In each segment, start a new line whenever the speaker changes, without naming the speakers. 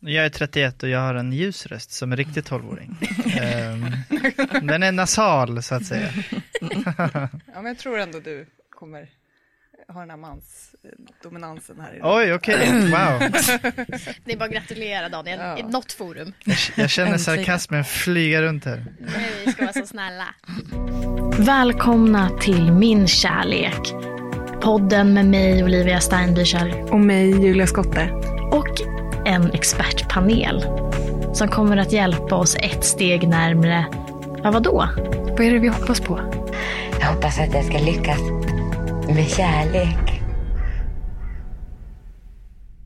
Jag är 31 och jag har en ljus röst som en riktig 12-åring. Ehm, den är nasal så att säga.
Ja, men jag tror ändå du kommer ha den här mansdominansen här. idag.
Oj, okej, wow.
Det är bara att gratulera Daniel,
Ja.
i något forum.
Jag känner
Äntligen.
sarkasmen flyga runt här.
Nej, vi ska vara så snälla.
Välkomna till Min kärlek. Podden med mig, Olivia Steinbüchel
Och mig, Julia Skotte.
och en expertpanel som kommer att hjälpa oss ett steg närmre, ja vadå? Vad är det vi hoppas på?
Jag hoppas att jag ska lyckas med kärlek.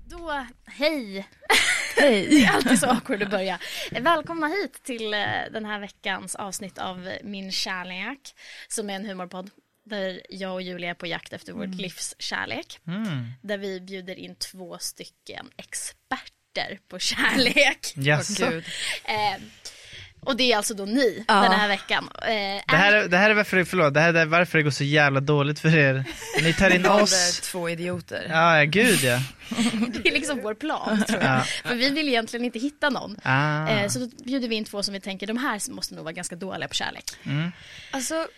Då, hej! Det
Hej!
är alltid så awkward att börja. Välkomna hit till eh, den här veckans avsnitt av Min kärlek, som är en humorpodd där jag och Julia är på jakt efter
Mm.
vårt livs kärlek. Där vi bjuder in två stycken experter på kärlek.
Jaså.
Gud.
Mm.
Eh, och det är alltså då ni
Ja.
den här veckan. Eh,
Det här, är- det här är varför det, förlåt, det här är varför det går så jävla dåligt för er. Ni tar in oss.
Två idioter.
Ja, ja, gud ja.
Det är liksom vår plan tror jag.
Ja.
För vi vill egentligen inte hitta någon.
Ah.
Eh, så då bjuder vi in två som vi tänker, de här måste nog vara ganska dåliga på kärlek.
Alltså,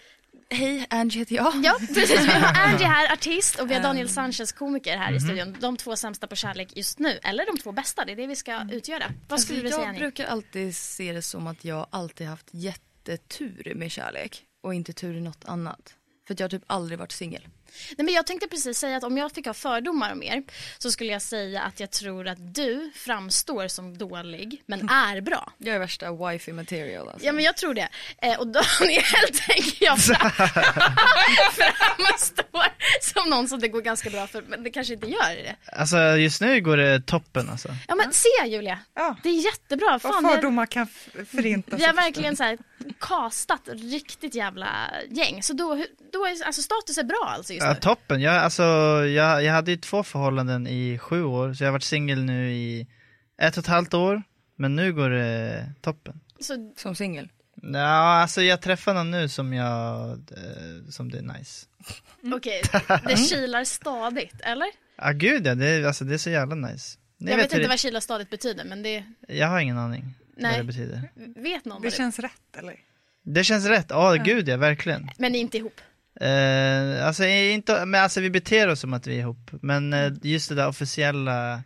hej, Angie heter jag.
Ja, precis. Vi har Angie här, artist, och vi har Daniel Sanchez, komiker här i studion. De två sämsta på kärlek just nu, eller de två bästa, det är det vi ska utgöra. Vad
Alltså,
skulle du säga
jag
Annie?
brukar alltid se det som att jag alltid haft jättetur med kärlek och inte tur i något annat. För att jag har typ aldrig varit singel.
Nej, men jag tänkte precis säga att om jag fick ha fördomar om er så skulle jag säga att jag tror att du framstår som dålig men är bra.
Jag är värsta wifey material alltså.
Ja men jag tror det. Eh, och Daniel tänker jag fram, framstår som någon som det går ganska bra för men det kanske inte gör det.
Alltså just nu går det toppen alltså.
Ja men se Julia,
Ja.
det är jättebra. Fan,
Vad
vi har-
fördomar kan f-
Alltså,
förintas.
Vi har verkligen så här kastat riktigt jävla gäng. Så då, då är alltså status är bra alltså just
Ja,
nu.
toppen. Jag, alltså, jag, jag hade ju två förhållanden i sju år, så jag har varit singel nu i ett och ett halvt år. Men nu går det toppen.
Så,
Som singel.
Ja, alltså jag träffar någon nu som jag, eh, som det är nice.
okej,
Mm.
det kilar stadigt, eller?
Ja ah, gud ja, det, är- alltså, det är så jävla nice. Ni
jag
hur
vet, inte
det,
vad kila stadigt betyder, men det
Jag har ingen aning vad
Nej.
det betyder.
vet någon
Det
vad det
känns rätt eller?
Det känns rätt, ja gud ja, verkligen.
Men ni är inte ihop.
Eh, alltså, inte, men alltså vi beter oss som att vi är ihop, men
Mm.
eh, just det där officiella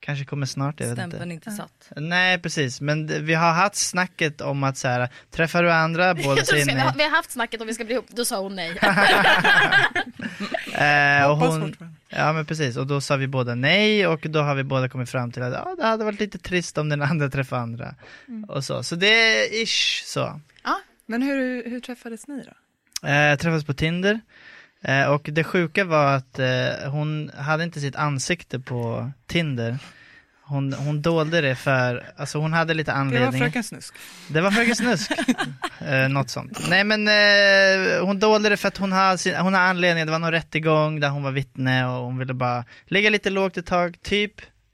kanske kommer snart, jag vet inte.
Stämpeln inte satt.
Nej precis, men d- vi har haft snacket om att så här, träffar du andra, båda
Jag tror
säger
vi, ska, vi har-
nej.
vi har haft snacket om vi ska bli ihop, då sa hon nej.
Eh, och
Hoppas
hon,
fortfarande.
ja men precis, och då sa vi båda nej och då har vi båda kommit fram till att ja, det hade varit lite trist om den andra träffade andra.
Mm.
Och så, så det är ish så.
Men hur, hur träffades ni då?
Eh, träffades på Tinder. Eh, och det sjuka var att eh, hon hade inte sitt ansikte på Tinder. Hon, hon dolde det för, alltså hon hade lite
Det var
anledning.
Fröken Snusk.
Det var Fröken Snusk. eh, något sånt. Nej men eh, hon dolde det för att hon har, sin, hon har anledning, det var någon rättegång där hon var vittne och hon ville bara ligga lite lågt ett tag, typ.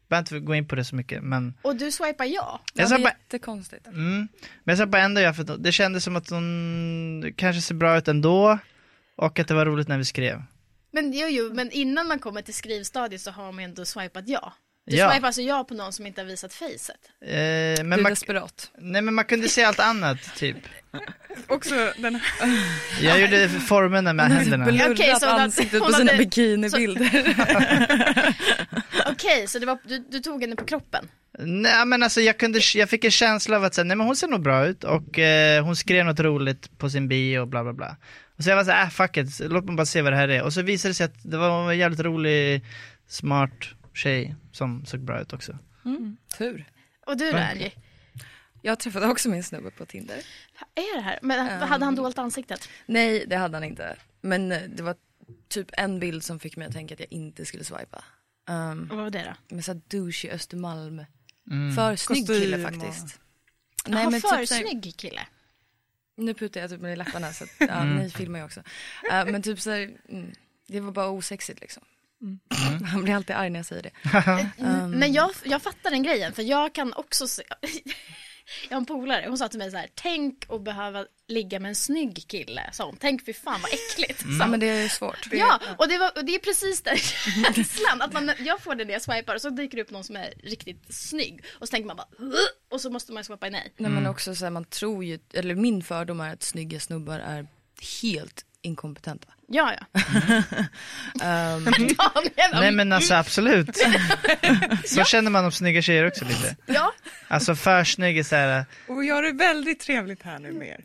Behöver inte gå in på det så mycket men.
Och du swipar ja.
Jag
det
sa
är
bara,
jättekonstigt.
mm, men jag sa bara ändå ja för att det kändes som att hon kanske ser bra ut ändå. Och att det var roligt när vi skrev.
Men jo, jo, men innan man kommer till skrivstadiet så har man ju ändå swipat ja. Du
Ja.
swipar alltså ja på någon som inte har visat facet.
Eh,
Du
men,
är
man,
desperat.
nej, men man kunde se allt annat typ.
Också den här.
Jag gjorde formerna med händerna.
Blurrat
Okej, så hon hade-
ansiktet på
hon
sina
hade-
bikinibilder.
Okej, så det var, du, du tog henne på kroppen.
Nej men alltså jag, kunde, jag fick en känsla av att säga, nej men hon ser nog bra ut och eh, hon skrev något roligt på sin bio och bla bla bla. Och så jag var så här, äh, fuck it, låt mig bara se vad det här är. Och så visade det sig att det var en jävligt rolig, smart tjej som såg bra ut också.
Tur.
Och du då
Verkligen.
Angie?
Jag träffade också min snubbe på Tinder.
Är det här? Men hade han dolt ansiktet?
Nej, det hade han inte. Men eh, det var typ en bild som fick mig att tänka att jag inte skulle swipa. Ehm,
Vad var det då?
med såhär douchey Östermalm. För snygg kille
Kostym och-
faktiskt.
Nej, men för
typ såhär-
snygg kille.
Nu putar jag typ med läpparna så att, ja, ni filmar ju också. Eh, men typ såhär, mm, det var bara osexigt liksom. Han blir alltid arg när jag säger det.
Men jag, jag fattar den grejen för jag kan också se... Jag har en polare, hon sa till mig så här, tänk att behöva ligga med en snygg kille. Sa hon, tänk fy fan vad äckligt.
Ja, Mm. men det är svårt.
Ja, och det, var, och det är precis den känslan. Att man, jag får det när jag swipar och så dyker det upp någon som är riktigt snygg. Och så tänker man bara, "Ugh", och så måste man swipa nej.
Nej, men också så här, man tror ju, eller min fördom är att snygga snubbar är helt inkompetenta.
Ja, ja. Daniel,
Nej men alltså absolut. Så känner man om snygga tjejer också lite.
ja.
Alltså för snygg är så här,
Och jag har det väldigt trevligt här nu med er.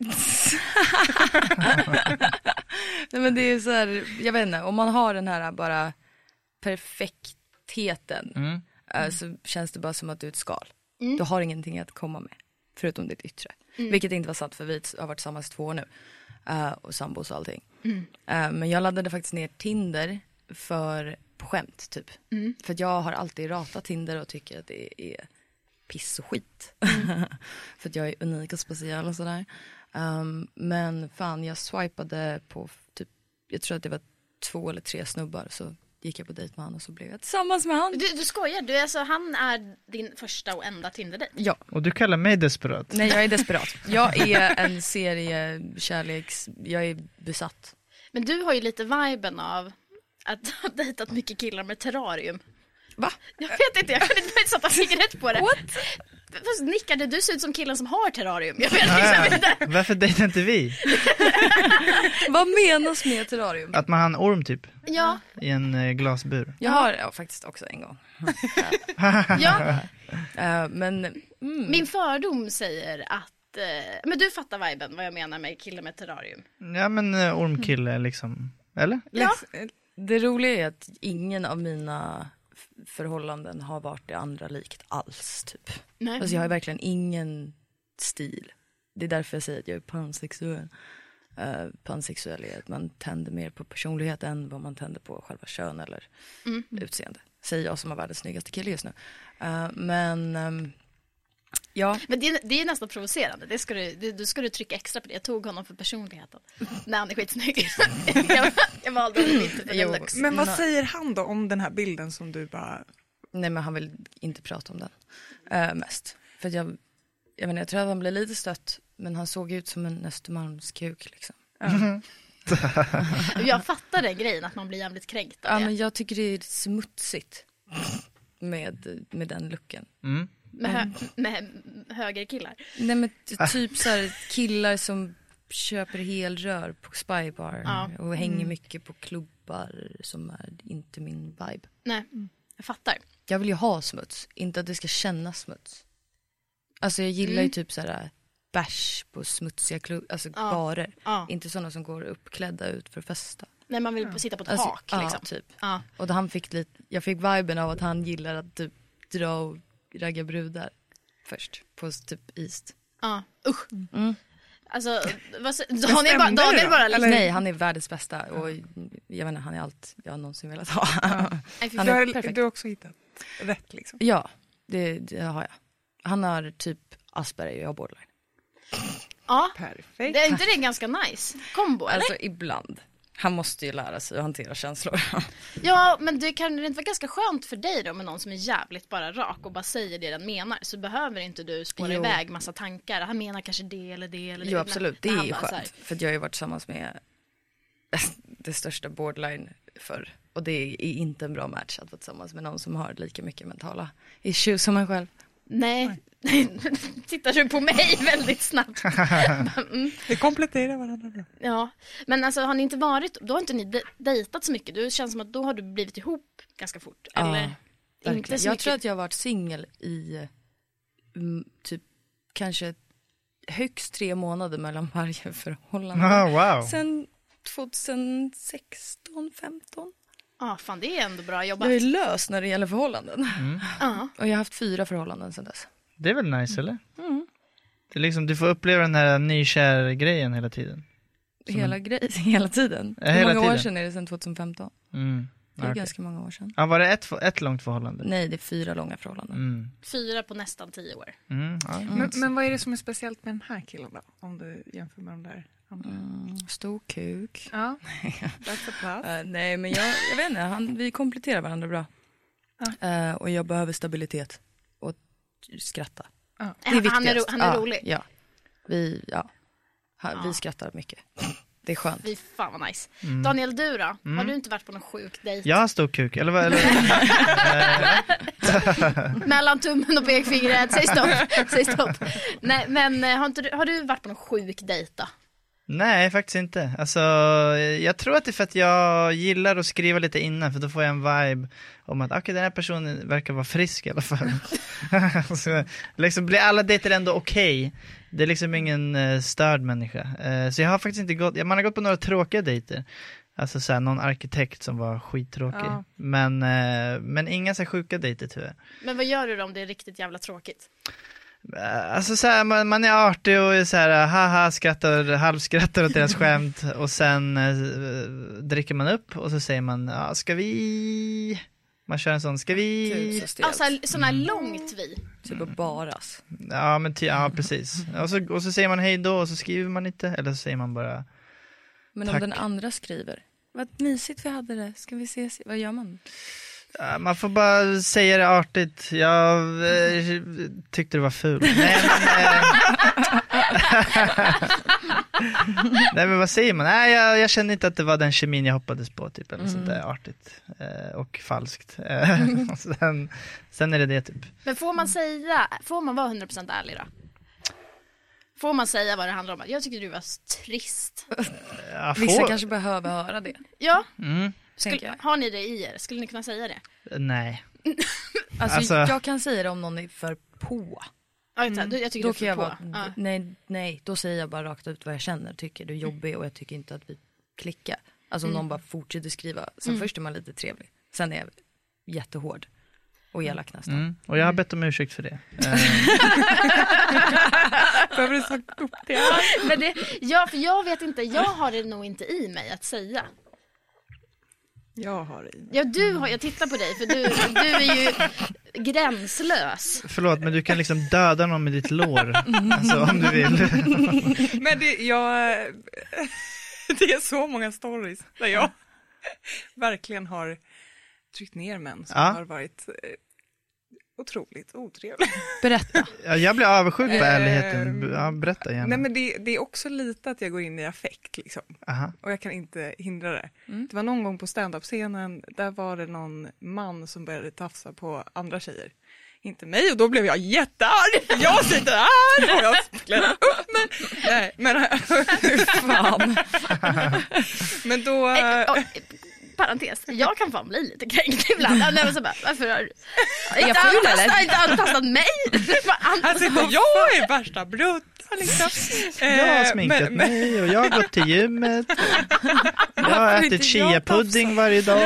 Nej men det är så här, jag vet inte, om man har den här bara perfektheten eh, så känns det bara som att du är ett skal. Du har ingenting att komma med, förutom ditt yttre. Vilket inte var sant för vi har varit tillsammans i två år nu. eh, och sambos och allting. Eh, men jag laddade faktiskt ner Tinder för på skämt typ. För att jag har alltid ratat Tinder och tycker att det är piss och skit. för att jag är unik och speciell och sådär. Ehm, men fan, jag swipade på typ, jag tror att det var två eller tre snubbar. Så gick jag på dejt med han och så blev jag tillsammans med han.
Du, du skojar, du, alltså, han är din första och enda Tinder-dejt.
Ja,
och du kallar mig desperat.
nej jag är desperat. jag är en serie kärleks, jag är besatt.
Men du har ju lite viben av att ha dejtat mycket killar med terrarium.
Va?
Jag vet inte, jag kan inte sätta fingret på det. What? Fast nickade, du ser ut som killen som har terrarium. Jag vet liksom
Ah,
inte.
varför dejtar inte vi?
Vad menas med terrarium?
Att man har en orm typ
Ja,
i en eh, glasbur.
Jag har ja, faktiskt också en gång.
ja.
Eh, men mm,
Min fördom säger att eh, men du fattar viben vad jag menar med kille med terrarium.
Ja men eh, ormkille liksom. Eller?
Läs,
det roliga är att ingen av mina f- förhållanden har varit det andra likt alls typ.
Nej.
Alltså jag har verkligen ingen stil. Det är därför jag säger att jag är pansexuell. Eh, pansexuell är att man tänder mer på personlighet än vad man tänder på själva kön eller utseende. Säger jag som har världens snyggaste kille just nu. Eh, men ehm, ja,
Men det, det är nästan provocerande. Det ska du, det, du ska du trycka extra på det. Jag tog honom för personligheten. Nej, han är skitsnygg. jag, jag valde honom inte för
Jo.
den looks.
men vad säger han då om den här bilden som du bara...
nej men han vill inte prata om den eh, mest. För att jag, jag, menar, jag tror att han blev lite stött men han såg ut som en Östermalmskuk liksom.
Jag fattar den grejen att man blir jävligt kränkt
Ja,
av det.
men jag tycker det är smutsigt med, med den looken.
med, hö, med högerkillar.
Nej men t-
Ah.
typ så här killar som köper helrör på spybar
Ja. Mm.
och hänger mycket på klubbar som är inte min vibe.
Nej, jag fattar.
Jag vill ju ha smuts, inte att det ska kännas smuts. Alltså jag gillar ju typ så här bärs på smutsiga klubb, alltså barer.
Mm. Ja.
Inte sådana som går uppklädda ut för att festa.
När man vill sitta på ett
Alltså,
tak
ja,
liksom.
typ.
Ja.
Och då han fick lite, jag fick viben av att han gillar att typ dra och ragga brudar först på typ East.
Ja, usch. Mm.
Mm.
Alltså, vad, sä- Daniel, bara,
stämde det
Daniel
då?
bara liksom-
Eller-
Nej, han är världens bästa och jag vet inte, han är allt jag någonsin velat ha.
Nej, fy
Han
Du
är
har,
perfekt.
du har också hittat rätt liksom.
Ja, det, det har jag. Han har typ Asperger och jag har borderline.
Ja,
Perfekt.
det är inte det en ganska nice kombo? Eller?
Alltså ibland. Han måste ju lära sig att hantera känslor.
Ja, men det kan det inte vara ganska skönt för dig då med någon som är jävligt bara rak och bara säger det den menar så behöver inte du spåra
Jo.
iväg massa tankar. Han menar kanske det eller det eller det.
Jo absolut, det
Men han
är ju
bara så här,
skönt. För att jag har ju varit tillsammans med det största borderline förr. Och det är inte en bra match att vara tillsammans med någon som har lika mycket mentala issues som en själv.
Nej, tittar du på mig väldigt snabbt?
Det kompletterar varandra bra.
Ja, men alltså har ni inte varit, då har inte ni de- dejtat så mycket. Du känns som att då har du blivit ihop ganska fort.
Ja,
eller? Inte
Verkligen.
så
Jag
mycket.
tror att jag har varit singel i mm, typ kanske högst tre månader mellan varje förhållande.
Ah, wow.
Sen 2016, 15.
Ja, fan det är ändå bra jobbat.
Jag är lös när det gäller förhållanden.
Ja.
Och jag har haft fyra förhållanden sedan dess.
Mm. Det är väl nice eller?
Mm.
Det är liksom, du får uppleva den här nykär grejen hela tiden.
Hela, grej, hela tiden.
Ja,
Hur
hela
många år
tiden.
sedan är det sedan 2015?
Mm.
Det är
Okej.
ganska många år sedan.
Ja, var det ett, ett långt förhållande?
Nej, det är fyra långa förhållanden.
Mm.
Fyra på nästan tio år.
Mm, ja.
Men, men vad är det som är speciellt med den här killen då? Om du jämför med de där andra.
Mm.
Stor kuk.
Ja, that's a plus.
Eh, nej, men jag, jag vet inte. Han, vi kompletterar varandra bra. Eh, och jag behöver stabilitet och skratta. Det är
han är, ro,
viktigast.
han är
ja,
rolig.
Ja. Vi, ja. Ha, vi skrattar mycket. Det är skönt.
Fy fan vad nice.
Mm.
Daniel, du då? Har du inte varit på någon sjuk dejt?
Jag har stor kuk, eller vad? Eller,
Mellan tummen och pekfingret, säg stopp. säg stopp. Nej, men eh, har, inte du, har du varit på någon sjuk dejt då?
nej, faktiskt inte. Alltså, jag tror att det är för att jag gillar att skriva lite innan, för då får jag en vibe om att okej, den här personen verkar vara frisk i alla fall. så, liksom blir alla dejter ändå okej. Det är liksom ingen eh, störd människa. Eh, så jag har faktiskt inte gått, ja, man har gått på några tråkiga dejter. Alltså såhär, någon arkitekt som var skittråkig.
Ja.
Men, eh, men inga så här sjuka dejter tyvärr.
Men vad gör du då om det är riktigt jävla tråkigt?
Eh, Alltså så här, man, man är artig och är så här, eh, haha, skrattar, halvskrattar åt deras skämt och sen eh, dricker man upp och så säger man, ja, ska vi... Man kör en sån, ska
Gud,
vi...
Typ så stelt.
Alltså sådana
Mm.
här långt vi.
Typ att baras.
Ja, men ty, ja, precis. Och så, och så säger man hej då och så skriver man inte, eller så säger man bara,
Men
Tack.
om den andra skriver, vad mysigt vi hade det, ska vi ses? Vad gör man?
Ja, Man får bara säga det artigt. Jag eh, tyckte det var fult. Nej men, eh, Nej, men vad säger man? Nej, jag, jag kände inte att det var den kemin jag hoppades på. Typ, eller sånt där artigt eh, och falskt. Eh, och sen, sen är det det typ.
Men får man säga, får man vara 100% ärlig då? Får man säga vad det handlar om? Jag tycker du var trist.
Ja, får-
Vissa kanske behöver höra det.
Ja,
Mm,
tänker
skulle,
jag.
har ni det i er? Skulle ni kunna säga det?
nej.
Alltså,
Alltså-
jag kan säga det om någon är för på.
Ja, exakt. Du- Jag tycker
Mm. Då
du
kan
är
jag
för
vara,
på. Ja.
nej, nej, då säger jag bara rakt ut vad jag känner, tycker du är jobbig och jag tycker inte att vi klickar. Alltså om någon bara fortsätter skriva, sen först är man lite trevlig, sen är jag jättehård och elak nästan.
Mm. Och jag har bett om ursäkt för det. Eh,
Behöver du sagt upp det?
Men det, ja, för jag vet inte, jag har det nog inte i mig att säga.
Jag har det i mig.
Ja, du
Mm.
har, jag tittar på dig för du, du är ju gränslös.
Förlåt, men du kan liksom döda någon med ditt lår. Alltså, om du vill.
Men det, jag, det är så många stories där jag verkligen har tryckt ner män som
Ja.
har varit eh, otroligt otrevliga.
Berätta.
Ja, Jag blir avundsjuk på
Eh,
ärligheten. Ja, berätta gärna.
Nej men det, det är också lite att jag går in i affekt liksom.
Aha.
och jag kan inte hindra det.
Mm.
Det var någon gång på standup-scenen, där var det någon man som började tafsa på andra tjejer. Inte mig och då blev jag jättearg, för jag sitter här och jag klär upp mig. Nej, men,
Fan.
men då...
Äh.
Eh, och, eh, parentes, jag kan fan bli lite kränkt ibland. Ja, Nej, men så bara, varför har du inte,
jag ful,
antastat-
eller?
inte antastat mig? Vad
Här
Alltså,
antas-
sitter jag i värsta bruttan liksom.
Jag har
Eh,
sminkat
men- men-
mig och jag har gått till gymmet. Jag har
Varför
ätit
inte jag
chia-pudding varje dag.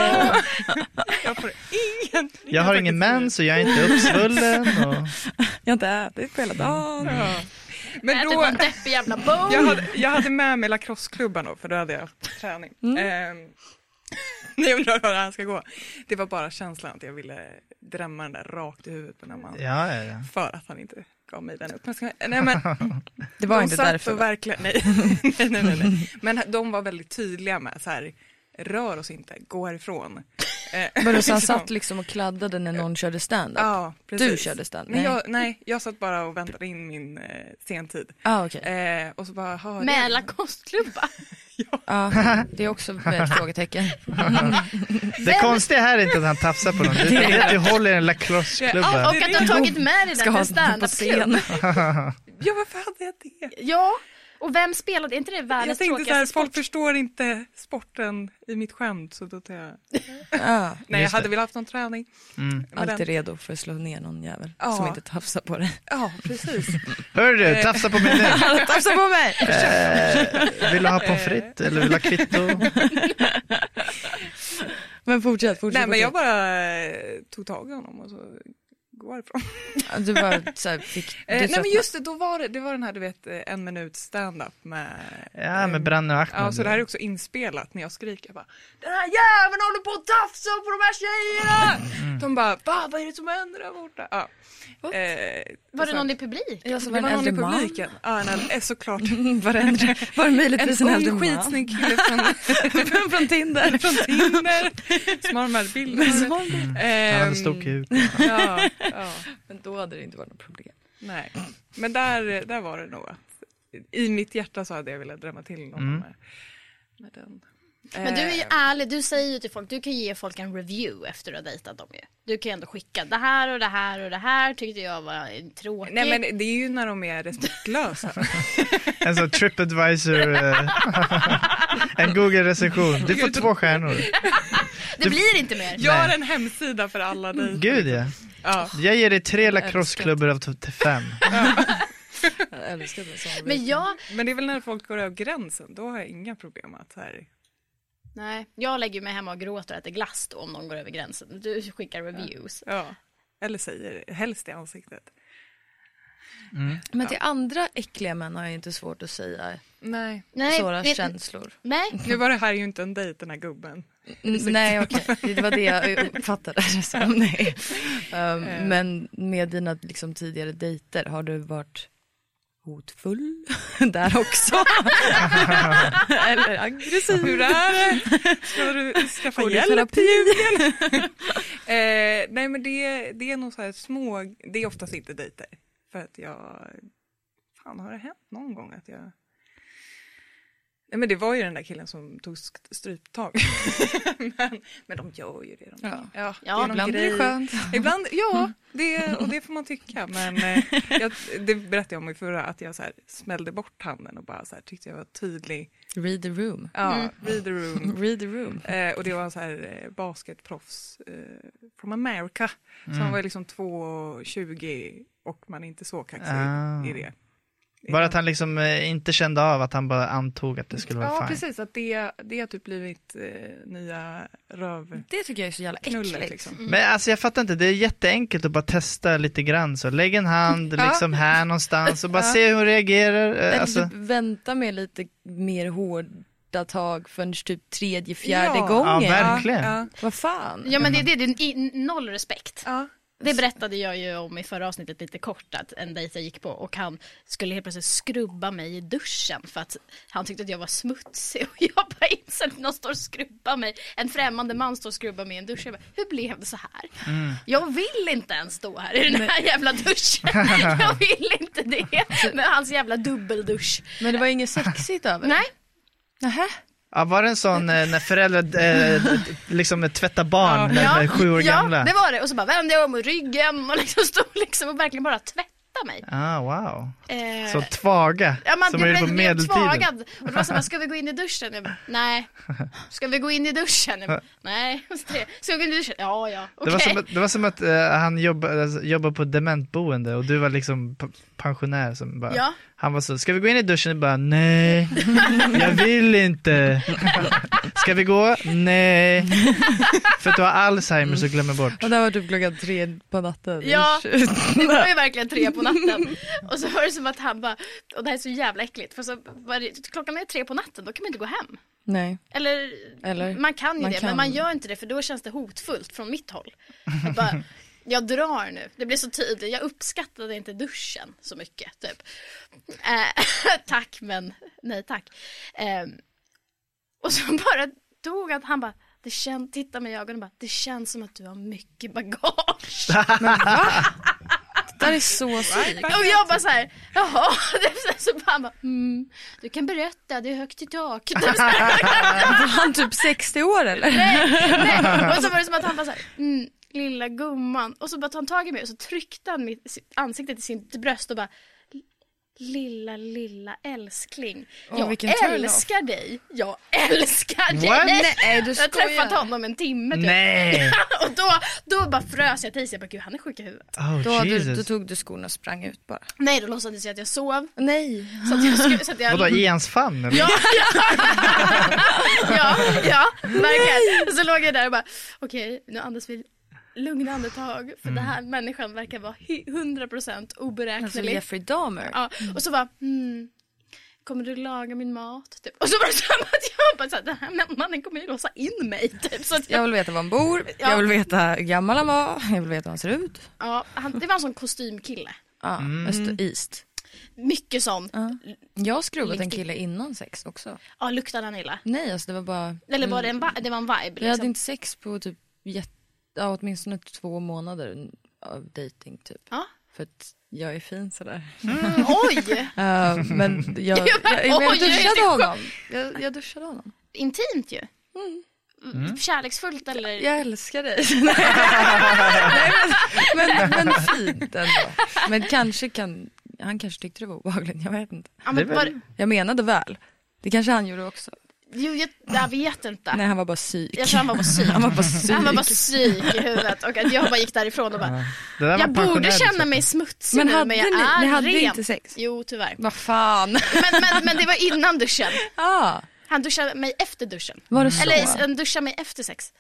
Jag får ingenting.
Jag har ingen mens och jag är inte uppsvullen. Och...
Jag har inte ätit på hela dagen.
Ja.
Mm.
Ätit
Men då,
någon deppig jävla bong.
jag, hade, jag hade med mig lacrosseklubban då, för då hade jag haft träning.
Mm.
Eh, ni undrar hur det här ska gå. Det var bara känslan att jag ville drämma den där rakt i huvudet på den här mannen.
Ja, ja, ja.
För att han inte gav mig den uppmärksamheten. Nej men,
Det var
de
inte
satt
därför.
och
va?
verkligen, nej. nej, nej, nej, nej. Men de var väldigt tydliga med så här, rör oss inte, gå härifrån. Eh,
Vadå, så han
liksom.
satt liksom och kladdade när någon körde stand-up?
Ja, precis.
Du körde stand?
Nej.
Nej.
Jag, nej, jag satt bara och väntade in min eh, sentid.
Ah, okej.
Eh, och så bara, "Ha, det-
Med lacosteklubba.
Ja, Ah. det är också ett frågetecken.
Det konstiga här är inte att han tafsar på någon. Det är att du håller i en lacrosseklubba.
Och att du har tagit med dig
Ska
den
ha
till
den på
standup-klubb.
scen.
Ja, varför hade jag det?
Ja, och vem spelade, är inte det
Jag
världens
tänkte så här,
tråkigaste sport?
folk förstår inte sporten i mitt skämt så då tar jag...
Ja,
Nej, jag
Just
hade
det.
velat haft någon träning.
Mm.
Men
Ah. alltid
den-
redo för att slå ner någon jävel
Ja.
som inte tafsar på dig.
Ja, precis.
Hör du, tafsa på mig nu.
Tafsa på mig!
Eh, vill du ha pommes frites eller vill du ha
Eh.
kvitto?
Men fortsätt, fortsätt.
Nej, men jag
fortsätt.
bara eh, tog tag i honom och så går härifrån.
Du bara så här, fick, du
Eh, nej, men
tröttnade.
just det, då var det, det var den här, du vet, eh, en minut stand-up med... ehm,
Ja, med Branne och
Ja,
Ahmed.
så det här är också inspelat när jag skriker. Jag bara, den här jäveln håller på att tafsa på de här tjejerna!
Mm.
De bara, "Va, vad är det som händer där borta? Ja. Eh, och
Var det
sen-
någon i publik?
Ja, så
Det
Alltså, var
var
det en
någon i
äldre man.
publiken. Ja, en äldre, eh, såklart.
Var det, en, var det möjligtvis en,
En
äldre
ung
man?
skitsnygg kille från,
Från Tinder.
från Tinder som har de här bilderna. mm.
Han hade stor kuk.
Ja, ja.
Men då hade det inte varit något problem.
Nej, men där, där var det nog att i mitt hjärta så hade jag velat drämma till någon med, med den.
Men du är ju
Eh,
ärlig, du säger ju till folk, du kan ju ge folk en review efter att ha dejtat dem ju. Du kan ju ändå skicka, det här och det här och det här tyckte jag var tråkigt.
Nej men det är ju när de är respektlösa.
En sån tripadvisor, eh, en Google-recension. Du får två stjärnor.
det blir inte mer.
Gör en hemsida för alla dig.
Gud ja.
Ja.
Jag ger dig tre lacrosseklubbor av t- fem.
Jag älskar det. Som
Men jag,
Men det är väl när folk går över gränsen, då har jag inga problem att så här.
nej, jag lägger mig hemma och gråter och äter glass då om någon går över gränsen. Du skickar reviews.
Ja. Eller säger helst i ansiktet.
Men till andra äckliga män har jag inte svårt att säga
Nej.
Nej,
såra
vet-
känslor.
Nej,
Nu var det här ju inte en dejt den här gubben.
Mm, Nej okej, det var det jag uppfattade det som. Nej. Um, men med dina liksom, tidigare dejter, har du varit hotfull där också? Eller aggressiv?
Hur är det? Ska du skaffa
Går du i
hjälp
terapi?
till julen? eh, nej men det, det är nog så här små, det är oftast inte dejter. För att jag, fan har det hänt någon gång att jag Nej men det var ju den där killen som tog sk- stryptag. men, men de gör ju det de
Ja.
gör. Ja,
Ja,
någon
Ibland är
grej.
det skönt. Mm.
Ibland, ja, det, och det får man tycka. Men eh, jag, det berättade jag om i förra, att jag så här smällde bort handen och bara så här, tyckte jag var tydlig.
Read the room.
Ja, read the room.
Read the room.
Eh, och det var en så här eh, basketproffs eh, from America. Så
Mm.
han var liksom 2,20 och man är inte så kaxig
Ah.
i det.
Bara att han liksom eh, inte kände av att han bara antog att det skulle vara
Ja,
fine.
precis. Att det, det har typ blivit eh, nya röv...
Det tycker jag är så jävla
Knullet,
äckligt.
liksom.
Men alltså jag fattar inte, det är jätteenkelt att bara testa lite grann så. Lägg en hand liksom här någonstans och bara se hur hon reagerar. eh,
Eller
Alltså,
typ vänta med lite mer hårda tag förrän typ tredje,
Ja.
fjärde
ja,
gången.
verkligen.
Ja,
Vad fan?
ja men det är det, det är i- noll respekt.
ja.
Det berättade jag ju om i förra avsnittet lite kort att en dejt jag gick på och han skulle helt plötsligt skrubba mig i duschen för att han tyckte att jag var smutsig och jag bara insåg att någon står och skrubbar mig. En främmande man står och skrubbar mig i en dusch. Jag bara, hur blev det så här?
Mm.
Jag vill inte ens stå här i den här jävla duschen. Jag vill inte det.
Alltså-
Med hans jävla dubbeldusch.
Men det var inget sexigt över det?
Nej,
Nähä.
Ja, var det en sån eh, när föräldrar eh, liksom tvättar barn när de är sju år
ja,
gamla?
det var det. Och så bara vände jag om ryggen och liksom stod liksom och verkligen bara tvätta mig.
Ah, wow.
Eh,
Så tvaga,
Ja, man,
som
jag
är på
blev
medeltiden.
tvagad. Och det var så här, ska vi gå in i duschen? Jag bara, nej. Ska vi gå in i duschen? Jag bara, nej. Ska vi gå in i duschen? Ja, ja.
Det
Okej.
var, som att, det var som att eh, han jobbade, alltså, jobbade på ett dementboende och du var liksom p- pensionär som bara,
Ja.
han var så, ska vi gå in i duschen? Och bara, nej, jag vill inte. Ska vi gå? Nej. För att du har Alzheimer så glömmer bort.
Och det var typ klockan tre på natten.
Ja, det var ju verkligen tre på natten. Och så var det som att han bara, och det här är så jävla äckligt. För så var det, klockan är tre på natten, då kan man inte gå hem.
Nej.
Eller,
Eller?
man kan ju
Man
det, men
kan.
man gör inte det för då känns det hotfullt från mitt håll. Jag, bara, jag drar nu, det blir så tydligt. Jag uppskattade inte duschen så mycket. Typ. Eh, tack men nej tack. Eh, och så bara dog att han bara, det kän, titta mig i ögonen och bara, det känns som att du har mycket bagage.
Det där är så sykt.
Och jag bara så här, jaha. Så bara han bara, mm, du kan berätta, det är högt i tak. Typ så här.
Var han typ 60 år eller?
nej, nej. Och så var det som att han bara så här, mm, lilla gumman. Och så bara tog han tag i mig och så tryckte han mitt sitt ansikte till sitt bröst och bara, lilla, lilla älskling.
Åh,
jag
vilken turn-off.
älskar dig. Jag älskar dig.
What?
Nej, du
jag har
skojar.
träffat honom en timme typ.
Nej.
och då, då bara frös jag till sig, jag bara gud han är sjuk i huvudet.
Då,
Oh,
hade du, då
Jesus.
tog du skorna och sprang ut bara.
Nej då låtsades jag att jag sov.
Nej.
Så att jag, skulle- så att jag
Vadå, i ens famn eller?
Ja, ja. ja, ja, verkligen. Och så låg jag där och bara, okej, nu andas vi lugna andetag för den här människan verkar vara hy- 100%
Mm. Alltså
oberäknelig.
Jeffrey Dahmer.
ja. Och så bara, hmm, kommer du laga min mat? Typ. Och så var det som att jag bara, så här, den här mannen kommer ju låsa in mig. Typ. Så att
Jag
jag,
vill veta var han bor,
Ja.
jag vill veta hur gammal han var, jag vill veta hur han ser ut.
ja, han, det var en sån kostymkille.
Ja,
Mm.
Öst, East.
Mycket sån.
Jag har skrubbat en kille innan sex också.
Ja, luktade han illa?
Nej alltså det var bara,
Eller var det
Mm.
en, va- det var en vibe?
vi hade
Liksom.
inte sex på typ jätte, ja, åtminstone två månader av dating typ.
Ja. Mm,
För att jag är fin sådär.
Oj!
Eh, men jag, jag, jag,
Oj,
jag
det
duschade
är
honom. Jag, jag duschade honom.
Intimt ju.
Mm.
Kärleksfullt eller?
Jag älskar dig. Nej, men, men, men fint ändå. Men kanske kan, han kanske tyckte det var obehagligt, jag vet inte.
Ja,
Det
men
är väl-
var,
Jag menade väl. Det kanske han gjorde också.
jo, jag, jag vet inte.
Nej han var bara psyk.
Jag tror han var på psyk.
Han var bara psyk.
Han var bara psyk i huvudet och att jag bara gick därifrån och bara,
Det där var
jag borde
pensionär,
känna
liksom.
mig smutsig
men
nu,
hade
men jag är
ni, ni hade
ren.
inte sex?
Jo, tyvärr.
Vad fan.
Men, men, men det var innan duschen.
Ah,
Han duschade mig efter duschen.
var det så?
Eller han duschade mig efter sex.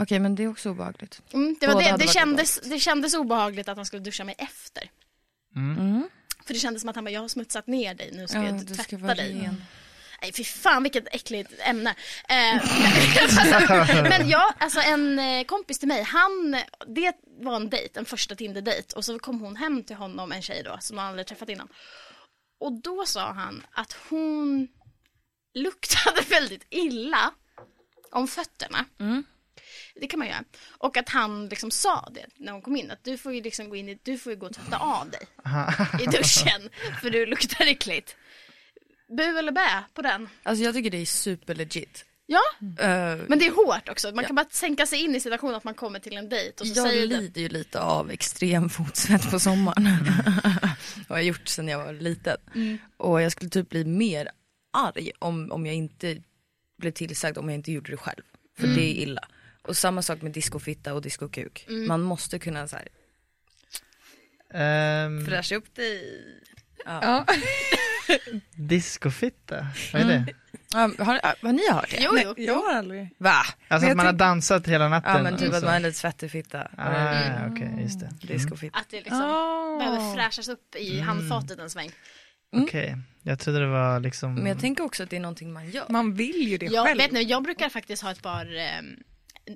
Okej men det är också obehagligt.
Mm, det, var
Båda
det,
hade
det,
varit
kändes, det kändes obehagligt att han skulle duscha mig efter. För det kändes som att han bara, jag har smutsat ner dig, nu ska
Mm. Ja,
jag
du ska
tvätta
vara
dig.
ren.
Nej fy fan vilket äckligt ämne. Eh, men ja, alltså en eh, kompis till mig, han, det var en dejt, en första Tinder-dejt och så kom hon hem till honom, en tjej då, som han aldrig träffat innan. Och då sa han att hon luktade väldigt illa om fötterna. Det kan man göra. Och att han liksom sa det när hon kom in, att du får ju liksom gå in i, du får ju gå och tvätta av dig i duschen, för du luktar äckligt. Bu eller bä på den?
Alltså jag tycker det är superlegit.
Ja,
Eh,
men det är hårt också. Man kan bara sänka sig in i situationen att man kommer till en dejt och så
jag
säger det.
lider ju lite av extrem fotsvett på sommaren. har jag gjort sedan jag var liten. Och jag skulle typ bli mer arg om, om jag inte blev tillsagd om jag inte gjorde det själv. För det är illa. Och samma sak med discofitta och discokuk. Man måste kunna så här,
Ehm,
Mm. fräscha upp dig.
discofitta,
Mm.
vad är det?
har, har ni hört det?
Jo, jo.
Jag har aldrig.
Va?
Alltså
Men
att man har
jag tänk-
dansat hela natten?
Ja men typ
och
att
så.
man är lite svettig fitta. och det är
Ah, okej, just det.
Mm. Discofitta.
Att det liksom
Ah.
Ah.
behöver fräschas upp i
Mm.
handfatet en sväng.
Okej, jag trodde det var liksom...
Men jag tänker också att det är någonting man gör.
Man vill ju det
Jag,
själv.
vet ni, jag brukar faktiskt ha ett par eh,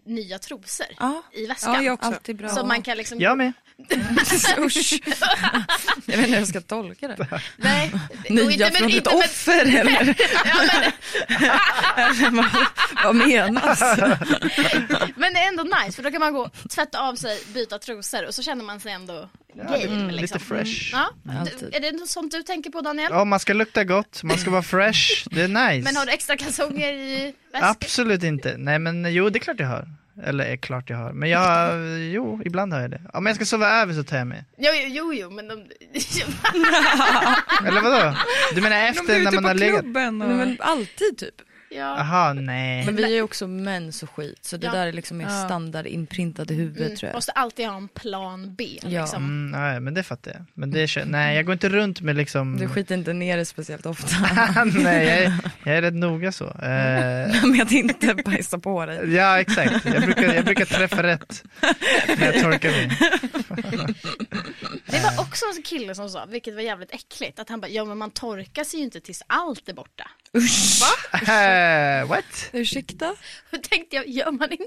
nya trosor
Ja.
i väskan. Alltså,
ja, jag också.
Alltid bra.
Så man kan liksom...
Jag med.
Usch. Jag vet inte hur jag ska tolka det.
Nej, och
Nya
inte- men-
från ett
inte- men-
offer eller? Eller vad- Vad menas?
Men det är ändå nice för då kan man gå tvätta av sig, byta trosor och så känner man sig ändå game. liksom.
Lite fresh.
Ja.
Mm, Alltid.
Är det något sånt du tänker på Daniel?
Ja, man ska lukta gott, man ska vara fresh, det är nice.
Men har du extra kalsonger i väskan?
Absolut inte. Nej men jo, det är klart jag har. Eller är klart jag har. Men jag, jo, ibland har jag det. Om jag ska sova över så tar jag med.
Jo, jo, jo, jo men de...
Eller vadå? Du menar
De är
efter
ute
när man
på
har legat?
klubben och...
Nej, men alltid typ.
ja.
Jaha, nej.
Men vi är ju också män så skit så det
Ja.
där är liksom mer standard inprintat i huvudet tror jag.
Mm. Måste alltid ha en plan B.
Ja.
Liksom.
Mm, nej, men det fattar jag. Men det kö- nej, jag går inte runt med liksom...
Du skiter inte ner det speciellt ofta
nej, jag är, jag är rätt noga så. Eh,
med att inte bajsa på dig.
ja, exakt. Jag brukar, jag brukar träffa rätt när jag torkar mig.
Det var också en kille som sa, vilket var jävligt äckligt, att han bara ja men man torkar sig ju inte tills allt är borta.
Usch.
Eh, what?
Ursäkta?
Då tänkte jag, gör man inte?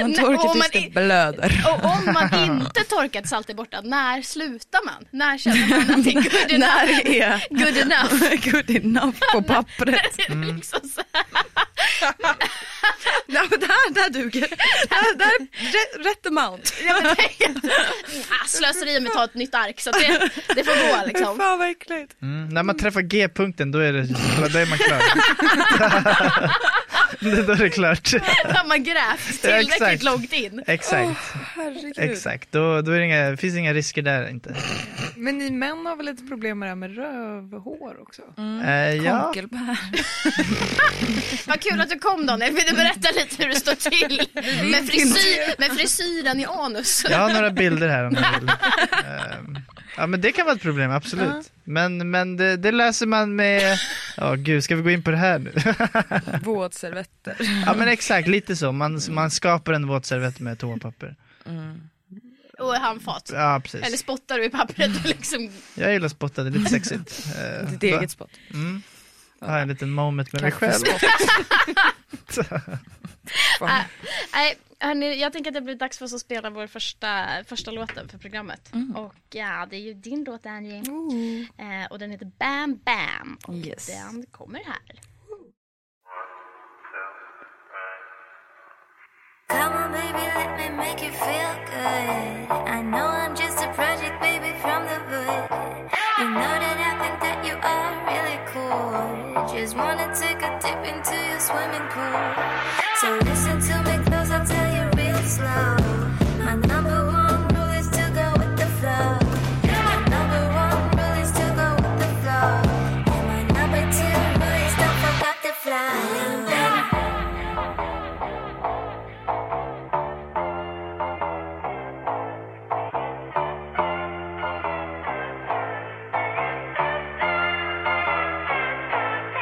Man
Nej, och
torkar
man
tills det
i-
blöder.
Och om man inte torkar tills allt är borta, när slutar man? När känner man att det är good enough?
När är
Good enough.
good enough på pappret?
Det är liksom så här.
Nej, men där, där duger där, där, rätt- Rätt amount.
Ja, men tänk att- Ah, Slöseri med att ta ett nytt ark, så att det, det får gå liksom.
Fan vad äckligt.
Mm, när man träffar G-punkten då är, det, då är man klar. Det- då är det klart.
Har man grävt
Ja,
tillräckligt
exakt.
långt in.
Exakt,
Herregud.
exakt. Då, då är det inga, finns inga risker där inte.
Men ni män har väl lite problem med det här med rövhår också?
Eh, ja,
Konkelbär.
Vad kul att du kom Daniel, vill du berätta lite hur det står till med, frisyr, med frisyren i anus?
jag har några bilder här om ni vill. Ehm, ja men det kan vara ett problem, absolut. Men, men det, det löser man med, ja gud ska vi gå in på det här nu?
Våtservetter.
ja men exakt, lite så. Man, man skapar en våtservett med toapapper.
Och handfat.
Ja
Eller
precis.
spottar du i papperet och liksom
Jag gillar att spotta, det är lite sexigt. Uh,
Ditt eget spott.
Har en liten moment med mig själv.
Nej, hörni, jag tänker att det blir dags för oss att spela vår första, första låten för programmet. Och ja, det är ju din låt Angie. Eh, och den heter Bam Bam. Och
Yes.
den kommer här.
Come on, baby, let me make make you feel good. I know I'm just a project baby from the wood. You know that I think that you are really cool. Just wanna take a dip into your swimming pool. So listen to me close, I'll tell you real slow. My number one rule is to go with the flow. My number one rule is to go with the flow. And my number two rule is don't forget to fly.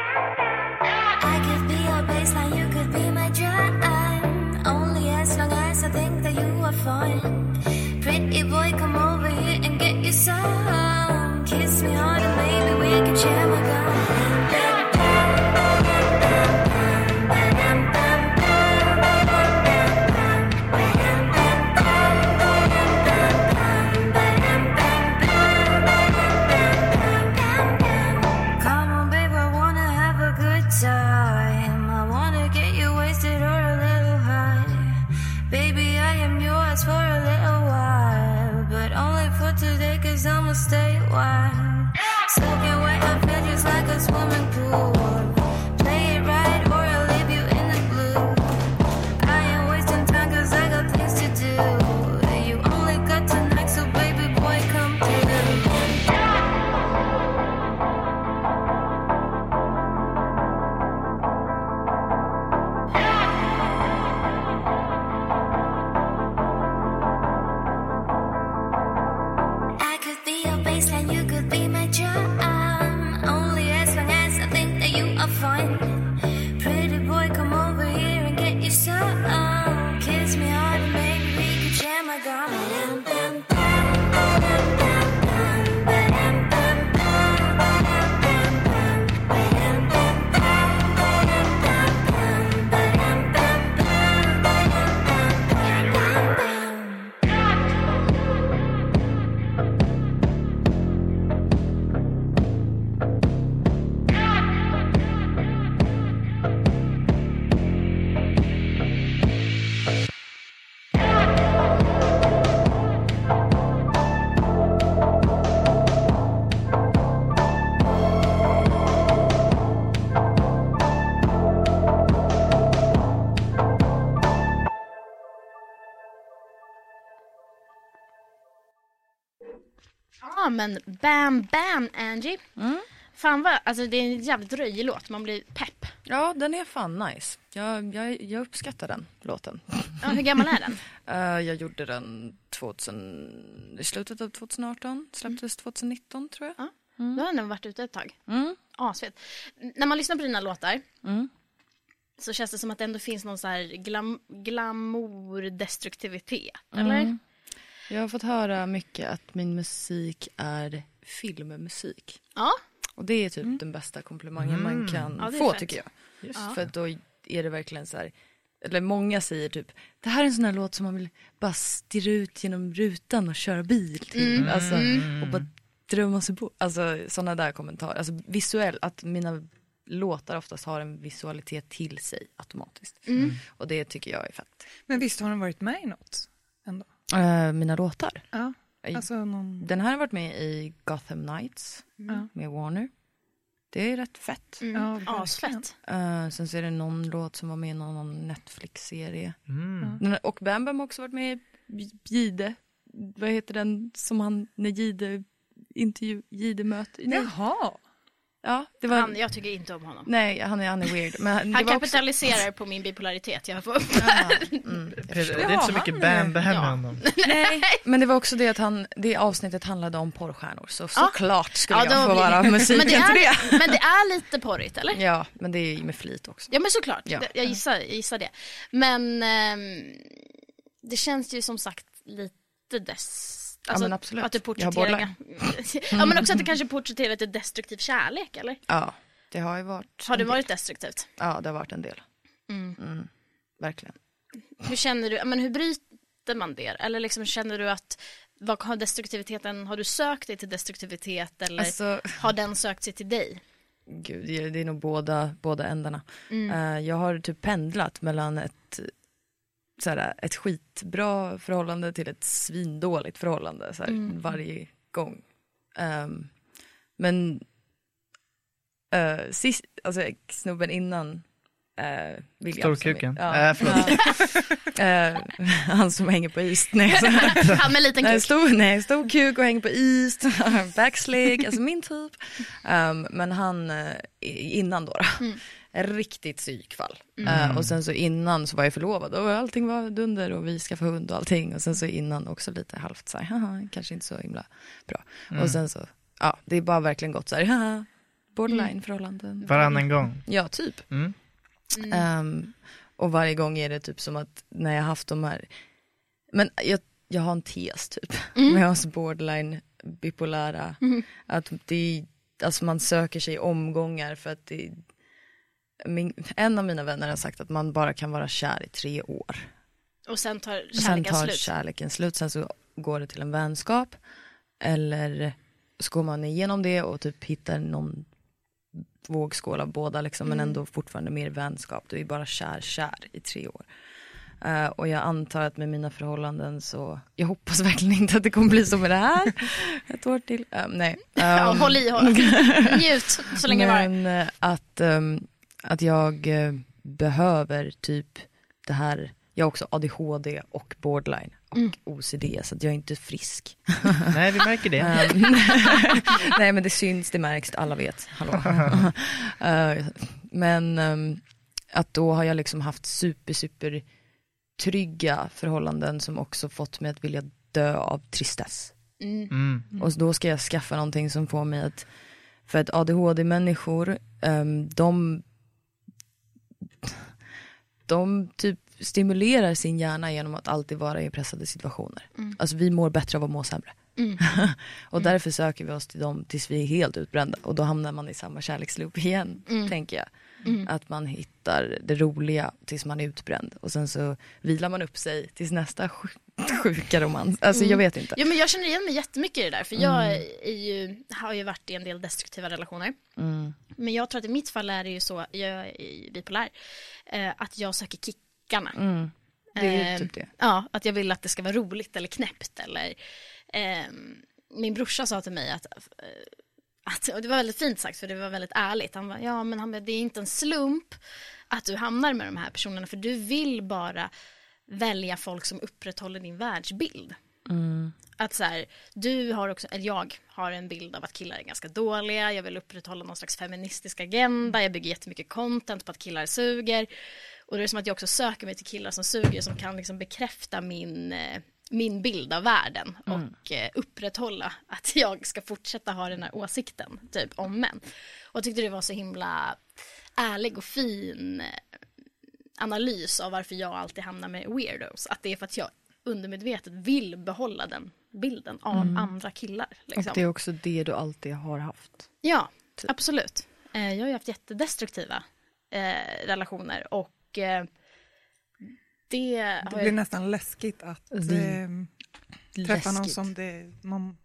I could be your baseline, you could be my drum. Only as long as I think that you are fun. Pretty boy, come over here and get you some. Kiss me hard and maybe we can share my gun. Come on, babe, I wanna have a good time. I wanna get you wasted or a little high. Baby, I am yours for a little while. But only for today, cause I'ma stay a while. Soak your way, I feel just like a swimming pool. Play it right, or I'll leave you in the blue. I ain't wasting time 'cause I got things to do. You only got tonight, so baby boy, come through. I could be your baseline, you could be my charm. Only as long as I think that you are fun. Pretty boy, come over here and get you some. Kiss me hard and maybe we could share my gum.
Ja, men Bam Bam Angie. Fan vad, alltså det är en jävligt röjig låt, man blir pepp.
Ja, den är fan nice. Jag, jag, jag uppskattar den låten.
Ja, hur gammal är den?
Eh, jag gjorde den 2000, i slutet av 2018, släpptes 2019 tror jag.
Då har den ändå varit ute ett tag.
Mm.
Asfett. N- När man lyssnar på dina låtar så känns det som att det ändå finns någon så här glam, glamour-destruktivitet,
Mm.
eller?
Jag har fått höra mycket att min musik är filmmusik.
Ja,
Och det är typ den bästa komplimangen man kan
Ja, det är
få
fett.
tycker jag. För att då är det verkligen så här, eller många säger typ, det här är en sån här låt som man vill bara stirra ut genom rutan och köra bil till.
Mm.
Alltså, och bara drömma sig bort. Alltså sådana där kommentarer. Alltså visuell, att mina låtar oftast har en visualitet till sig automatiskt.
Mm.
Och det tycker jag är fett.
Men visst har den varit med i något? Ändå.
Eh, mina låtar?
Ja,
Oj.
alltså någon...
Den här har varit med i Gotham Knights
Ja.
med Warner. Det är rätt fett.
Ja, verkligen.
mm. asfett.
Eh, sen så är det någon låt som var med i någon annan Netflix-serie. Den här- Och Bam Bam har också varit med i J- Jide. Vad heter den som han, när Jide intervju, Jide möter? Nej.
Jaha.
Ja, det var,
Han, jag tycker inte om honom.
nej han är, han är weird. Men Mm, det
Han
var också,
kapitaliserar på min bipolaritet. Jag får...
Det är inte så mycket bam bam med honom.
nej, men det var också det att han, det avsnittet handlade om porrstjärnor. Så såklart skulle
Ja,
jag
då
få
blir-
vara musiken
men, det
till det.
är, men det är lite porrigt, eller?
Ja, men det är ju med flit också.
Ja men såklart,
Ja.
Det- jag gissar, jag gissar det. Men ehm, det känns ju som sagt lite dess... alltså
men absolut.
Att det
Jag har
porträtterar... ja men också att det kanske porträtterar lite destruktiv kärlek eller?
Ja, det har ju varit.
Har det
en
varit destruktivt?
del. Ja, det har varit en del. Mm, verkligen.
Hur känner du, ja, men hur bryter man det? Eller liksom känner du att, vad har destruktiviteten, har du sökt dig till destruktivitet eller
Alltså,
har den sökt sig till dig?
gud, det är- det är nog båda, båda ändarna. Eh, jag har typ pendlat mellan ett så här, ett skitbra förhållande till ett svindåligt förhållande så här, varje gång. Ehm, men eh, sist, alltså snubben innan eh, William. som är-
Storkuken.
Ja,
Äh, förlåt.
eh, han som hänger på is. Nej, så,
Han med liten
nej,
kuk.
stor, nej, stor kuk och hänger på is, backslick, alltså min typ. Ehm, men han, eh, innan då, då
Mm.
riktigt psykfall. Eh, och sen så innan så var jag förlovad och allting var dunder och vi skaffade hund och allting. Och sen så innan också lite halvt så här, haha, kanske inte så himla bra. Och sen så, ja, det är bara verkligen gott så här, haha,
Mm.
borderline förhållanden.
Varannan gång.
Ja, typ.
Mm.
Ehm, och varje gång är det typ som att när jag haft de här, men jag, jag har en tes typ, med oss borderline bipolära, att det, alltså man söker sig i omgångar för att det, min, en av mina vänner har sagt att man bara kan vara kär i tre år.
Och sen tar
Och sen
kärleken
tar
slut.
kärleken slut, sen så går det till en vänskap eller så går man igenom det och typ hittar någon vågskål av båda liksom,
Mm.
men ändå fortfarande mer vänskap. Du är bara kär, kär i tre år. Eh, och jag antar att med mina förhållanden så, jag hoppas verkligen inte att det kommer bli så med det här. Ett år till. Eh, nej.
Ja,
Ehm,
håll i, håll. Njut så länge det varar.
men eh, att, ehm, att jag eh, behöver typ det här, jag har också ADHD och borderline och
Mm.
OCD så att jag är inte frisk.
Nej, vi märker det.
Ehm, Nej men det syns, det märks, alla vet. Hallå. Eh, men ehm, att då har jag liksom haft super, super trygga förhållanden som också fått mig att vilja dö av tristess.
Mm.
Och då ska jag skaffa någonting som får mig att, för att ADHD-människor, ehm, de, de typ stimulerar sin hjärna genom att alltid vara i pressade situationer. Alltså vi mår bättre av att må sämre. och därför söker vi oss till dem tills vi är helt utbrända och då hamnar man i samma kärleksloop igen, tänker jag. Att man hittar det roliga tills man är utbränd och sen så vilar man upp sig tills nästa sj- sjuka romans. Alltså jag vet inte. Mm.
Ja, men jag känner igen mig jättemycket i det där. För jag är ju, har ju varit i en del destruktiva relationer.
Mm.
Men jag tror att i mitt fall är det ju så, jag är bipolär, eh, att jag söker kickarna.
Mm. Det är ju
Eh,
typ det.
Ja, att jag vill att det ska vara roligt eller knäppt eller eh, min brorsa sa till mig att, eh, att och det var väldigt fint sagt för det var väldigt ärligt. Han bara, ja men han bara, det är inte en slump att du hamnar med de här personerna för du vill bara välja folk som upprätthåller din världsbild. Att så här, du har också, eller jag har en bild av att killar är ganska dåliga, jag vill upprätthålla någon slags feministisk agenda, jag bygger jättemycket content på att killar suger. Och det är som att jag också söker mig till killar som suger som kan liksom bekräfta min, eh, min bild av världen och eh, upprätthålla att jag ska fortsätta ha den här åsikten typ om män. Och jag tyckte det var så himla ärlig och fin eh, analys av varför jag alltid hamnar med weirdos. Att det är för att jag undermedvetet vill behålla den bilden av andra killar. Liksom.
Och det är också det du alltid har haft.
Ja, absolut. Eh, Jag har ju haft jättedestruktiva eh, relationer och eh, det
Det
har
blir
jag...
nästan läskigt att eh, träffa någon som det, man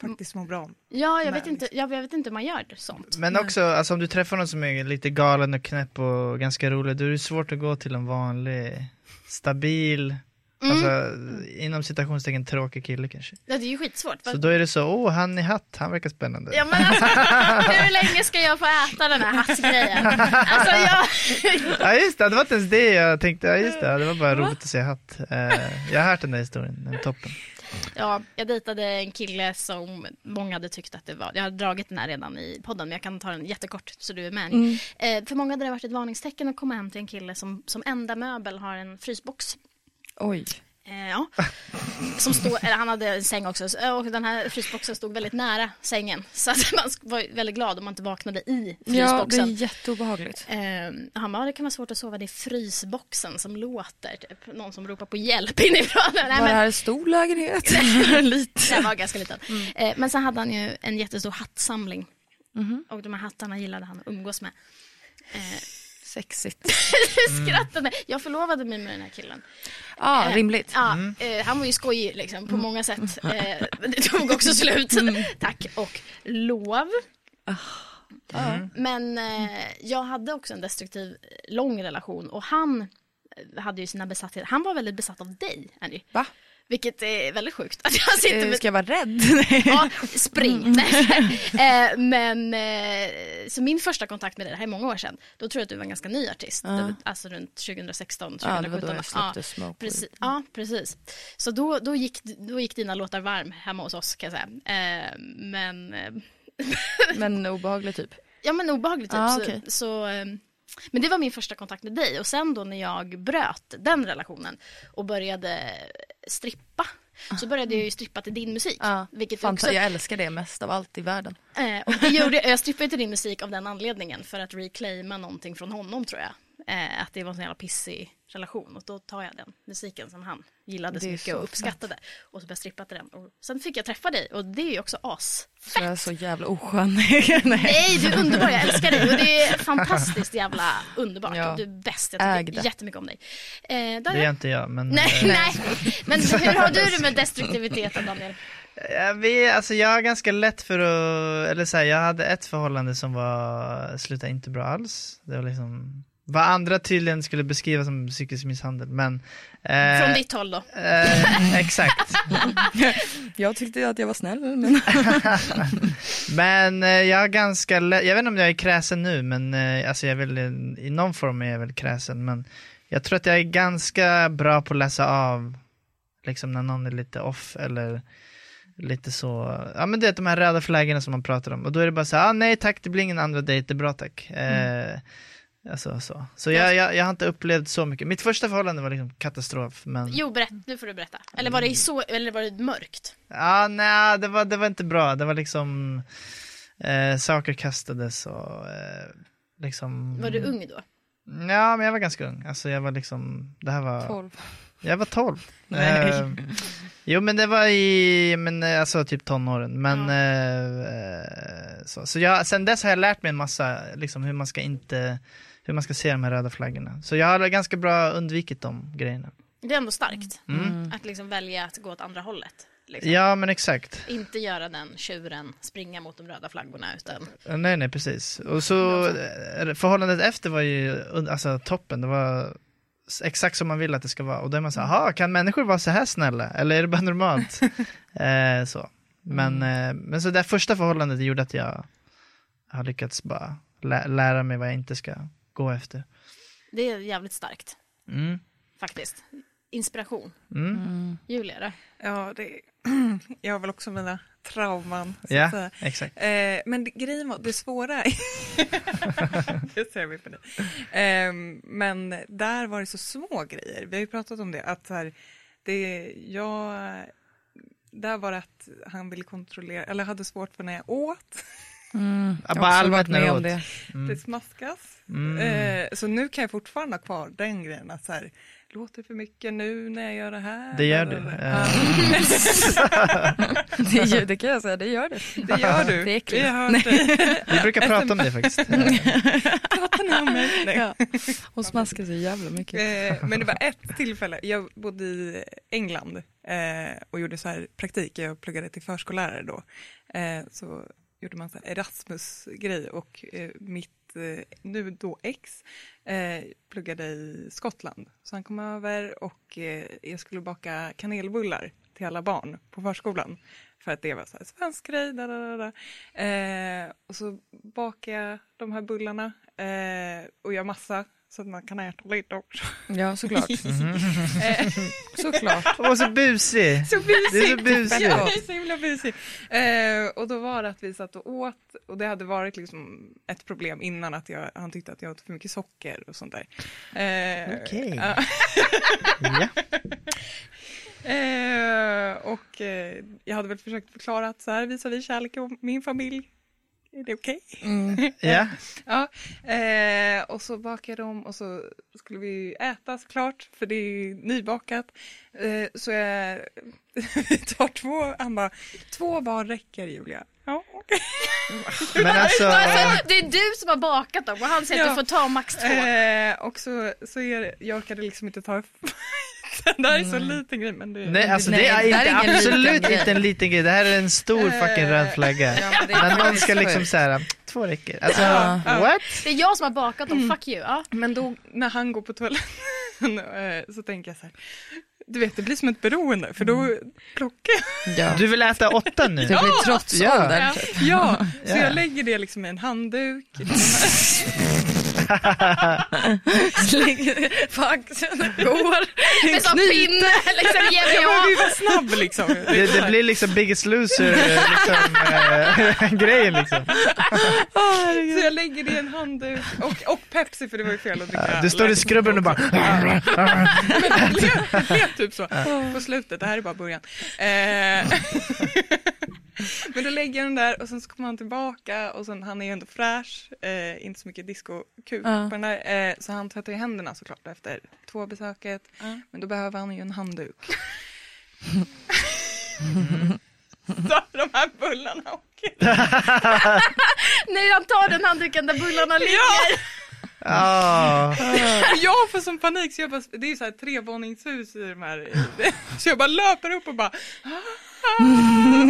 faktiskt mår bra om.
Ja, jag vet,
Nej.
inte, jag, jag vet inte hur man gör sånt.
Men också, alltså, om du träffar någon som är lite galen och knäpp och ganska rolig, då är det svårt att gå till en vanlig, stabil,
Mm.
alltså inom citationstecken tråkig kille kanske.
Ja, det är ju skitsvårt.
Så då är det så, åh, han i hatt, han verkar spännande.
Ja, men alltså, hur länge ska jag få äta den här hassgrejen? Alltså, jag...
Ja just det, det var inte ens det jag tänkte, ja just det, det var bara roligt att se hatt. Eh, jag har hört den där historien, den är toppen.
Ja, jag dejtade en kille som många hade tyckt att det var, jag har dragit den här redan i podden men jag kan ta den jättekort så du är med. Eh, för många hade det varit ett varningstecken att komma hem till en kille som som enda möbel har en frysbox.
Oj.
Eh, ja. Som stod, eller han hade en säng också så- och den här frysboxen stod väldigt nära sängen. Så att man sk- var väldigt glad om man inte vaknade i frysboxen.
jätteobehagligt.
Eh, han bara, "Ja, det kan vara svårt att sova, det är frysboxen som låter. Typ. Någon som ropar på hjälp inifrån. Nej,
Var
men-
det här en stor lägenhet? Lite.
Den var ganska liten. Eh, men sen hade han ju en jättestor hattsamling. Och de här hattarna gillade han att umgås med.
Sexigt.
Skrattade. Jag förlovade mig med den här killen.
Ja,
Eh,
rimligt. Mm.
Ja, eh, han var ju skojig liksom, på många sätt. Eh, men det tog också slut. Tack och lov.
Ah.
Men eh, jag hade också en destruktiv eh, lång relation och han hade ju sina besattheter. Han var väldigt besatt av dig, Andy.
Va?
Vilket är väldigt sjukt. Att jag sitter
Eh,
med...
Ska jag vara rädd?
Ja, spring. Nej. Mm. Eh, Men, eh, så min första kontakt med dig, det här är många år sedan, då tror jag att du var en ganska ny artist.
Ja.
Du- Alltså runt 2016, 2017.
Ja, det var då
Ja,
jag släppte Smoke.
Precis, ja, precis. Så då, då, gick, då gick dina låtar varm hemma hos oss kan jag säga. Eh, men, eh,
Men obehaglig typ.
ja men obehagligt typ.
Ja, okej.
så, så, eh, men det var min första kontakt med dig och sen då när jag bröt den relationen och började strippa så började jag ju strippa till din musik.
Ah. Ja,
vilket
Fan,
också,
Jag älskar det mest av allt i världen.
eh, och det gjorde, jag strippade till din musik av den anledningen för att reclaima någonting från honom tror jag. Eh, att det var en sån jävla pissig relation och då tar jag den musiken som han gillade så
Det är
mycket
så
och uppskattade. Och så började jag strippa till den och sen fick jag träffa dig och det är ju också as.
Så jag är så jävla oskön. Nej.
Nej, du är underbar. Jag älskar dig. Och det är fantastiskt jävla underbart.
Ja.
Och du är bäst. Jag
Äg
tycker
det.
jättemycket om dig. Eh,
Det är
Daniel?
inte jag, men...
Nej,
eh,
nej. Men hur har du det med destruktiviteten, Daniel?
Jag, vet, alltså jag har ganska lätt för att, eller så här, jag hade ett förhållande som var, slutade inte bra alls. Det var liksom, vad andra tydligen skulle beskriva som psykisk misshandel, men... eh,
Från ditt håll då.
eh, Exakt.
Jag tyckte ju att jag var snäll men
Men eh, jag har ganska lä- jag vet inte om jag är kräsen nu, men eh, alltså jag är väl, en- i någon form är jag väl kräsen, men jag tror att jag är ganska bra på att läsa av, liksom när någon är lite off eller lite så, ja men du vet de här röda flaggorna som man pratar om, och då är det bara så här, ah, nej tack, det blir ingen andra dejt, det är bra tack. Eh, Alltså, så så jag, jag, jag har inte upplevt så mycket. Mitt första förhållande var liksom katastrof. Men...
Jo, berätt. Nu får du berätta. Eller var det, så, eller var det mörkt?
Ja, nej, det var, det var inte bra. Det var liksom eh, saker kastades och eh, liksom.
Var du ung då?
Ja, men jag var ganska ung. Alltså jag var liksom, det här var.
12.
Jag var 12.
Nej.
Eh, jo, men det var i, men eh, alltså typ tonåren. Men eh, eh, så, så jag, sen dess har jag lärt mig en massa, liksom hur man ska inte, hur man ska se de här röda flaggorna. Så jag har ganska bra undvikit de grejerna.
Det är ändå starkt.
Mm.
Att liksom välja att gå åt andra hållet. Liksom.
Ja, men exakt.
Inte göra den tjuren, springa mot de röda flaggorna utan...
Nej, nej, precis. Och så eh, förhållandet efter var ju un- alltså, toppen. Det var s- exakt som man vill att det ska vara. Och då är man så
Mm.
här, "Aha, kan människor vara så här snälla? Eller är det bara normalt? eh, så. Men,
Mm.
eh, men så det där första förhållandet gjorde att jag har lyckats bara lä- lära mig vad jag inte ska gå efter.
Det är jävligt starkt,
Mm.
faktiskt. Inspiration.
Mm.
Julia då?
Ja, det, jag har väl också mina trauman. Så att
Ja,
säga.
exakt.
Eh, men det, grejen var, det svåra... det ser vi på dig. Eh, men där var det så små grejer. Vi har ju pratat om det. Att så här, det jag, där var det att han ville kontrollera, eller hade svårt för när jag åt.
Ja, bara allmänt när du åt.
Det smaskas.
Mm.
Eh, så nu kan jag fortfarande ha kvar den grejen. Att så här, låter för mycket nu när jag gör det här.
Det gör du.
Blablabla.
Eh,
Det, gör- det kan jag säga, det gör det.
Det gör du.
Det är äckligt.
Vi har hört dig.
Vi brukar prata om det faktiskt. Eh,
Pratar ni om mig? Nej.
Ja. Hon smaskar så jävla mycket.
Eh, Men det var ett tillfälle, jag bodde i England eh, och gjorde så här praktik, jag pluggade till förskollärare då. Eh, Så gjorde man så här Erasmus-grej och eh, mitt eh, nu då ex eh, pluggade i Skottland. Så han kom över och eh, jag skulle baka kanelbullar till alla barn på förskolan. För att det var så här svensk grej, da, da, da, da. Eh, Och så bakade jag de här bullarna eh, och gör massa så att man kan äta lite också.
Ja, såklart.
Eh,
såklart.
Och så busig.
så busigt!
Du är så busig.
Ja, jag är så himla busig. Eh, och då var det att vi satt och åt och det hade varit liksom ett problem innan att jag, han tyckte att jag åt för mycket socker och sånt där. Eh,
Okej.
ja.
Ja.
Eh, och eh, jag hade väl försökt förklara att så här visar vi kärlek i min familj. Är det okej?
Ja.
Ja, eh, och så bakade de och så skulle vi ju äta såklart, för det är ju nybakat. Eh, så jag vi tar två, han bara, två var räcker Julia. Ja, okej.
Men alltså.
Alltså, det är du som har bakat dem och han säger att
Ja.
du får ta max två.
Eh, och så, så är det, jag orkade liksom inte ta det där är så liten grej men det är...
Nej, alltså
Nej,
det är
det här
inte,
är ingen liten
absolut
grej. Eh,
inte en liten grej. Det här är en stor fucking röd flagga.
men det är
När någon
faktiskt
ska liksom
sjukt.
såhär, två räcker. Alltså,
Ja.
what?
Det är jag som har bakat dem, fuck you. Ja.
Men då när han går på toaletten sen eh, så tänker jag så här, du vet det blir som ett beroende för då
Mm.
plockar jag.
Ja.
Du vill äta åtta nu?
Det blir trotsåldern.
Ja, så
Ja.
jag lägger det liksom i en handduk.
Slänger på axeln och går.
Med sån pinne, liksom ge mig
Jag
av.
vill vara snabb liksom.
Det, det blir liksom Biggest Loser eh, liksom, eh, grejen liksom.
Så jag lägger det i en handduk och, och Pepsi för det var ju fel att dricka.
Du står i
läsk
skrubben och bara
Det blev, det blev typ så på slutet, det här är bara början. Eh, Men då lägger jag den där och sen så kommer han tillbaka och sen han är ju ändå fräsch, eh, inte så mycket diskokuk på den där. Eh, så han tvättar ju händerna såklart efter två besöket. Men då behöver han ju en handduk. Så de här bullarna åker.
Nej, han tar den handduken där bullarna ligger.
Ja!
ah,
Och jag får sån panik så jag bara, det är ju så här trevåningshus i de här, så jag bara löper upp och bara ah,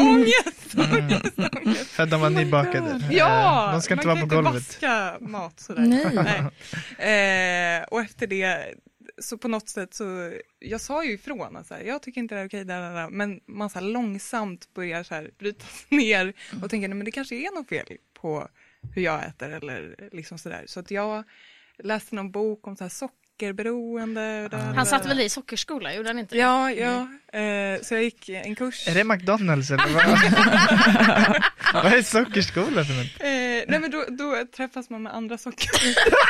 Ångest, ångest, ångest.
För att
Oh
de var nybakade.
Ja,
Eh, de ska inte
man
vara på
kan
golvet.
inte vaska mat sådär. Nej. Eh, och efter det, så på något sätt så, jag sa ju ifrån att så här, jag tycker inte det är okej, där, där, där. men man så här långsamt börjar så här brytas ner och tänker nej men det kanske är något fel på hur jag äter eller liksom sådär. Så att jag läste någon bok om så här sockerberoende. och där, där,
Han satt
där.
väl i sockerskola, gjorde han inte det?
Ja, ja. Eh, så jag gick en kurs.
Är det McDonalds eller vad? vad är sockerskola för något?
Eh, nej men då, då träffas man med andra socker.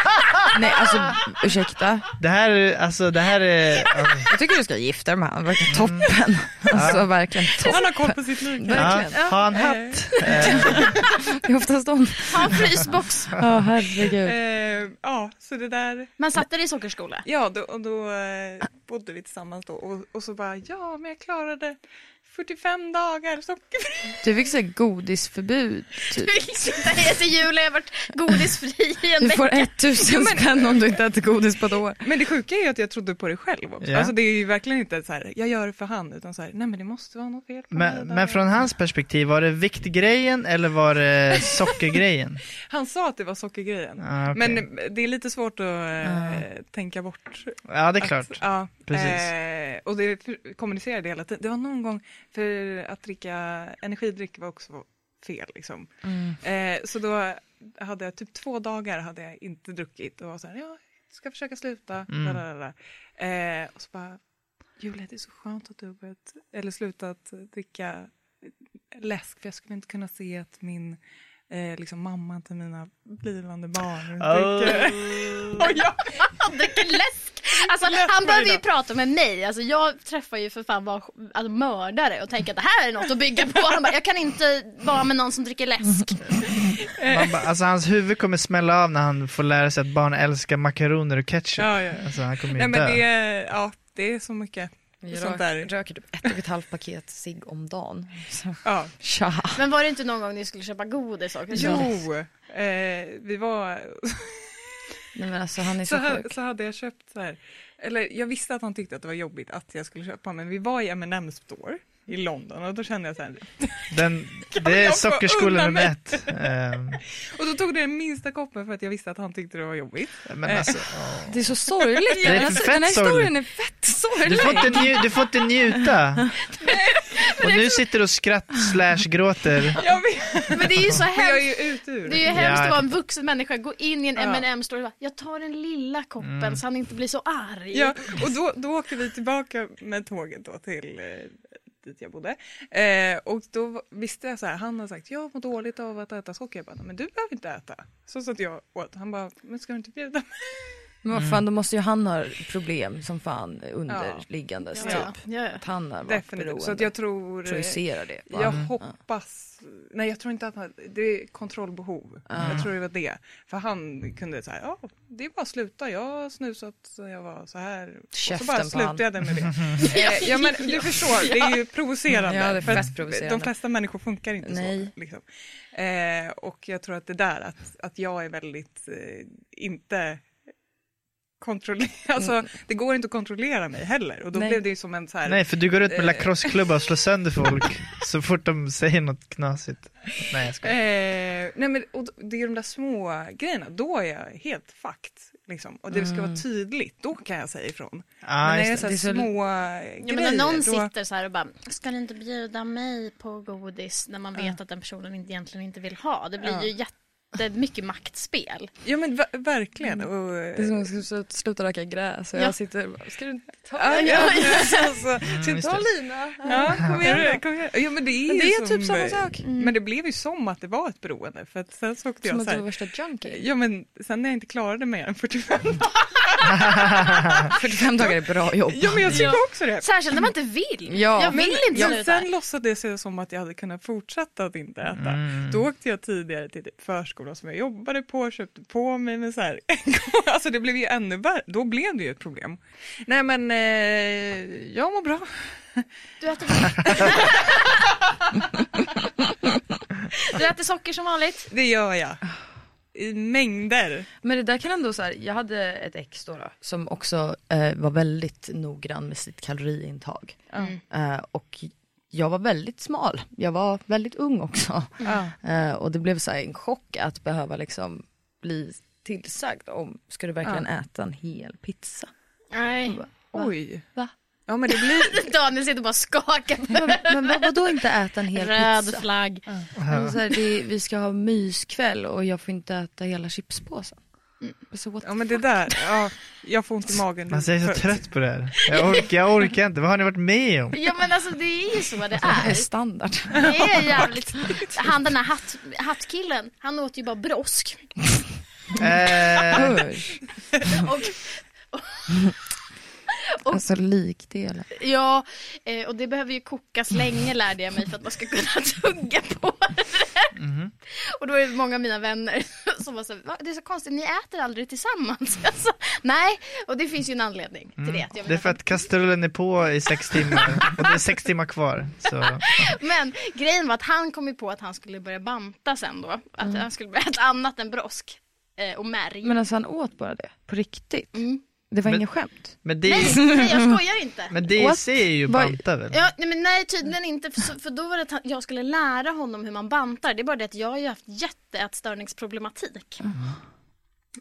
Nej alltså ursäkta.
Det här, är- alltså det här är... ja.
Jag tycker du ska gifta dig med honom, verkar toppen. Alltså verkligen toppen.
Han har koll på sitt liv.
Ja,
Verkligen.
ha en hatt. Eh,
Det är oftast de.
Ha en frysbox.
Ja herregud.
Eh, ja, så det där.
Men satt det i sockerskola?
Ja, då, och då eh, bodde vi tillsammans då och, och så bara ja, men jag klarade 45 dagar sockerfri.
Du fick så här godisförbud typ.
Du vill sitta här till jul och jag har varit godisfri i en
Du
vecka.
får 1000 spänn om du inte äter godis på ett år.
Men det sjuka är ju att jag trodde på det själv också.
Ja.
Alltså det är ju verkligen inte så här, jag gör det för han, utan så här, nej men det måste vara något fel på mig
Men,
där."
men från hans perspektiv, var det viktgrejen eller var det sockergrejen?
Han sa att det var sockergrejen.
Ah, okej.
Men det är lite svårt att eh, tänka bort.
Ja, det är klart.
Ja,
Precis.
Eh, och det för- kommunicerade hela tiden. Det var någon gång, för att dricka energidryck var också fel liksom.
Mm.
Eh, så då hade jag typ två dagar hade jag inte druckit och var så här, ja, jag ska försöka sluta.
Mm.
Da, da, da, da. Eh, och så bara, Julia det är så skönt att du har börjat, eller slutat dricka läsk för jag skulle inte kunna se att min Eh, liksom mamman till mina blivande barn
Oh.
dricker. Och jag,
Han dricker läsk. Alltså,
Läsk
han behöver ju
varje dag.
prata med mig. Alltså, jag träffar ju för fan var, alltså, mördare och tänker att det här är något att bygga på. Han bara, jag kan inte vara med någon som dricker läsk.
Man bara, alltså hans huvud kommer smälla av när han får lära sig att barn älskar makaroner och ketchup.
ja, ja.
Alltså han kommer
Nej
ju dö.
men det, ja, det är så mycket sånt där.
röker typ ett och ett halvt paket cigg om dagen. Så,
Ja.
tja.
Men var det inte någon gång ni skulle köpa godis och
Jo, eh, vi var,
Nej men alltså han är
så,
så
här,
sjuk.
så hade jag köpt så här, eller jag visste att han tyckte att det var jobbigt att jag skulle köpa men vi var i M&M store i London och då kände jag så här,
Den, det är
jag få
sockerskolan
undan
nummer
mig?
ett. Ehm,
och då tog det den minsta koppen för att jag visste att han tyckte det var jobbigt.
men alltså,
Det är så sorgligt.
Det är
alltså,
fett
den här historien
sorgligt.
är fett
du,
sorglig.
får inte nju, du får inte njuta. Och nu sitter du och skratt slash gråter.
Jag vet,
Men det är ju så
men jag
hemskt.
är ju ute ur
Det är
det.
ju hemskt
Ja.
att vara en vuxen människa, gå in i en
Ja.
mm store och bara, jag tar den lilla koppen så han inte blir så arg.
Ja, och då, då åker vi tillbaka med tåget då till eh, dit jag bodde. Eh, och då var- visste jag så här, han har sagt jag mår dåligt av att äta socker. Jag bara, men du behöver inte äta. Så satt jag åt. Han bara, men ska du inte bjuda mig?
Men vad fan, då måste ju han ha problem som fan underliggandes
Ja,
typ.
ja, ja.
Att han har varit
Definitivt.
beroende.
Så att jag tror... eh,
Projicerar det. på
Jag
honom.
hoppas... Nej, jag tror inte att han... Det är kontrollbehov.
Mm.
Jag tror det var det. För han kunde säga, ja, det är bara att sluta. Jag har snusat så jag var så här. och så
Käften
bara
på han.
slutade jag med det. Eh, ja, men du förstår, det är ju provocerande.
Ja, det är
för att
fett provocerande.
De flesta människor funkar inte
Nej.
så. Liksom. Eh, och jag tror att det där, att, att jag är väldigt, eh, inte kontrollerad, alltså det går inte att kontrollera mig heller. Och då
Mm. Nej.
blev det ju som en så här,
Nej, för du går ut med lacrosseklubba och slår sönder folk så fort de säger något knasigt. Nej, jag skojar.
Eh, nej men och d- det är de där små grejerna, då är jag helt fucked. Liksom. Och det ska vara tydligt, då kan jag säga ifrån.
Ah,
men när det är
just
så, här
Mm. det. Det är så-
små
Ja, men
grejer,
när någon
då...
sitter så här och bara, ska du inte bjuda mig på godis när man vet att den personen inte- egentligen inte vill ha? Det blir ju jättemycket maktspel.
Ja men ver- verkligen. Och,
Mm. Det är som att jag ska slu- sluta röka gräs och
Ja.
jag sitter och bara, ska du inte ta
Ja,
den?
ja, ja. Alltså,
Mm,
så
just
ta
det.
Lina?
Ja, kom igen, då, kom igen. Ja, men det är,
Men det
ju Mm.
är typ samma sak.
Men det blev ju som att det var ett beroende för att sen så åkte
Som
jag
att
så
du var
här,
värsta junkie.
Ja men sen när jag inte klarade mer än 45
45 dagar är bra jobb.
Ja men jag tycker också det.
Särskilt när man inte vill.
Ja.
Jag vill inte
Ja,
sluta.
sen låtsades jag som att jag hade kunnat fortsätta att inte äta. Då åkte jag tidigare till typ förskolan som jag jobbade på, köpte på mig men så här. alltså det blev ju ännu värre, då blev det ju ett problem. Nej men eh, jag mår bra.
Du äter, du äter socker som vanligt.
Det gör jag. I mängder.
Men det där kan ändå så här, jag hade ett ex då, då som också eh, var väldigt noggrann med sitt kaloriintag. Eh, och jag var väldigt smal, jag var väldigt ung också.
Ja.
Eh, och det blev så här en chock att behöva liksom bli tillsagd om, ska du verkligen äta en hel pizza?
Nej.
Oj.
Va?
Ja men det blir,
Daniel sitter bara och skakar på
Men, men vad, vadå inte äta en hel
röd
pizza?
flagg.
Alltså så här, det, vi ska ha myskväll och jag får inte äta hela chipspåsen. Så what
ja men det där, ja, jag får ont i magen.
Man säger så
För-
trött på det här. Jag orkar, jag orkar inte. Vad har ni varit med om?
Ja men alltså det är ju så det
är
är.
standard.
Det är jävligt. Han den här hatt, hattkillen, han åt ju bara brosk.
Eh,
Usch.
Och,
Alltså likdelar.
ja, eh, och det behöver ju kokas länge lärde jag mig för att man ska kunna tugga på det.
Mhm.
Och då är det många av mina vänner som var så här, "Va? det är så konstigt, ni äter aldrig tillsammans. Alltså, nej, och det finns ju en anledning till det. att jag
Mm. det är för att kastrullen är på i sex timmar och det är sex timmar kvar. Så.
Men grejen var att han kom ju på att han skulle börja banta sen då. Att
Mm.
han skulle börja äta annat än brosk eh, och märg.
Men alltså han åt bara det, på riktigt?
Mm.
Det var
Men-
inga skämt?
Men det,
Nej, nej, jag skojar inte.
men det i
What?
sig är ju
Vad-
banta väl?
Ja, nej, men nej, tydligen inte. För, så- för då var det att han, jag skulle lära honom hur man bantar. Det är bara det att jag har ju haft jätteätstörningsproblematik.
Mm.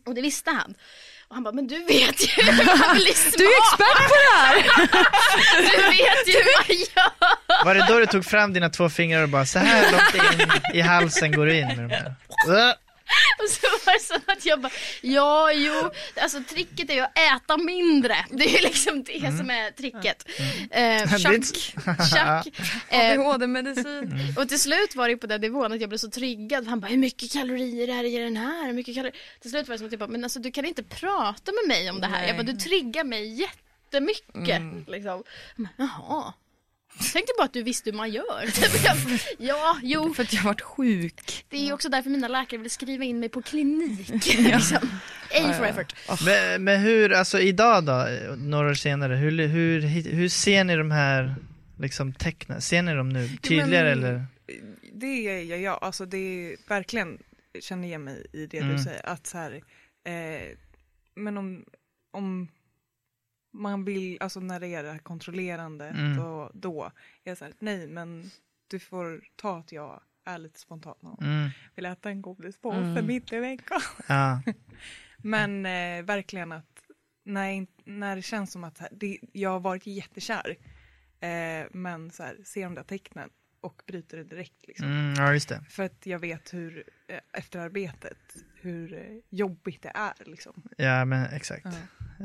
Och det visste han. Och han bara, men du vet ju hur jag blir smal.
Du är expert på det här!
Du vet ju hur man gör.
Var det då du tog fram dina två fingrar och bara så här långt in i halsen går du in med de här? Äh,
Och så var det så att jag bara, ja jo, alltså tricket är ju att äta mindre. Det är ju liksom det som är tricket. Eh,
Det är inte-
tjack, tjack. Eh,
ADHD-medicin.
och till slut var det ju på den nivån att jag blev så triggad. Han bara, hur mycket kalorier är det i den här? Hur mycket kalorier? Till slut var det som att jag bara, men alltså du kan inte prata med mig om det här. Jag bara, du triggar mig jättemycket.
Mm.
Liksom. Han bara, Jaha. Jag tänkte bara att du visste hur man gör. Jag bara, ja, jo.
För att jag varit sjuk.
Det är ju också därför mina läkare vill skriva in mig på klinik. liksom. A for effort.
Men, men hur, alltså idag då, några år senare, hur, hur, hur ser ni de här liksom tecknen? Ser ni dem nu tydligare eller?
Det är jag, jag alltså det är verkligen, jag känner igen mig i det
Mm.
du säger, att så här, eh, men om, om man vill, alltså när det är det här kontrollerande,
Mm.
då, då är jag så här, nej men du får ta att jag är lite spontan och
Mm.
vill äta en godispåse mitt i veckan.
Ja.
Men eh, verkligen att när, när det känns som att det, jag har varit jättekär, eh, men så här, ser de där tecknen och bryter det direkt liksom.
Mm, ja, just det.
För att jag vet hur, eh, efter arbetet, hur eh, jobbigt det är liksom.
Ja, men exakt.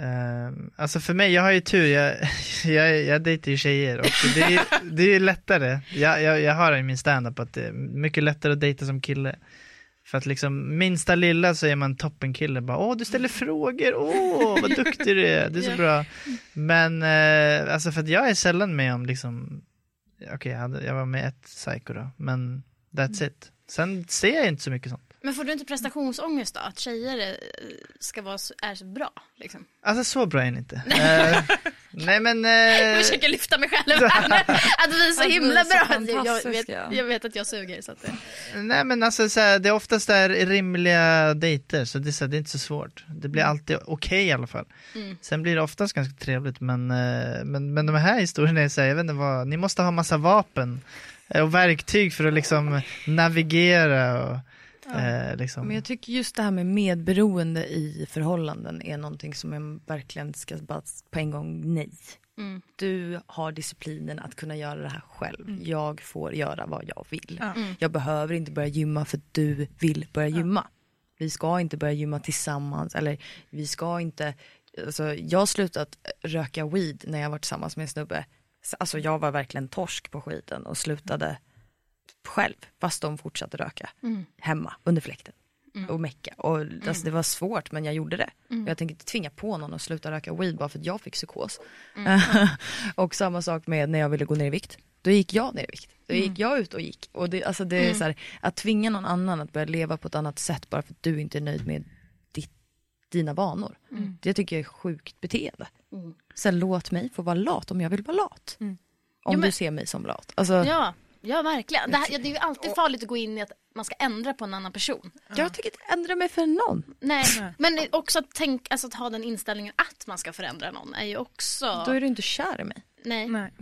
Ehm, alltså för mig, jag har ju tur, jag, jag, jag dejtar ju tjejer och det är, ju- det är ju lättare. Jag, jag, jag har det i min standup att det är mycket lättare att dejta som kille. För att liksom minsta lilla så är man toppenkille. Bara, Åh, du ställer frågor, åh, vad duktig du är, det är så bra. Men eh, alltså för att jag är sällan med om liksom, okej, jag, hade- jag var med ett psycho då, men that's it. Sen ser jag inte så mycket sånt.
Men får du inte prestationsångest då? Att tjejer eh, ska vara, så- är så bra? Liksom.
Alltså så bra är ni inte. Eh, nej men... eh,
Jag försöker lyfta mig själv här nu. Att vi är så
Att vi är
himla
så
bra. Alltså, Jag
fantastiska.
vet, jag vet att jag suger. Så att det...
Nej men alltså så här, det är oftast där rimliga dejter så det, är så här, det är inte så svårt. Det blir
Mm.
alltid okej i alla fall. Sen blir det oftast ganska trevligt men, eh, men, men de här historierna är så här, jag vet inte vad, ni måste ha massa vapen eh, och verktyg för att liksom navigera och Eh, liksom.
Men jag tycker just det här med medberoende i förhållanden är någonting som jag verkligen ska bara på en gång nej.
Mm.
Du har disciplinen att kunna göra det här själv. Jag får göra vad jag vill.
Ja.
Jag behöver inte börja gymma för att du vill börja gymma. Vi ska inte börja gymma tillsammans eller vi ska inte, alltså jag har slutat röka weed när jag var tillsammans med en snubbe. Så- Alltså jag var verkligen torsk på skiten och slutade själv fast de fortsatte röka hemma under fläkten och mecka. Och, alltså, det var svårt men jag gjorde det. Jag tänker inte tvinga på någon att sluta röka weed bara för att jag fick psykos. och samma sak med när jag ville gå ner i vikt. Då gick jag ner i vikt. Då gick jag ut och gick. Och det, alltså, det är så här, att tvinga någon annan att börja leva på ett annat sätt bara för att du inte är nöjd med ditt, dina vanor. Det tycker jag är sjukt beteende. Sen låt mig få vara lat om jag vill vara lat. Om
men-
du ser mig som lat. Alltså,
Ja, ja verkligen. Det, här, det är ju alltid farligt att gå in i att man ska ändra på en annan person.
Jag tänker inte ändra mig för någon.
Nej, men också att, tänk, alltså att ha den inställningen att man ska förändra någon är ju också...
Då är du inte kär i mig.
Nej.
Nej.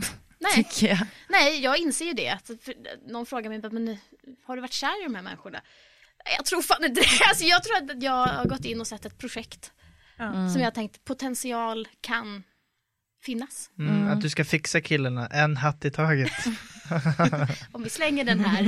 Nej.
Tycker jag.
Nej, jag inser ju det. Att för, någon frågar mig, men har du varit kär i de här människorna? Jag tror fan inte det. Alltså, jag tror att jag har gått in och sett ett projekt som jag tänkt potential kan finnas.
Mm, Att du ska fixa killarna, en hatt i taget.
Om vi slänger den här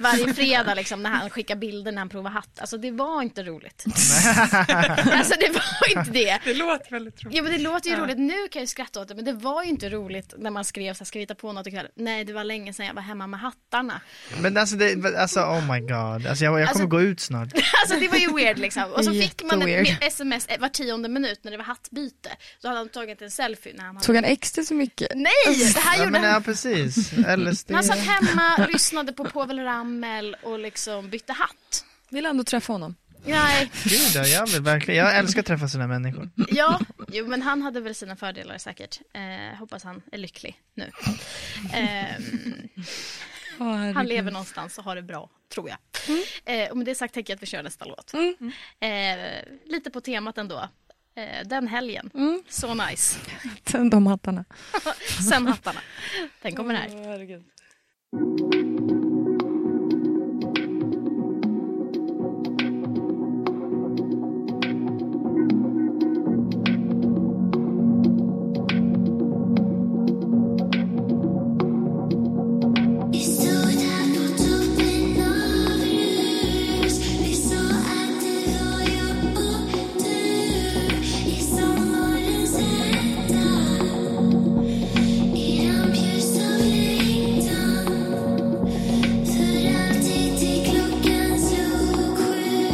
varje fredag liksom, när han skickar bilder när han provar hatt. Alltså det var inte roligt. alltså det var inte det.
Det låter väldigt roligt.
Ja men det låter ju roligt, nu kan jag ju skratta åt det men det var ju inte roligt när man skrev så här, ska vi hitta på något ikväll? Nej det var länge sedan jag var hemma med hattarna.
Men alltså, det, alltså oh my god, alltså, jag, jag kommer
Alltså-
gå ut snart.
Alltså det var ju weird liksom. Och så fick man
Jätteweird.
ett sms eh, var tionde minut när det var hattbyte. Så hade han tagit en selfie när han hade...
Tog han extra så mycket?
Nej! Det här
Ja,
gjorde
men, eh, ja
han. alltså,
precis, LSD.
Han satt hemma, lyssnade på Povel Ramel och liksom bytte hatt.
Vill ändå träffa honom.
Nej,
Gud, ja, jag, vill verkligen, jag älskar att träffa sådana människor.
ja, jo men han hade väl sina fördelar säkert. Eh, hoppas han är lycklig nu. Ehm, han lever någonstans och har det bra, tror jag. Eh, och med det sagt tänker jag att vi kör nästa låt. Eh, lite på temat ändå. Eh, den helgen, så nice.
De hattarna.
Sen hattarna. Den kommer här.
Vi stod här på toppen av rus Vi såg att du och jag och du I sommarens hetta I rampljus av längtan För alltid till klockan slog sju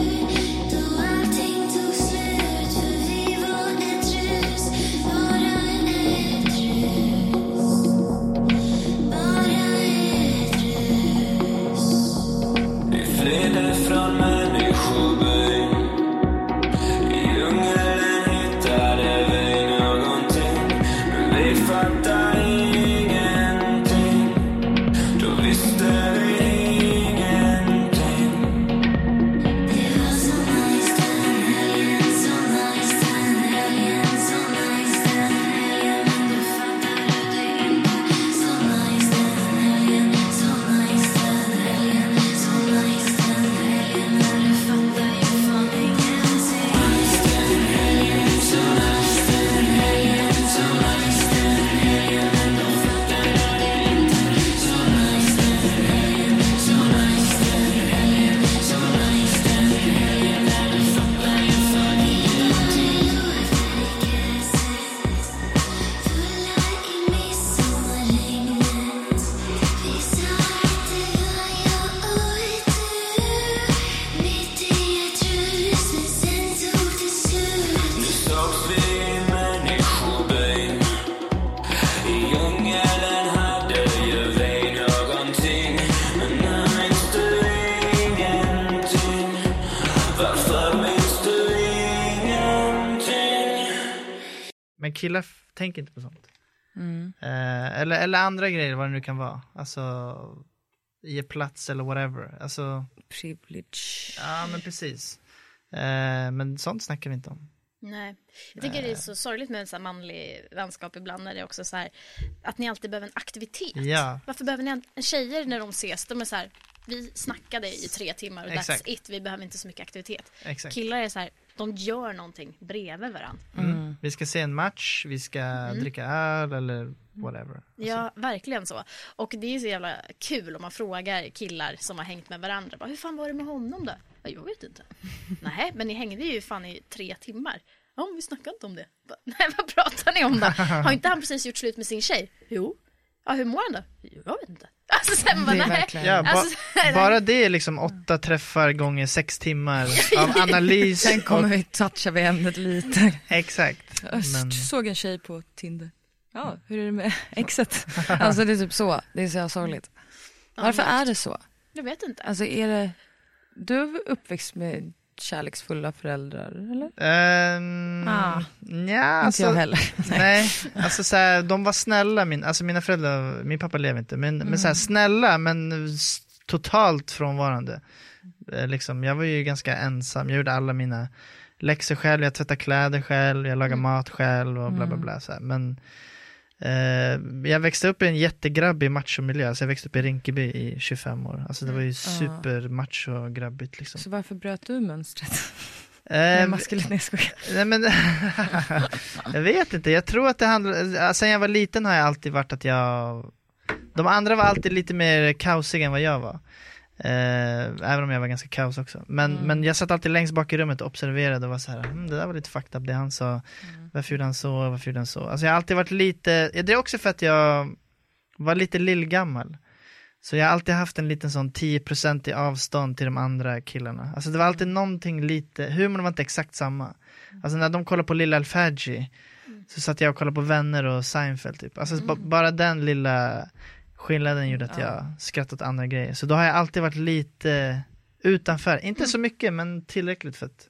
Då allting tog slut För vi var ett rus, bara ett rus
Vi flydde från människobyn I djungeln hittade vi någonting Men vi fattade ingenting Då visste vi ingenting Nu sågs vi i människobyn I djungeln hade ju vi någonting Men nu minns du ingenting Varför minns du ingenting?
Men killar f- tänker inte på sånt. Eh, eller, eller andra grejer, vad det nu kan vara. Alltså, ge plats eller whatever. Alltså,
Privilege.
ja men precis. Eh, men sånt snackar vi inte om.
Nej. Jag tycker det är så sorgligt med en sån här manlig vänskap ibland när det är också så här att ni alltid behöver en aktivitet.
Ja.
Varför behöver ni en en tjejer när de ses? De är så här, vi snackade i tre timmar och
Exakt.
that's it, vi behöver inte så mycket aktivitet.
Exakt. Mm.
Killar är så här, de gör någonting bredvid varandra.
Vi ska se en match, vi ska dricka öl eller whatever. Alltså,
Ja,
Alltså.
verkligen så. Och det är så jävla kul om man frågar killar som har hängt med varandra. Bara, Hur fan var det med honom då? "Ja, Jag vet inte. Nej, men ni hängde ju fan i tre timmar. Ja, men vi snackade inte om det. Bara, Nej, vad pratar ni om då? Har inte han precis gjort slut med sin tjej? Jo. Ja, hur mår han då? Jag vet inte. Alltså, sen bara,
Det är
nej.
verkligen-
Ja, ba-
Alltså,
bara det är liksom åtta träffar gånger sex timmar av analys.
Sen kommer
och,
vi toucha vid ämnet lite.
Exakt.
Jag
Men, Mm.
såg en tjej på Tinder. Ja, hur är det med exet? Alltså det är typ så, det är så jävla sorgligt. Varför är det så?
Jag vet inte.
Alltså är det, du är uppväxt med kärleksfulla föräldrar eller?
ehm,
Ah,
nja,
Inte jag
alltså,
heller.
Nej, alltså så här, de var snälla, min, alltså mina föräldrar, min pappa lever inte, men, men
Mm.
så här, snälla men s- totalt frånvarande. Eh, Liksom, jag var ju ganska ensam, jag gjorde alla mina läxor själv, jag tvättade kläder själv, jag lagade
Mm.
mat själv och bla bla bla. Så här. Men eh, jag växte upp i en jättegrabbig machomiljö, alltså jag växte upp i Rinkeby i 25 år. Alltså det var ju supermacho och grabbigt liksom.
Mm. Ah. Så varför bröt du mönstret?
Eh,
Med maskulinitetsskolan?
Nej, men, jag vet inte, jag tror att det handlar, sen jag var liten har jag alltid varit att jag, de andra var alltid lite mer kaosiga än vad jag var. Eh, även om jag var ganska kaos också. Men, men jag satt alltid längst bak i rummet och observerade och var så här, "Hmm, det där var lite fucked up det han sa, varför gjorde han så, varför gjorde han så. Alltså jag har alltid varit lite, det är också för att jag var lite lillgammal. Så jag har alltid haft en liten sån 10% i avstånd till de andra killarna. Alltså det var alltid någonting lite, humorn var inte exakt samma. Alltså när de kollar på Lilla Alfaggi så satt jag och kollade på Vänner och Seinfeld typ. Alltså ba- bara den lilla skillnaden gjorde att jag skrattade åt andra grejer. Så då har jag alltid varit lite utanför, inte så mycket men tillräckligt för att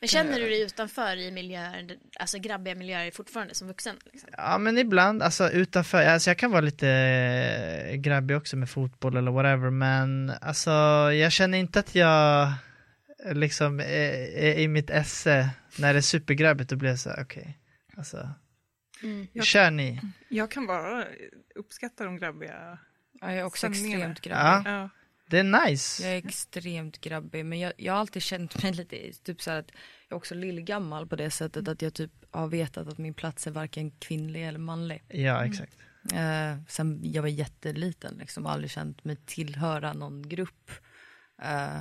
Men känner du
Eh.
dig utanför i miljöer, alltså grabbiga miljöer fortfarande som vuxen? Liksom?
Ja men ibland, alltså utanför, alltså jag kan vara lite eh, grabbig också med fotboll eller whatever men alltså jag känner inte att jag eh, liksom är, är i mitt esse när det är supergrabbigt då blir jag såhär okej, alltså kör ni.
Jag kan bara uppskatta de grabbiga.
Ja, jag är också
Stämningarna.
extremt grabbig.
Ja,
Ja.
det är nice.
Jag är extremt grabbig men jag, jag har alltid känt mig lite i- typ så här att jag är också lillgammal på det sättet att jag typ har vetat att min plats är varken kvinnlig eller manlig.
Ja exakt.
Eh, sen jag var jätteliten liksom, aldrig känt mig tillhöra någon grupp. Eh,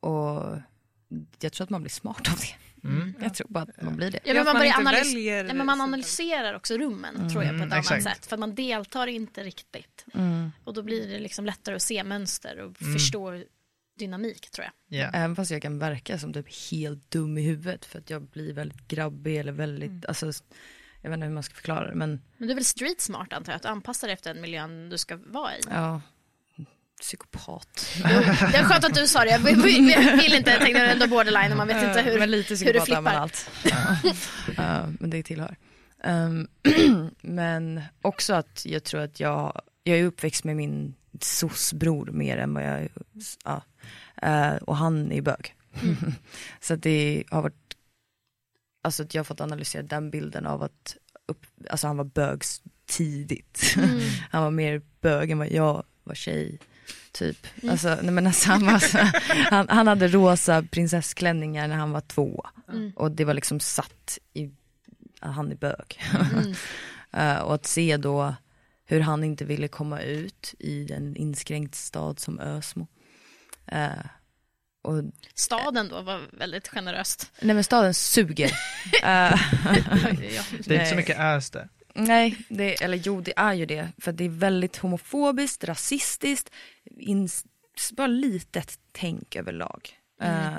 och jag tror att man blir smart av det. Jag tror bara att man blir det.
Ja,
Ja, men
att
man,
man
börjar
inte
analys-
väljer
Nej, men man
sånt.
analyserar också rummen tror jag på ett
Mm,
annat
exakt.
sätt. För man deltar inte riktigt. Och då blir det liksom lättare att se mönster och förstå dynamik tror jag.
Ja.
Även fast jag kan verka som typ helt dum i huvudet för att jag blir väldigt grabbig eller väldigt, alltså, jag vet inte hur man ska förklara det men
Men du är väl street smart antar jag, att du anpassar dig efter den miljön du ska vara i.
ja, psykopat.
Jo, det är skönt att du sa det, jag vill, vill- vill inte, jag tänkte ändå borderline och man vet inte hur.
men lite
hur det
psykopat är man
flippar.
allt. Ja, men det tillhör. Ehm, men också att jag tror att jag, jag är uppväxt med min sossbror mer än vad jag är, ja. Eh, och han är bög.
Mm.
så att det har varit, alltså att jag har fått analysera den bilden av att, upp, alltså han var bög s- tidigt.
Mm.
han var mer bög än vad jag var tjej. Typ,
Mm.
alltså, nej men alltså, han, var så, han, han hade rosa prinsessklänningar när han var två och det var liksom satt i, att han är bög. Eh, och att se då hur han inte ville komma ut i en inskränkt stad som Ösmo. Eh, och,
Staden då var väldigt generöst.
nej men staden suger. Eh,
Det är inte så
Nej.
mycket ös där.
Nej, det, eller jo det är ju det. För det är väldigt homofobiskt, rasistiskt, ins- bara litet tänk överlag.
Mm.
Eh,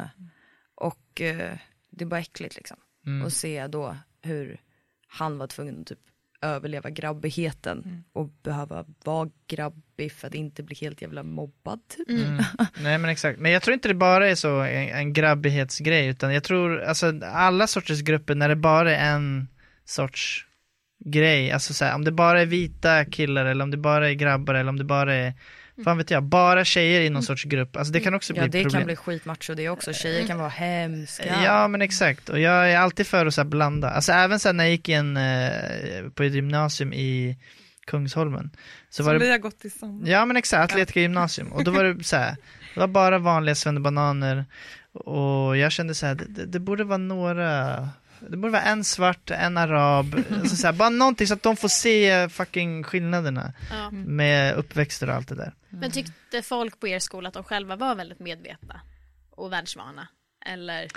och eh, det är bara äckligt liksom.
Mm.
Och se då hur han var tvungen att typ överleva grabbigheten
Mm.
och behöva vara grabbig för att inte bli helt jävla mobbad. Typ.
Mm. Nej men exakt, men jag tror inte det bara är så en, en grabbighetsgrej utan jag tror alltså alla sorters grupper när det bara är en sorts grej, alltså så här, om det bara är vita killar eller om det bara är grabbar eller om det bara är, fan vet jag, bara tjejer i någon sorts grupp, alltså det kan också
Mm. Ja
bli
det
problem.
kan bli skitmacho det också, tjejer kan vara hemska.
Ja men exakt, och jag är alltid för att så här blanda. Alltså även sen när jag gick in eh, på ett gymnasium i Kungsholmen. Så
Som
var det,
vi har gått tillsammans.
ja men exakt, Atletiska gymnasium. Och då var det så här, det var bara vanliga svennebananer och jag kände så här, det, det, det borde vara några, det borde vara en svart, en arab, alltså så här, bara någonting så att de får se fucking skillnaderna
Ja.
med uppväxter och allt det där.
Men tyckte folk på er skola att de själva var väldigt medvetna och världsvana? Eller,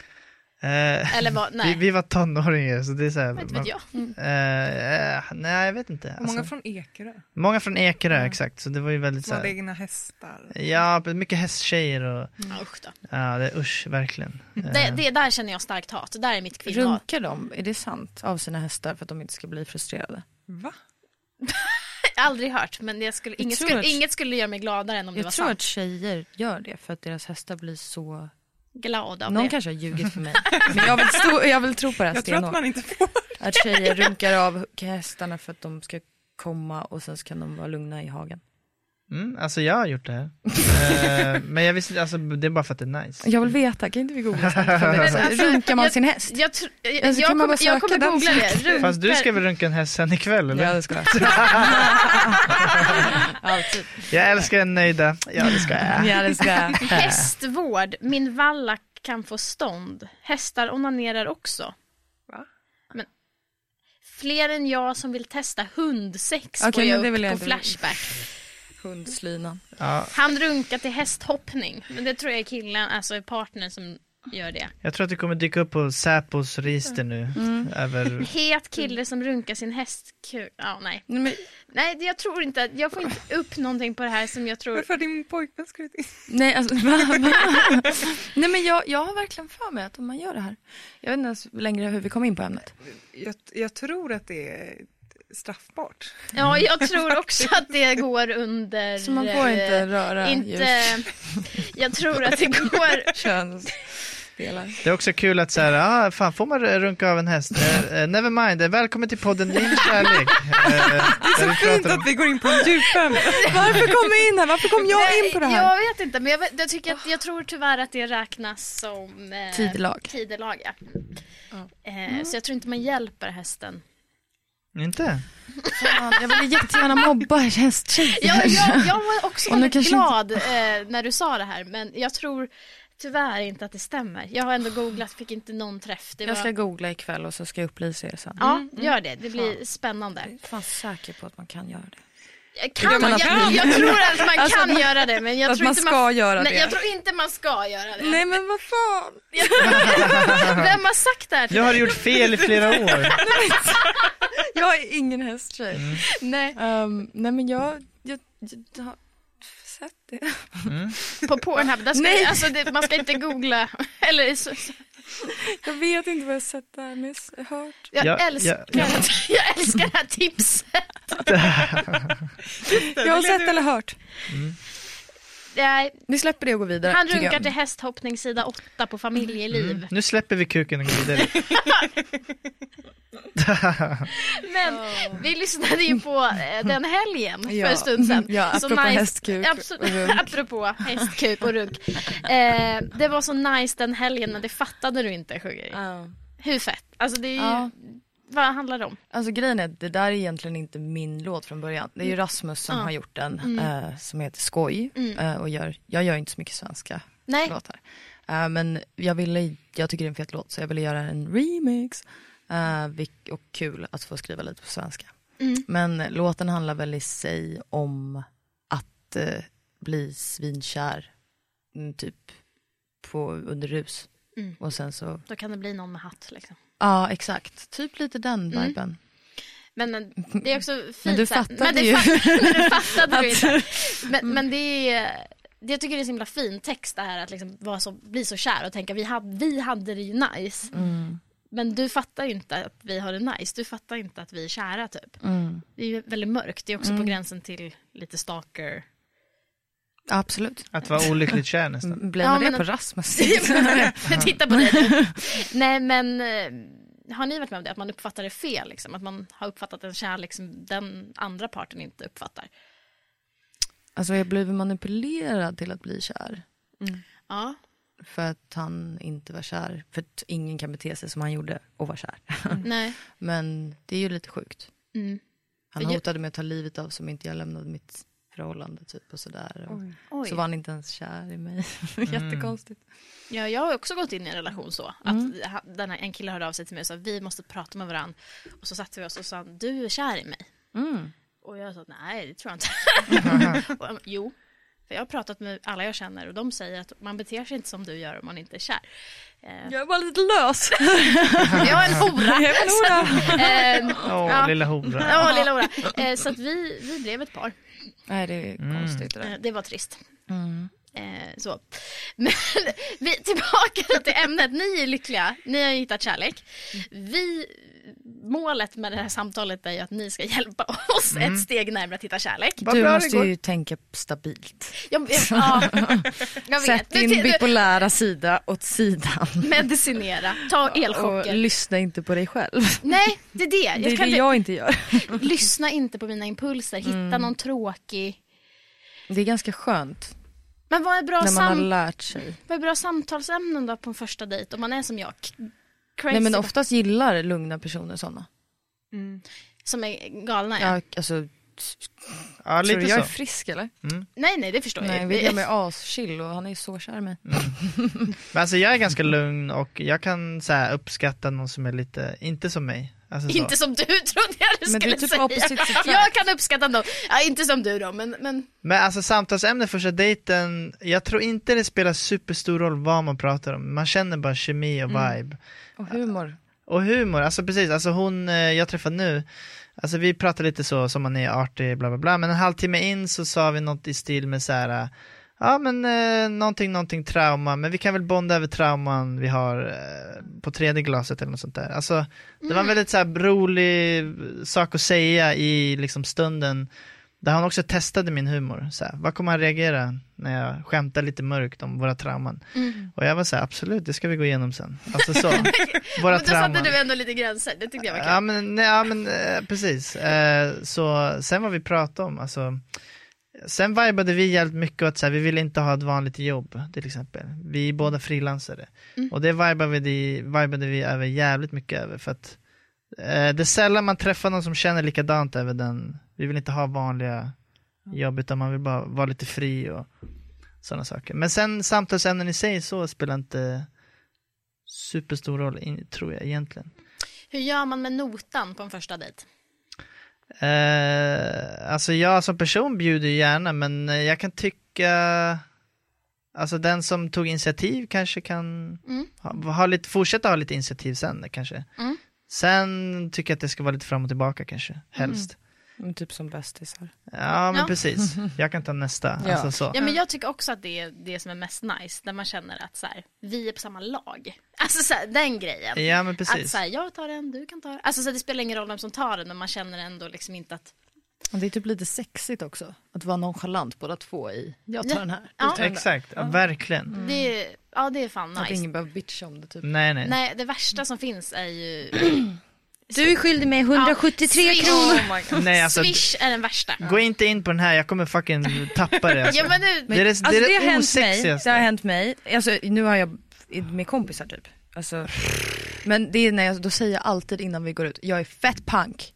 Eh,
eller var,
vi,
nej,
vi var tonåringar så det är så här,
inte
man-
vet jag.
Eh, eh, nej jag vet inte.
Och Många
Alltså,
från Ekerö
många från Ekerö exakt, så det var ju väldigt så
som hade
här,
egna hästar.
Ja, mycket hästtjejer och
Ja, usch då.
ja, det, usch verkligen.
Det,
Eh.
det, där känner jag starkt hat, det där är mitt kvinnohat.
Runkar de, är det sant, av sina hästar för att de inte ska bli frustrerade?
Va?
Jag har aldrig hört, men det skulle, inget,
tror
skulle,
att-
inget skulle göra mig gladare än om det var
Jag tror
sant.
att tjejer gör det för att deras hästar blir så...
Glad av
Någon
det.
kanske har ljugit för mig. Men jag vill, stå, jag vill tro på det här
Jag tror att
stenhårt.
man inte får.
Att tjejer runkar av hästarna för att de ska komma och sen så kan de vara lugna i hagen.
Mm, alltså jag har gjort det här. Eh, men jag visste, alltså det är bara för att det är nice.
Jag vill veta, kan inte vi googla sen?
Men alltså,
Runkar man
jag-
sin häst?
Jag, tr- jag, jag,
Alltså, kan man
kommer-
bara
jag kommer
söka den
googla det. Runkar-
Fast du ska väl runka en häst sen ikväll eller?
Ja, det ska jag. Alltid.
Jag älskar en nöjda. Ja det ska jag.
Ja, det ska jag.
Hästvård, min valla kan få stånd. Hästar onanerar också.
Va?
Men fler än jag som vill testa hundsex
Okej,
går
men
jag
det
upp
vill jag
på
inte.
Flashback.
Hundslinan.
Ja,
Han runkar till hästhoppning. Men det tror jag är killen, alltså partnern som gör det.
jag tror att det kommer dyka upp på Säpos register nu. Över,
Het kille som runkar sin hästkuk. Ja, nej.
Nej, men,
Nej, det- jag tror inte att, jag får inte upp någonting på det här som jag tror.
Varför har din pojkvän skrivit in?
nej, alltså, va, va? nej, men jag, jag har verkligen för mig att om man gör det här. Jag vet inte ens längre hur vi kom in på ämnet.
Jag, jag tror att det är straffbart.
Ja, jag tror också att det går under...
Så man får
eh,
inte röra
Inte,
just
jag tror att det går,
könsdelar.
det är också kul att så här, ah, fan får man runka av en häst? Eh, eh, never mind, Eh, välkommen till podden Min kärlek. Eh, där vi
Fint
pratar om-
att vi går in på en djupare.
Varför kom vi in här? Varför kom jag in på det här?
Jag vet inte, men jag, vet- jag, tycker att, jag tror tyvärr att det räknas som eh,
Tidelag.
tidelag, ja. Eh, Så jag tror inte man hjälper hästen.
Inte?
Fan, jag ville jättegärna mobba hästtjejer.
Jag, jag, jag var också
Och nu
väldigt
kanske
glad eh, när du sa det här, men jag tror tyvärr inte att det stämmer. Jag har ändå googlat, fick inte någon träff. Det var,
Jag ska Mm, googla ikväll och så ska jag upplysa er sen.
Ja, gör det. Det blir spännande.
Jag är fan säker på att man kan göra det.
Jag, kan,
man
jag,
kan.
jag tror att man
Alltså,
kan
att man-
göra det, men jag
att
tror
man
inte
ska göra
nej,
det.
Jag tror inte man ska göra det.
Nej men vad fan!
Vem har sagt det här till
Jag har gjort fel i flera år.
Jag är ingen hästtjej.
Mm.
Nej. Ehm, nej men jag, jag, jag, har sett det.
på Pornhub. Där ska
Nej.
alltså, det, man ska inte googla. Eller, så, så,
Jag vet inte vad jag sett där men jag har hört.
jag,
Ja,
älskar,
ja,
jag älskar det här tipset.
Jag har sett eller hört.
Nej,
Vi släpper det och går vidare.
han
tycker jag. Mm.
runkar till hästhoppning sida 8 på familjeliv.
Nu släpper vi kuken och går vidare.
Men vi lyssnade ju på eh, den helgen för
Ja.
en stund sedan.
Ja,
Så
apropå hästkuk
Absolut,
och runk.
apropå hästkuk och runk. Eh, det var så nice den helgen men det fattade du inte sjunger.
Ja.
Hur fett? Alltså det är ju,
Ja.
vad handlar det om?
Alltså grejen är att det där är egentligen inte min låt från början. Det är ju Rasmus som har gjort den eh, som heter Skoj. Eh, och gör, jag gör inte så mycket svenska
Nej.
låtar. Eh, men jag ville, jag tycker det är en fet låt så jag ville göra en remix. Eh, vilk- och kul att få skriva lite på svenska.
Mm.
Men låten handlar väl i sig om att eh, bli svinkär. Mm, typ på, under rus. Och sen så,
Då kan det bli någon med hatt liksom.
ja exakt. Typ lite den viben.
Men eh, det är också fint.
du
så här-
fattade
men det
ju. Mm.
fa- men det fattade du inte. Men, men det är, det jag tycker det är en så himla fin text det här att liksom vara så, bli så kär och tänka vi hade, vi hade det ju nice.
Mm.
Men du fattar ju inte att vi har det nice, du fattar inte att vi är kära typ.
Mm.
Det är ju väldigt mörkt, det är också på gränsen till lite stalker.
Absolut. Mm,
Att vara olyckligt kär nästan.
Blir
Ja,
man
men
det
att-
på Rasmus?
Titta på dig. du. Nej men eh, har ni varit med om det, att man uppfattar det fel liksom? Att man har uppfattat en kärlek som den andra parten inte uppfattar?
alltså jag blev manipulerad till att bli kär.
Ja.
För att han inte var kär. För att ingen Mm. kan bete sig som han gjorde och vara kär.
Nej.
Men det är ju lite sjukt.
Mm.
Han
För ju-
hotade med att ta livet av sig om inte jag lämnade mitt förhållande typ och sådär. Och
Oj. Mm.
så var han inte ens kär i mig. Jättekonstigt.
Ja, jag har också gått in i en relation så. Att ha- den här, en kille hörde av sig till mig och sa vi måste prata med varandra. Och så satte vi oss och sa du är kär i mig. Och jag sa nej, det tror jag inte. och, han, jo, för jag har pratat med alla jag känner och de säger att man beter sig inte som du gör om man inte är kär. Eh,
Jag var lite lös.
jag är en hora! Ehm,
Åh,
Ja.
lilla hora.
Ja, lilla hora. Eh, Så att vi, vi blev ett par.
Nej det är konstigt det
Eh,
där. Mm.
Det var trist. Eh, Så. Men vi, tillbaka till ämnet. Ni är lyckliga. Ni har hittat kärlek. Vi, målet med det här samtalet är ju att ni ska hjälpa oss ett steg närmare att hitta kärlek.
Vad
Du
bra det
måste
går.
ju tänka stabilt.
Jag, jag, ja, jag vet.
Sätt
Du-
din
du-
bipolära sida åt sidan.
Medicinera. Ta
Och
elchocker.
lyssna inte på dig själv.
Nej, det är det. Jag
Det är
kan
det
inte-
jag Mm. inte gör.
Lyssna inte på mina impulser. Hitta någon tråkig.
Det är ganska skönt
Men vad är bra
när man har
sam-
lärt sig.
Vad är bra samtalsämnen då på en första dejt om man är som jag? k- Crazy
Nej men oftast gillar lugna personer sådana.
Som är galna ja.
Ja, alltså,
Ja,
tror du jag
lite
är
så.
frisk eller?
Nej nej det förstår
Nej, Mm.
jag.
William är aschill och han är så kär i mig.
Men alltså jag är ganska lugn och jag kan så här, uppskatta någon som är lite, inte som mig. Alltså, så.
Inte som du trodde jag du
Men du
skulle
är typ
säga.
opposite attract.
Jag kan uppskatta dem. Ja, inte som du då men, men
Men alltså samtalsämne första dejten, jag tror inte det spelar superstor roll vad man pratar om. Man känner bara kemi och vibe.
Och humor.
Och humor, alltså precis, alltså hon eh, jag träffade nu, alltså vi pratade lite så som man är artig, bla bla bla, men en halvtimme in så sa vi något i stil med så här, eh, ja men eh, någonting, någonting trauma, men vi kan väl bonda över trauman vi har eh, på tredje glaset eller något sånt där. Alltså det
Mm.
var en väldigt så här rolig sak att säga i liksom stunden, där han också testade min humor. Så här, vad kommer han reagera när jag skämtar lite mörkt om våra trauman?
Mm.
Och jag var så här, absolut, det ska vi gå igenom sen. Alltså så, våra
men då
trauman.
satte du ändå lite gränser. Det tyckte jag var kul.
Ja men, nej, ja, men eh, precis. Eh, så sen vad vi pratade om, alltså. Sen vibade vi jävligt mycket åt så här, vi ville inte ha ett vanligt jobb till exempel. Vi är båda frilansare. Och det vibade vi, vibade vi över jävligt mycket över för att eh, det är sällan man träffar någon som känner likadant över den. Vi vill inte ha vanliga jobb utan man vill bara vara lite fri och sådana saker. Men sen samtalsämnen i sig så spelar inte superstor roll in, tror jag egentligen.
Hur gör man med notan på en första dejt?
Eh, alltså jag som person bjuder ju gärna men eh, jag kan tycka Alltså den som tog initiativ kanske kan ha, ha lite, fortsätta ha lite initiativ sen kanske.
Mm.
Sen tycker jag att det ska vara lite fram och tillbaka kanske, helst.
Men Typ som bästisar.
Ja men
Ja.
precis, jag kan ta nästa.
Ja.
Alltså, så.
Ja men jag tycker också att det är det som är mest nice när man känner att så här, vi är på samma lag. Alltså så här, den grejen.
ja men
Att
precis.
så här, jag tar den, du kan ta den. Alltså så här, det spelar ingen roll vem som tar den men man känner ändå liksom inte att
Och det är typ lite sexigt också. Att vara nonchalant båda två i, jag tar den här. Mm.
Ja.
Exakt, ja, verkligen.
det är, ja det är fan
Att
nice.
ingen behöver bitcha om det typ.
Nej nej.
Nej, det värsta som finns är ju...
Du är skyldig mig 173
Ja,
kronor.
Swish. Oh
nej alltså,
Swish är den värsta.
gå inte in på den här, jag kommer fucking tappa det. Alltså.
Ja, men nu,
det är det,
Alltså,
det, är det
har hänt mig.
osexigaste.
Det har hänt mig. Alltså, nu har jag med kompisar typ. Alltså, men det är när jag, då säger jag alltid innan vi går ut, jag är fett punk.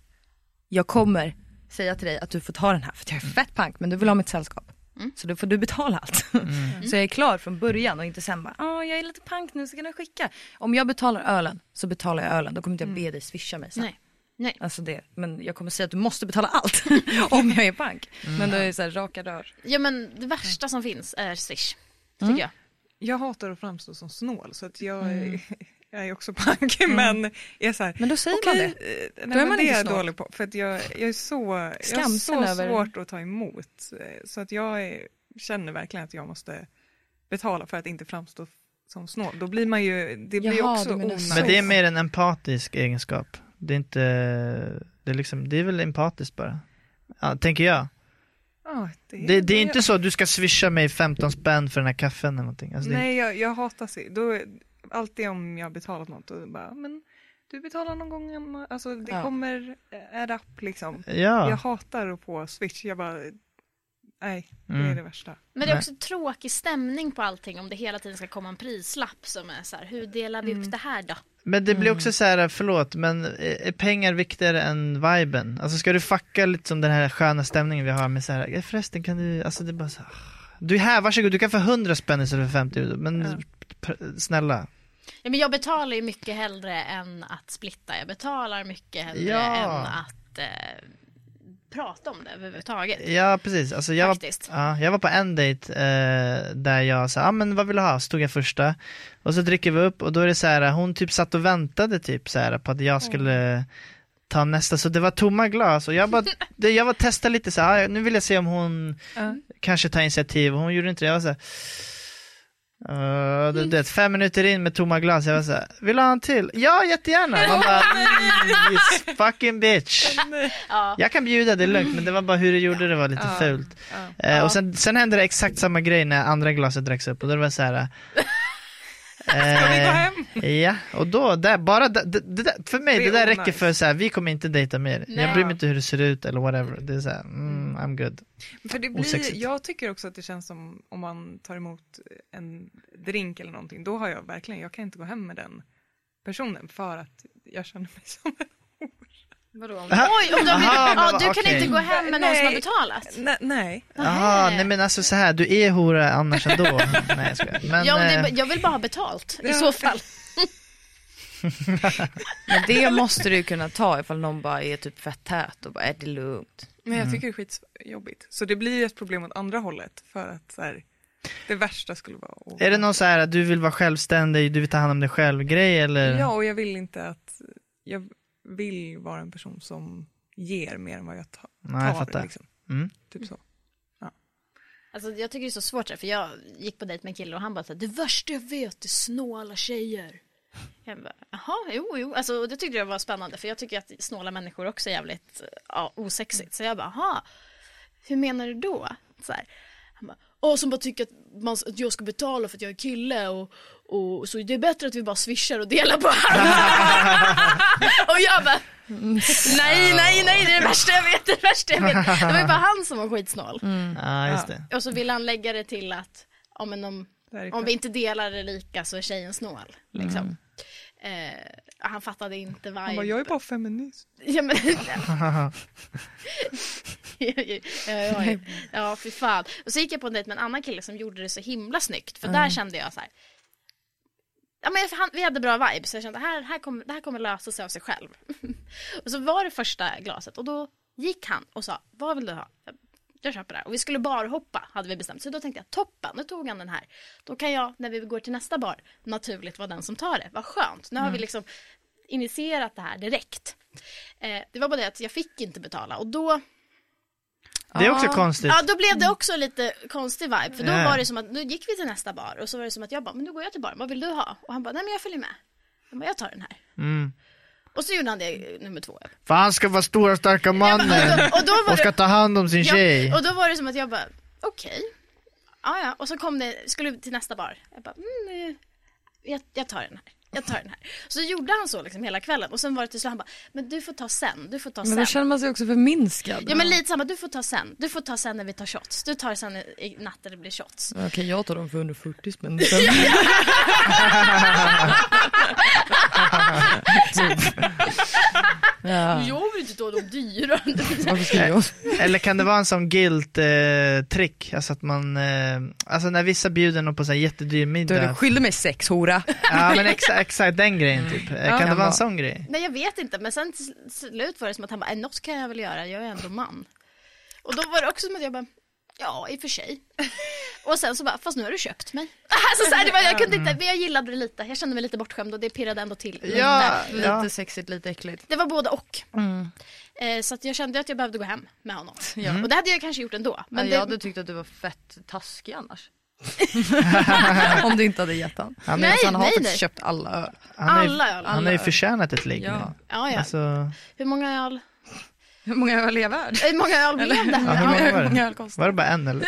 Jag kommer säga till dig att du får ta den här för att jag är fett punk men du vill ha mitt sällskap. Så då får du betala allt.
Mm.
Så jag är klar från början och inte sen bara, "Åh, jag är lite punk nu så kan du skicka. Om jag betalar ölen så betalar jag ölen, då kommer inte jag be dig swisha mig sen.
Nej. Nej.
Alltså det, men jag kommer säga att du måste betala allt om jag är punk.
Mm.
Men då är det så här, raka rör.
ja, men det värsta som finns är Swish. Tycker jag.
Jag hatar att framstå som snål så att jag, jag är också pank men är så här,
Men då säger man
okej,
det.
eh, Nej,
är
men
man
det
inte
är jag
snål.
dålig på för att jag, jag är så, jag har
Skamsen
så
över-
svårt att ta emot eh, så att jag är, känner verkligen att jag måste betala för att inte framstå f- som snål. Då blir man ju, det blir
Jaha,
också
du menar
onajs.
så.
Men det är mer en empatisk egenskap. Det är inte, det är liksom, det är väl empatiskt bara. Ja, tänker jag.
Ja,
Det, det är inte så att du ska swisha mig 15 spänn för den här kaffen eller någonting. Alltså, det, är-
Nej, jag, jag hatar sig. Då, alltid om jag har betalat något då bara, men du betalar någon gång, Emma." alltså det
Ja.
kommer eh, en rapp liksom. Jag
ja,
hatar att få swish, jag bara, Nej, det är
Mm.
det värsta.
Men det är också tråkig stämning på allting om det hela tiden ska komma en prislapp som är så här, hur delar vi upp det här då?
Men det blir också så här, förlåt, men är är pengar viktigare än viben? Alltså ska du fucka lite som den här sköna stämningen vi har med så här, "Eh, förresten kan du, alltså det är bara så här, du är här, varsågod, du kan få 100 spänn istället för 50, men pr- snälla.
Ja, men jag betalar ju mycket hellre än att splitta. Jag betalar mycket hellre
Ja.
än att eh, prata om det överhuvudtaget.
Ja, precis. Alltså, jag, var,
Faktiskt.
ja, jag var på en dejt eh, där jag sa, ah, men vad vill du ha? Så tog jag första och så dricker vi upp och då är det så här, hon typ satt och väntade typ så här på att jag skulle ta nästa, så det var tomma glas och jag bara, det, jag var testa lite så här, ah, nu vill jag se om hon kanske tar initiativ och hon gjorde inte det. Jag var så här, eh,
Mm.
du vet, fem minuter in med tomma glas, jag var så här, vill du ha en till? Ja, jättegärna! Man bara, "Mm, this fucking bitch!
Ja.
Jag kan bjuda, det är lugnt, men det var bara hur du gjorde det var lite fult. Eh, Och sen, sen hände det exakt samma grej när andra glaset dracks upp och då var det så här. Ska vi gå
hem?
Ja, och då, där, bara där- det, det, där- för mig,
Det
det,
är
där
onajs.
räcker för så här, vi kommer inte dejta mer. Jag bryr mig inte hur det ser ut eller whatever. Det är så här, mm, I'm good.
För det blir,
Osexigt.
jag tycker också att det känns som om man tar emot en drink eller någonting, då har jag verkligen, jag kan inte gå hem med den personen för att jag känner mig som en...
Oj, om du, har blivit,
Aha, men
ja,
vad-
du kan
okej.
inte gå hem med någon som har
Nej.
betalat.
Nej, nej.
Jaha, nej men alltså så här, du är hora annars ändå. nej jag skojar. Men,
Ja, men det,
eh,
jag vill bara ha betalt i så fall.
Men det måste du ju kunna ta ifall någon bara är typ fett tät och bara är det lugnt.
Men
Mm.
jag tycker det är skitjobbigt. Så det blir ju ett problem åt andra hållet för att så här, det värsta skulle vara att...
är det någon så här att du vill vara självständig, du vill ta hand om dig själv grej eller?
Ja, och jag vill inte att... Jag vill vara en person som ger mer än vad jag ta,
Nej, jag
tar.
fattar.
liksom.
Mm.
Typ så.
Alltså, jag tycker det är så svårt, det här, för jag gick på dejt med en kille och han bara så här, det värsta jag vet är snåla tjejer. Jag bara, jaha, jo, jo. Alltså, och det tyckte jag var spännande, för jag tycker att snåla människor också är jävligt eh, ja, osexigt. Så jag bara, jaha, hur menar du då? Så här. Han bara, åh, som bara tycker att, man, att jag ska betala för att jag är kille och, och så det är bättre att vi bara swishar och delar på Och jag bara, nej, nej, nej, det är det värsta jag vet, det är det värsta jag vet. Det var ju bara han som var skitsnål.
Ja, just det.
Och så vill han lägga det till att ja, men om,
Det här är
om vi inte delar det lika så är tjejen snål. Liksom. Eh, han fattade inte vibe.
Mm. Han bara, jag är bara feminist.
ja, men... ja, ja, ja. ja, fy fan. Och så gick jag på en dejt med en annan kille som gjorde det så himla snyggt. För där kände jag så här. Ja, men han, vi hade bra vibe så jag kände här, här kommer, det här kommer lösa sig av sig själv. och så var det första glaset och då gick han och sa vad vill du ha? Jag, jag köper det här. Och vi skulle barhoppa hade vi bestämt. Så då tänkte jag toppen, nu tog han den här. Då kan jag när vi går till nästa bar naturligt vara den som tar det. Vad skönt, nu har vi liksom initierat det här direkt. Eh, det var bara det att jag fick inte betala och då
Det är också konstigt.
Ja, då blev det också lite konstig vibe. För då
Ja.
var det som att, nu gick vi till nästa bar och så var det som att jag bara, men nu går jag till baren, vad vill du ha? Och han bara, nej men jag följer med. Jag bara, jag tar den här.
Mm.
Och så gjorde han det eh, nummer två.
För han ska vara stora starka
Jag bara, och,
mannen
då, och, då var
och ska
det,
ta hand om sin tjej.
alltså, ja, och då var det som att jag bara, okej. Ja, ja. Och så kom det, skulle vi till nästa bar. Jag bara, mm, eh, jag, jag tar den här. Jag tar den här. Så gjorde han så liksom hela kvällen och sen var det till slut han bara, men du får ta sen, du får ta
Men
sen.
då känner man sig också förminskad.
Ja men lite samma, du får ta sen, du får ta sen när vi tar shots. Du tar sen i- i natt när det blir shots.
Okej jag tar dem för 140 spänn. Typ. ja.
Jag vill inte ta de dyra.
Varför ska jag?
Eller kan det vara en sån guilt-trick? alltså att man, eh, alltså när vissa bjuder någon på så här jättedyr
Du
middag.
är skyldig mig sex hora.
Ja men exa, exakt den grejen typ. Eh, Kan det
Kan
vara
vara.
en sån grej?
Nej jag vet inte men sen till slut var det som att han bara, "Äh, något kan jag väl göra, jag är ändå man. Och då var det också som att jag bara, ja i och för sig. Och sen så bara, fast nu har du köpt mig. Alltså så här, det var, jag kunde inte, men jag gillade det lite, jag kände mig lite bortskämd och det pirrade ändå till lite.
Ja, ja.
Lite sexigt, lite äckligt.
Det var både och. Eh, så att jag kände att jag behövde gå hem med honom.
Mm. Ja.
Och det hade jag kanske gjort ändå. Men
Men
det,
Jag hade tyckt att du var fett taskig annars. Om du inte hade gett han.
Han,
Nej,
är,
Så alltså, han har
nej,
faktiskt
nej.
köpt alla öl.
han, är,
alla öl.
han har ju förtjänat ett ligg
Ja.
nu.
ja, ja.
Alltså,
Hur många öl?
Hur många öl är värd?
Hur många öl blev det?
Ja, hur många var
Hur många
det?
öl kostar?
Var det bara en eller?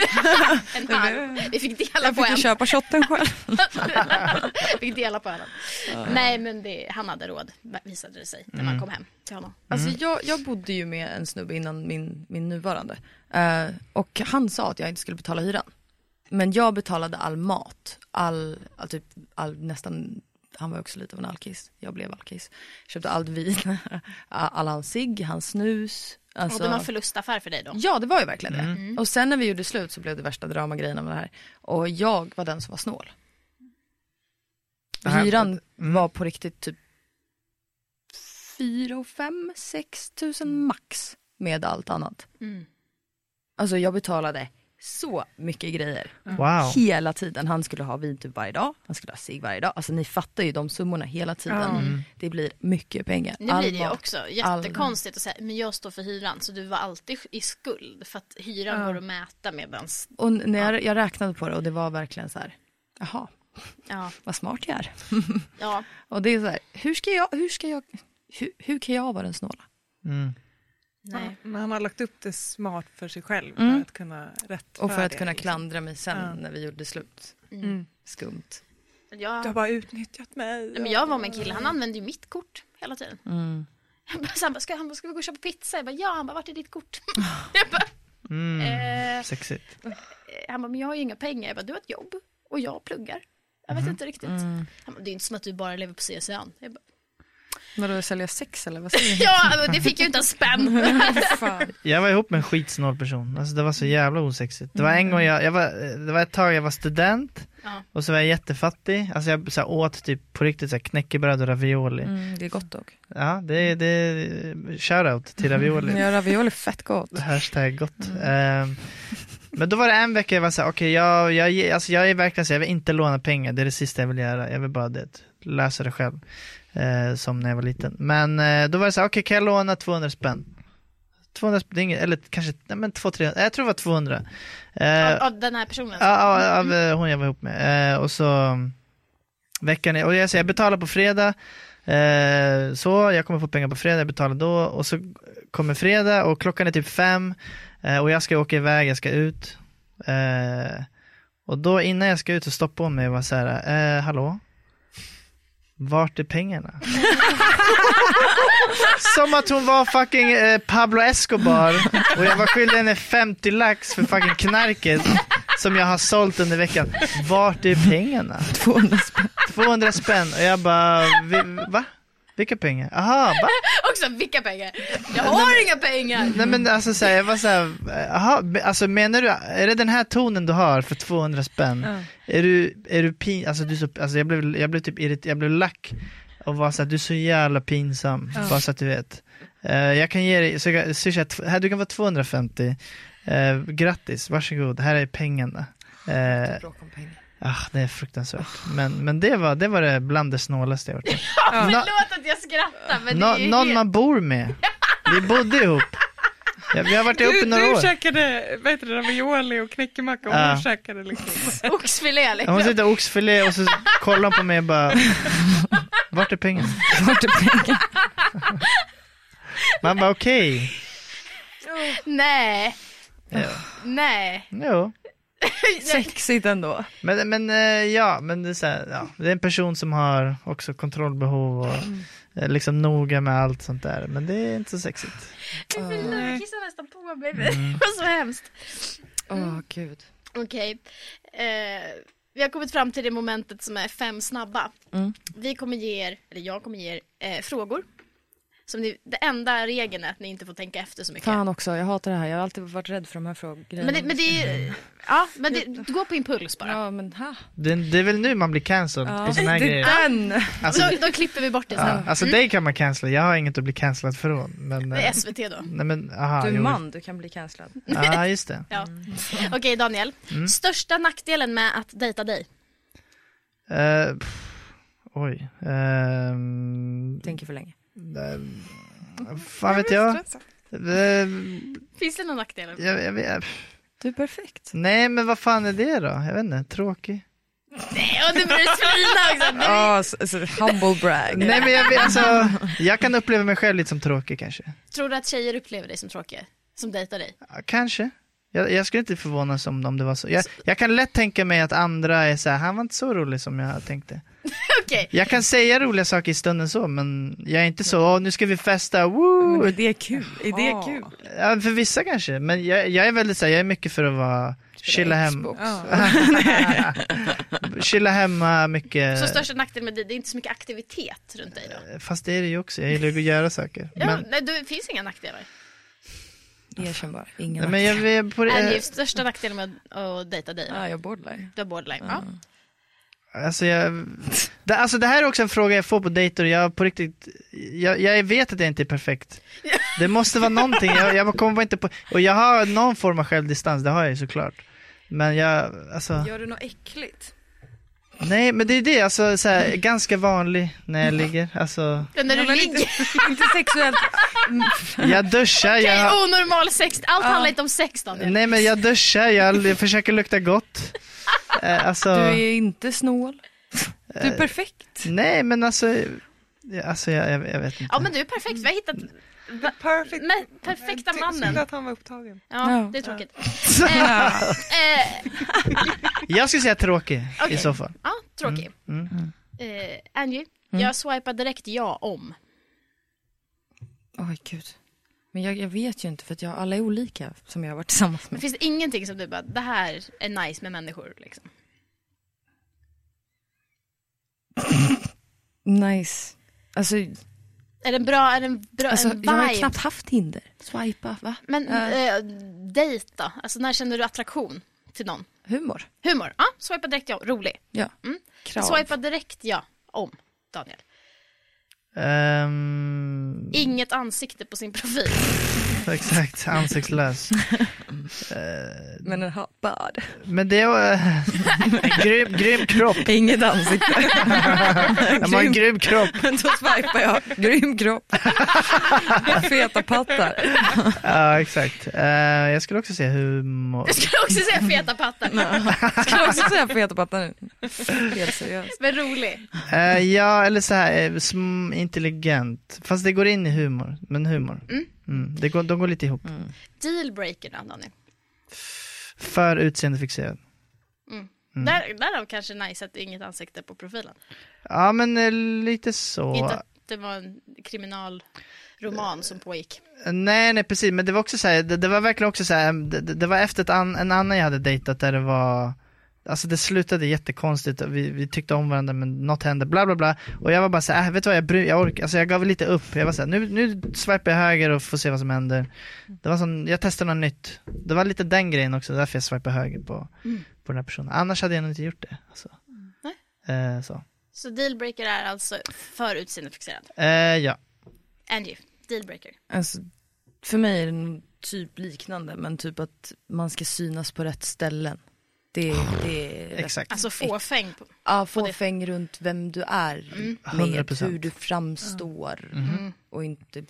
En halv. Vi fick dela
Jag
på
fick
en.
ju köpa shotten själv.
Vi fick dela på ölen. Nej men det, han hade råd visade det sig när man
Mm.
kom hem till honom.
Alltså jag, jag bodde ju med en snubbe innan min, min nuvarande. Eh, och han sa att jag inte skulle betala hyran. Men jag betalade all mat, all, all typ, all, nästan, han var också lite av en alkis. Jag blev alkis. Köpte allt vin, all hans cigg, hans snus.
Och
Alltså,
det var en förlustaffär för dig då?
Ja det var ju verkligen det.
Mm.
Och sen när vi gjorde slut så blev det värsta dramagrejen om det här. Och jag var den som var snål.
Det här-
Hyran
Mm.
var på riktigt typ 4 fem, sex tusen max med allt annat.
Mm.
Alltså jag betalade så mycket grejer
Wow.
hela tiden. Han skulle ha vin typ varje dag, han skulle ha cigg varje dag. Alltså ni fattar ju de summorna hela tiden. Det blir mycket pengar.
Mm. Nu blir det ju
mat,
också
all-
jättekonstigt att säga, men jag står för hyran så du var alltid i skuld för att hyran går att mäta medans,
Och när jag, jag räknade på det och det var verkligen så här, jaha,
ja,
vad smart jag är.
ja.
Och det är så här, hur ska jag, hur ska jag, hur, hur kan jag vara den snåla?
Nej.
Men han har lagt upp det smart för sig själv för att kunna rättfärdiga.
Och för att kunna
liksom.
klandra mig sen när vi gjorde slut. Skumt.
Du har
Jag,
bara utnyttjat mig.
Nej, men jag var med en kille, han använde ju mitt kort hela tiden.
Mm.
Han bara, så han bara, ska, han bara, ska vi gå och köpa pizza? Jag bara, ja, han bara, vart är ditt kort? jag bara,
Mm.
eh,
Mm. Sexigt.
han bara, men jag har ju inga pengar. Jag bara, du har ett jobb och jag pluggar. Jag
Mhm.
vet inte riktigt.
Mm.
Han bara, det är inte som att du bara lever på CSN. Jag bara,
Vadå, sälja sex eller vad säger du?
ja, alltså, det fick jag ju inte en spänn.
Fan.
Jag var ihop med en skitsnål person, alltså det var så jävla osexigt. Det var en gång jag, jag var, eh, det var ett tag jag var student
Ja.
och så var jag jättefattig, alltså jag så här, åt typ på riktigt så här, knäckebröd och ravioli.
Mm, det är gott dock.
Ja, det, det, shoutout till ravioli.
Men jag ravioli är fett gott. Mm.
Hashtag gott. Ehm, men då var det en vecka jag var såhär, okej jag, jag, ge- alltså jag är verkligen så här, jag vill inte låna pengar, det är det sista jag vill göra. Jag vill bara det, lösa det själv. Eh, som när jag var liten. Men eh, då var det såhär, okej kan jag låna 200 spänn? 200 spänn, det är inget, eller kanske, nej men 200-300, jag tror det var 200. Eh,
Av, av den här personen.
Ja, ja, av eh, hon jag var ihop med. Eh, och så veckan, och jag säger jag betalar på fredag, eh, så jag kommer få pengar på fredag, jag betalar då och så kommer fredag och klockan är typ fem eh, och jag ska åka iväg, jag ska ut. Eh, och då innan jag ska ut så stoppar hon mig och var så här, eh, hallå? Vart är pengarna? Som att hon var fucking eh, Pablo Escobar och jag var skyldig henne 50 lax för fucking knarket som jag har sålt under veckan. Vart är pengarna?
200 spänn.
200 spänn och jag bara, vi, va? Vilka pengar? Aha, va?
Också, vilka pengar? Jag har inga pengar.
Nej
Mm.
men alltså så här, jag var så här, aha, be- alltså menar du, är det den här tonen du har för 200 spänn? Är du, är du pin, alltså du är så, alltså jag blev, jag blev typ irriterad, jag blev lack och var så här, du är så jävla pinsam, bara så att du vet. Eh, jag kan ge dig, så jag, swisha, tw- här du kan få 250, Eh, grattis, varsågod, här är pengarna. Eh,
Bråk om pengar.
Ah, det är fruktansvärt. Men, men det, var, det var det bland det snålaste jag varit med Nå-
Förlåt att jag skrattar men det är
nå-
ju
Någon
helt-
man bor med. Vi bodde ihop. Ja, vi har varit ihop i
Du,
några
du
år.
käkade vad heter det, ravioli och knäckemacka och
Ja.
hon käkade liksom.
oxfilé
Ja, Hon
liksom.
sitter och oxfilé och så kollar hon på mig och bara Vart är pengarna?
Vart är pengar?
Man bara okej.
Nej,
Ja.
nej.
Jo.
Sexigt ändå.
Men, men eh, ja, men det är, så här, ja. det är en person som har också kontrollbehov och är liksom noga med allt sånt där. Men det är inte så sexigt.
Förlåt, jag kissade nästan på mig.
Mm.
Det var så hemskt.
Åh gud.
Okej. Eh, vi har kommit fram till det momentet som är fem snabba.
Mm.
Vi kommer ge er, eller jag kommer ge er, eh, frågor. Som ni, det enda regeln är att ni inte får tänka efter så mycket.
Fan också, jag hatar det här. Jag har alltid varit rädd för de här frågorna.
Men det, men det är, ja, men det, du går på impuls bara.
Ja men ha.
Det, det är väl nu man blir cancelled på såna här grejer.
Den!
Alltså,
då, då klipper vi bort det Mm. sen.
ja. alltså dig kan man cancella, jag har inget att bli cancellad från. Men,
Det
eh,
är SVT då.
nej, men, aha,
Du är
jo.
man, du kan bli cancellad.
Ja, just det.
Ja.
Mm.
Okej Daniel, största nackdelen med att dejta dig?
Eh, pff, oj. Ehm,
Tänker för länge.
fan vet jag. Eh,
Finns det någon nackdel?
jag, jag vet.
Du är perfekt.
Nej men vad fan är det då? Jag vet inte, tråkig.
Nej, och du börjar svina också. Du,
Ah, så, så, humble brag.
Nej men jag, vet, alltså, jag kan uppleva mig själv lite som tråkig kanske.
tror du att tjejer upplever dig som tråkig? Som dejtar dig?
Ja, Kanske. Jag, jag skulle inte förvånas om, om det var så. Jag, jag kan lätt tänka mig att andra är så här, han var inte så rolig som jag tänkte.
Okej.
Jag kan säga roliga saker i stunden så, men jag är inte så, åh nu ska vi festa, woo!
Men det är kul. Är det kul?
Ja, för vissa kanske, men jag, jag är väldigt så här, jag är mycket för att vara, chilla hem, chilla hemma mycket.
Eh.
Så största nackdelen med dig, det är inte så mycket aktivitet runt dig då?
Fast det är det ju också, jag gillar ju att göra saker.
Ja,
Men,
nej, det finns inga nackdelar.
Eh, Erkänn bara.
nej,
Ingen
men jag, jag, på
Är det
det,
ju största nackdelen med att dejta dig?
ah,
då?
jag borderline.
Du har borderline. Ja.
Mm.
Alltså, jag, det, alltså det här är också en fråga jag får på dejter och jag på riktigt, jag, jag vet att jag inte är perfekt. Det måste vara någonting, jag, jag kommer bara inte på, och jag har någon form av självdistans, det har jag ju såklart. Men jag, alltså,
Gör du något äckligt?
nej men det är det, alltså så här, ganska vanlig när jag ligger, alltså,
Den där du ligger.
Inte sexuellt.
jag duschar, jag,
Okej, oh! onormal sex. Allt handlar inte om sex Daniel.
nej men jag duschar, jag, jag försöker lukta gott. Eh,
Du
Alltså,
är inte snål. Du är perfekt.
nej men alltså, ja, alltså jag, jag, jag vet inte.
Ja men du är perfekt, vi har hittat
Perfect.
me- perfekta mannen.
Synd att han var upptagen.
Ja,
Ja.
det är tråkigt. Eh, eh,
Jag skulle säga tråkig i
Okej.
så fall.
ja, tråkig.
Mm.
Eh, Angie, jag swipar direkt ja om.
Oj gud. Men jag, jag vet ju inte för att jag, alla är olika som jag har varit tillsammans med.
Finns det ingenting som du bara, det här är nice med människor liksom?
Nice. Alltså,
Är det en bra, är det en bra,
alltså
en vibe?
jag har ju knappt haft Tinder. Swipa, va?
Men
Eh,
eh, dejt då? Alltså när känner du attraktion till någon?
humor.
Humor, ja, swipa direkt ja, rolig. Mm.
Ja. Krav.
Swipa direkt ja om, Daniel.
Ehm,
Inget ansikte på sin profil.
Exakt, ansiktslös.
Men en hoppad.
Men det var en grym, grym kropp.
Inget ansikte.
De har en
Grym.
grym kropp.
Men då swipar jag. Grym kropp. Feta pattar.
Ja, exakt. Eh, jag skulle också säga humor.
Jag skulle också säga feta pattar,
Skulle också säga feta pattar nu. Helt seriöst.
men rolig.
Eh, ja, eller så här, eh, sm- intelligent. Fast det går in i humor. Men humor. Mm, det går, de går lite ihop.
Dealbreaker då, Daniel?
För utseendefixerad.
Mm.
Där, därav kanske nice att det är inget ansikte på profilen.
Ja, men eh, lite så.
Inte att det var en kriminalroman som pågick.
Nej, nej precis, men det var också så här, det, det var verkligen också så här, det, det det var efter ett an, en annan jag hade dejtat där det var, alltså det slutade jättekonstigt, och vi, vi tyckte om varandra men något hände, bla bla bla. Och jag var bara så här, äh, vet du vad, jag, bry, jag orkar, alltså jag gav lite upp, jag var så här, nu, nu swipar jag höger och får se vad som händer. Det var som, jag testade något nytt. Det var lite den grejen också, därför jag swipade höger på,
Mm.
på den här personen. Annars hade jag nog inte gjort det. Alltså. Eh, så.
Så dealbreaker är alltså för utseendefixerad.
Eh, ja.
Angie, dealbreaker.
Alltså, för mig är det nog typ liknande men typ att man ska synas på rätt ställen. Det, är- det är
Exakt.
Alltså fåfäng. på- Mm.
Ja, fåfäng runt vem du är med,
100%.
hur du framstår
Mhm.
och inte,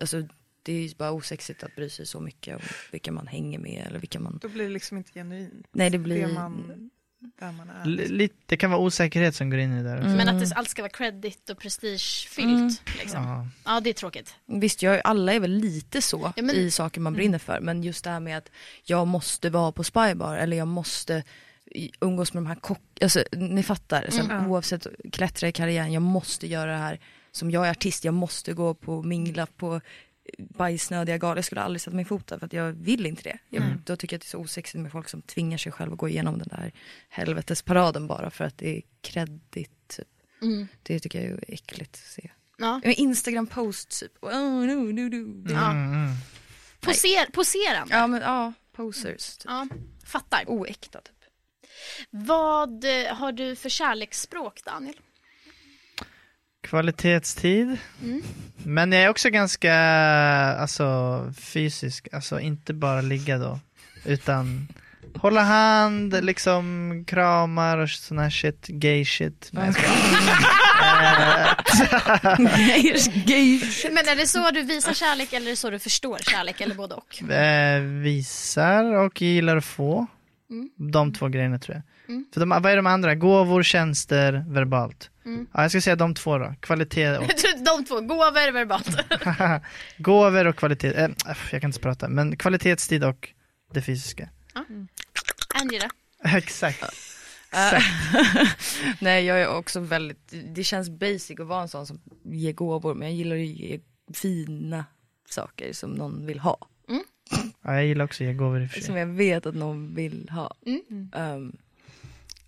alltså det är ju bara osexigt att bry sig så mycket om vilka man hänger med eller vilka man,
Då blir det liksom inte genuint.
nej det
Det
blir,
man, där man är.
L- lite, det kan vara osäkerhet som går in i det
Mm.
där också.
Men att det, allt ska vara credit och prestigefyllt.
Mm.
Liksom. Ja. det är tråkigt.
visst jag, alla är väl lite så
Ja, men-
i saker man brinner för men just det här med att jag måste vara på spybar eller jag måste i- umgås med de här kock, alltså ni fattar, så här,
Mm.
oavsett klättra i karriären, jag måste göra det här som jag är artist, jag måste gå på mingla på eh, bajsnödiga galor, jag skulle aldrig sätta min fot där för att jag vill inte det. Jag,
Mm.
Då tycker jag att det är så osexigt med folk som tvingar sig själva att gå igenom den där helvetesparaden bara för att det är kredit typ.
Mm.
Det tycker jag är äckligt att se.
Ja.
Men Instagram post typ, oh, no, no, no.
Poser, poserande.
Ja men ja, posers typ.
Ja, fattar.
Oäkta typ.
Vad eh, har du för kärleksspråk, Daniel?
Kvalitetstid. Men jag är också ganska alltså, fysisk, alltså inte bara ligga då, utan hålla hand, liksom kramar och sån här shit, gay shit. Nej, jag skojar.
Men är det så du visar kärlek eller är det så du förstår kärlek eller både och?
eh, visar och gillar att få. De två grejerna tror jag. För de, vad är de andra? Gåvor, tjänster, verbalt. Ja, jag ska säga de två då. Kvalitet och...
De två, gåvor verbalt.
Gåvor och kvalitet. Eh, öff, jag kan inte prata. Men kvalitetstid och det fysiska.
Angela.
Exakt.
Nej jag är också väldigt, det känns basic att vara en sån som ger gåvor men jag gillar att ge fina saker som någon vill ha.
Ja, jag gillar också att ge gåvor i och för sig.
Som jag vet att någon vill ha. Ehm,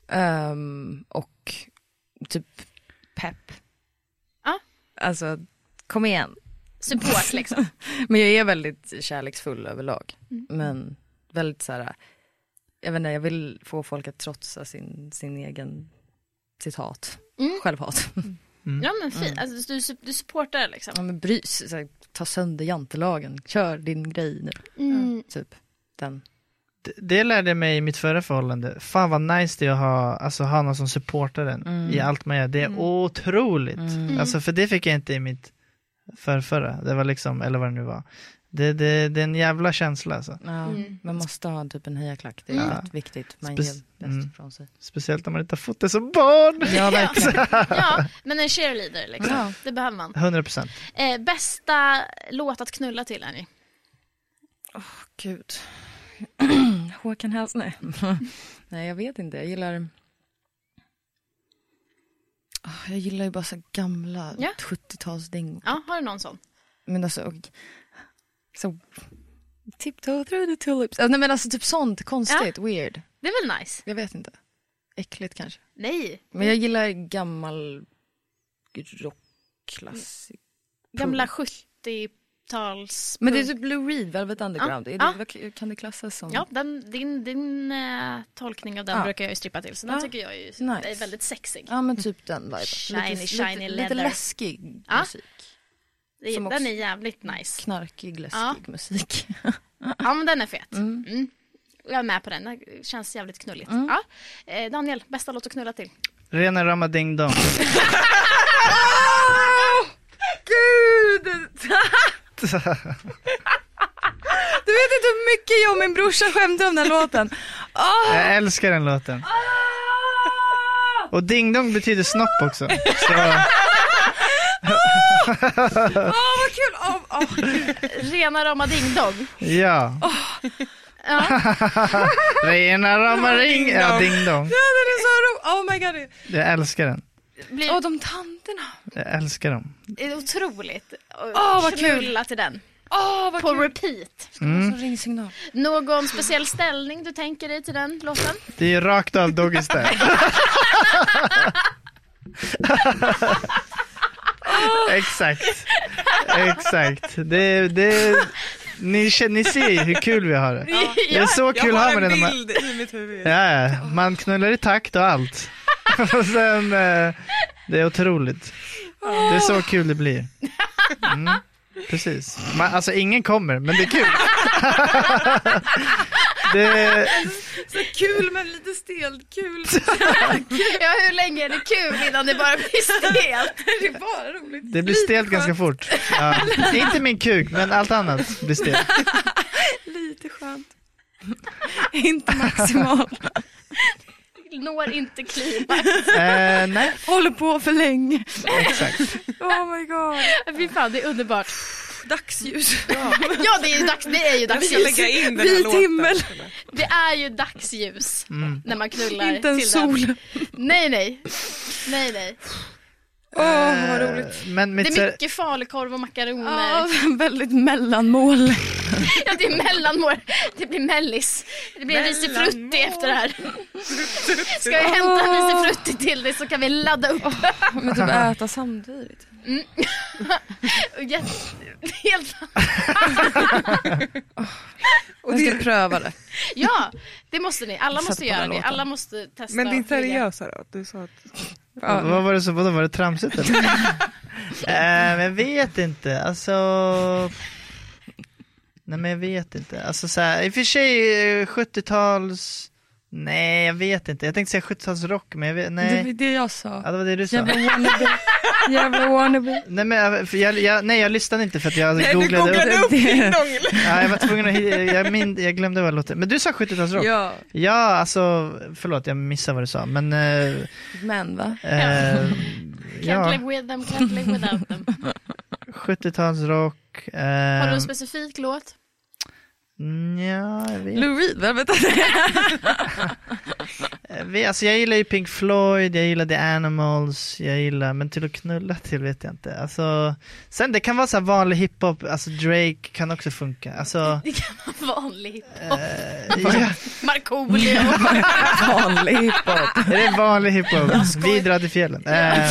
ehm, och typ pepp.
Ja.
Alltså kom igen.
Support liksom.
Men jag är väldigt kärleksfull överlag. Men väldigt så här, jag vet inte, jag vill få folk att trotsa sin, sin egen, sitt hat,
Mm.
självhat.
Ja men
Mm.
fint, alltså, du, du supportar liksom.
Ja men brys, så här, ta sönder jantelagen, kör din grej nu.
Mm.
Typ den.
Det- Det lärde jag mig i mitt förra förhållande. Fan vad nice det är att ha, alltså, ha någon som supportar en i allt man gör. Det är otroligt. Alltså, för det fick jag inte i mitt förrförra. Det var liksom, eller vad det nu var. Det, det, det är en jävla känsla alltså.
Ja, Man måste ha typ en hejaklack, det är
Mm.
väldigt viktigt. Man
Spec-
ger bäst
mm.
ifrån sig.
Speciellt när man inte har fått det som barn.
Ja verkligen.
Ja, men en cheerleader liksom. Det behöver man.
100%.
Eh, bästa låt att knulla till Annie.
Gud. Håkan Hellström, nej. nej jag vet inte, jag gillar Ah, jag gillar ju bara så här gamla
Ja.
70-talsdängor.
Ja, har du någon sån?
Men alltså, och, så, tiptoe through the tulips. Alltså, nej men alltså typ sånt konstigt, weird.
Det är väl nice?
Jag vet inte. Äckligt kanske.
Nej,
Men jag gillar gammal
Mm.
rockklassik.
gamla 70-tals...
Men det är typ Blue Reed, Velvet Underground. Är det,
Ja.
vad- Kan det klassas som?
Ja, den, din, din eh, tolkning av den
Ja.
brukar jag ju strippa till, så den
Ja.
tycker jag är, ju,
Nice.
är väldigt sexig.
Ja men typ den viben.
Shiny,
lite,
shiny
lite, lite
leather.
läskig
Ja.
musik.
Det är-
som
den
också-
är jävligt nice.
Knarkig, läskig
Ja.
musik.
Ja, men den är fet. Mm. Jag är med på den, det känns jävligt knulligt.
Mm.
Ja. Eh, Daniel, bästa låt att knulla till?
Rena rama ding dong.
Gud! Du vet inte hur mycket jag och min brorsa skämde om den låten. Åh!
Jag älskar den låten.
Ah!
Och ding dong betyder snopp också. Så,
Åh Ah, vad kul! Åh, åh.
Rena rama ding dong.
ja. Rena rama ring. Ja, ding dong.
Ja, den är så rolig! Oh my god!
Jag älskar den.
Blir
Åh de tanterna!
Jag älskar dem.
eh, otroligt.
Åh, vad kul.
Knulla till den.
Åh vad
På
kul!
repeat.
Mm. Som ringsignal.
Någon speciell ställning du tänker dig till den låten?
Det är ju rakt av Doggy Style. Exakt. Exakt. Det, det, ni, känner- ni ser ju hur kul vi har det. Det är så kul har man det när
Jag har
man...
en bild i mitt huvud.
Ja, ja. man knullar i takt och allt. Och sen, eh, det är otroligt. Det är så kul det blir. Mm, precis. Man, alltså ingen kommer, men det är kul. det,
Kul men lite stelt kul.
Ja, hur länge är det kul innan det bara blir stelt?
Det är bara roligt.
det blir stelt ganska fort. Ja. Inte min kuk, men allt annat blir stelt.
Lite skönt. Inte maximal.
Når inte klimax.
Eh, nej,
Håller på för länge.
exakt.
Oh my god.
Fy fan, det är underbart.
Dagsljus.
Ja, det är ju, dags, det är ju
Jag ska
dagsljus.
lägga in den här
Vit
låten.
himmel.
Det är ju dagsljus när man knullar
Inte en
till
sol.
Eh,
den. Nej, nej. Nej, nej.
Åh vad
Eh,
roligt.
Men mitt,
Det är
ser-
mycket falukorv och makaroner.
Ja, väldigt mellanmål.
Ja, det är mellanmål. Det blir mellis. Det blir en risifrutti efter det här. Ska jag hämta en risifrutti till dig så kan vi ladda upp.
Men typ äta samtidigt.
Jätte- Helt
Jag ska pröva det.
Ja, det måste ni. Alla måste
Sätt på
göra
den
det.
låten.
Alla måste testa.
Men din
och ligga.
seriösa då? Du sa att...
vad var det som, vadå, var det tramsigt eller? Eh, men jag vet inte, alltså. Nej men jag vet inte, alltså så här, i och för sig eh, 70-tals Nej, jag vet inte. Jag tänkte säga 70 rock, men jag vet,
Det var
nej.
det jag sa.
Alltså.
Ja, det var det du sa.
Jävla wannabe. Jävla wannabe.
Nej, men jag, för jag, jag, nej, jag lyssnade inte för att jag
Nej, du
googlade.
googlade upp din dongel.
Ja, jag var tvungen att, hi- jag, min, jag glömde vad det låter. Men du sa 70-talsrock?
Ja,
ja, alltså, förlåt jag missade vad du sa, men... Eh,
men va?
eh,
Can't
ja,
live with them, can't live without them.
70-talsrock. Eh,
Har du en specifik låt?
nja, jag vet
Lou Reed, väl? Vänta.
Jag vet- Alltså jag gillar ju Pink Floyd, jag gillar The Animals, jag gillar, men till att knulla till vet jag inte. Alltså, sen det kan vara så här vanlig hiphop, alltså Drake kan också funka. Alltså,
Det kan vara vanlig.
ja,
Markoolio.
Vanlig hiphop.
är det vanlig hiphop? Vi drar till fjällen. Eh,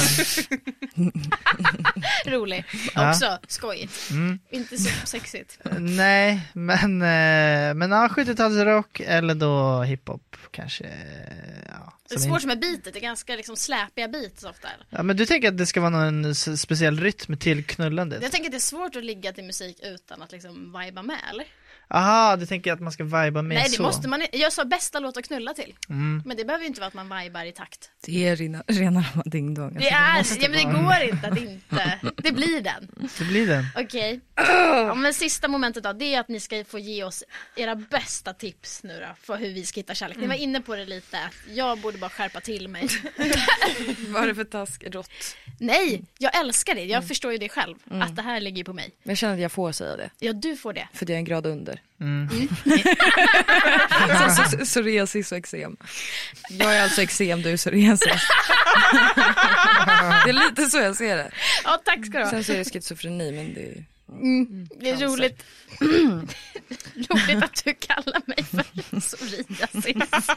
Rolig.
Ja.
Också skojigt.
Mm.
Inte så sexigt.
nej, men, eh, men ja, 70-talsrock eller då hiphop kanske. Ja,
Det är
som
svårt
in-
med beatet, det är ganska liksom släpiga beats ofta.
ja, men du tänker att det ska vara någon s- speciell rytm till knullandet?
Jag tänker att det är svårt att ligga till musik utan att liksom vibea med eller?
Aha, du tänker att man ska viba med
Nej det
så?
måste man Jag sa bästa låt att knulla till.
Mm.
Men det behöver ju inte vara att man vibar i takt.
Det är rena, rena rama ding-dong.
Det är, ja, men det går inte att inte, det blir den.
Det blir den.
Okej. Ja, men sista momentet då, det är att ni ska få ge oss era bästa tips nu då för hur vi ska hitta kärlek. Ni var
Mm.
inne på det lite, att jag borde bara skärpa till mig.
Vad är det för task? Rått.
Nej, jag älskar det.
Mm.
Jag förstår ju det själv, att det här ligger ju på mig.
Men jag känner att jag får säga det,
Ja, du får det.
för det är en grad under.
Mm.
Så- så- Psoriasis och eksem. Jag är alltså eksem, du är psoriasis. Det är lite så jag ser det.
Ja, tack ska du ha. Mm.
Sen så är det schizofreni, men det är...
Det är
Cancer.
roligt. roligt att du kallar mig för psoriasis.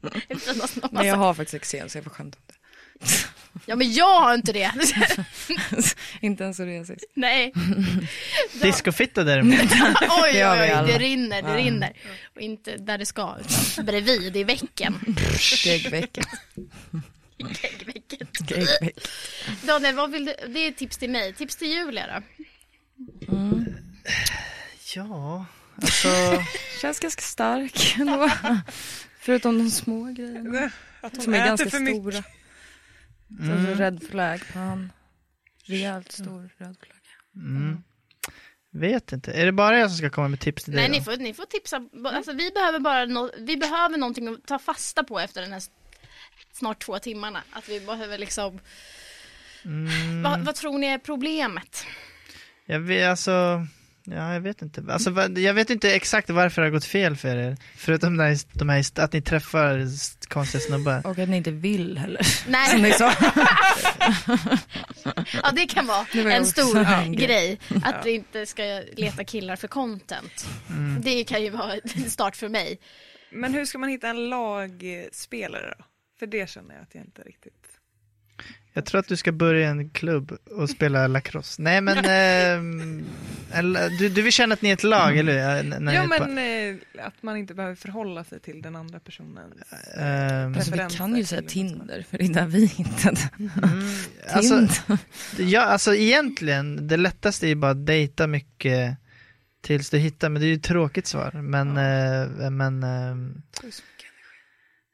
Efter att någon har
Men jag
sagt-
har faktiskt eksem, så jag får skämta om
Ja, men jag har inte det.
det. Inte ens psoriasis.
Nej.
Discofitta däremot.
Oj, oj,
Det har vi
oj,
alla.
det rinner, det rinner. Och inte där det ska, utan bredvid i väcken.
Geggvecket.
I väggen.
Geggvecket.
Daniel, vad vill du? Det är tips till mig. Tips till Julia då?
Ja, alltså...
Känns ganska stark ändå. Förutom de små grejerna.
Att hon
Som är
äter
ganska
för mycket.
stora. Mm. Alltså red flag på han. Rejält stor red flag.
Mm. Vet inte. Är det bara jag som ska komma med tips till
Nej,
dig?
ni får, ni får tipsa.
Mm.
Alltså, vi, behöver bara nå- vi behöver någonting att ta fasta på efter den här s- snart två timmarna. Att vi behöver liksom...
Mm.
Vad- vad tror ni är problemet?
Jag vet, alltså... Ja, jag vet inte. Alltså, vad- jag vet inte exakt varför det har gått fel för er. Förutom de här, de här, att ni träffar s- konstiga snubbar.
Och att ni inte vill heller.
Nej.
Som ni sa.
Ja, det kan vara
Det var
en
också
stor
en grej.
grej. Att vi inte ska leta killar för content.
Mm.
Det kan ju vara en start för mig.
Men hur ska man hitta en lagspelare då? För det känner jag att jag inte riktigt...
Jag tror att du ska börja en klubb och spela lacrosse. Nej, men... ehm, eller- du, du vill känna att ni är ett lag, eller hur? Ja, n- när
ja
ni är ett
men eh, att man inte behöver förhålla sig till den andra personen.
par. Ehm,
Alltså, vi
Preferenser
kan ju säga
till liksom. vad man ska-
Tinder, för det är där vi hittade.
alltså,
Tinder.
Ja, alltså egentligen, det lättaste är ju bara att dejta mycket tills du hittar, men det är ju ett tråkigt svar. Men, eh, men eh,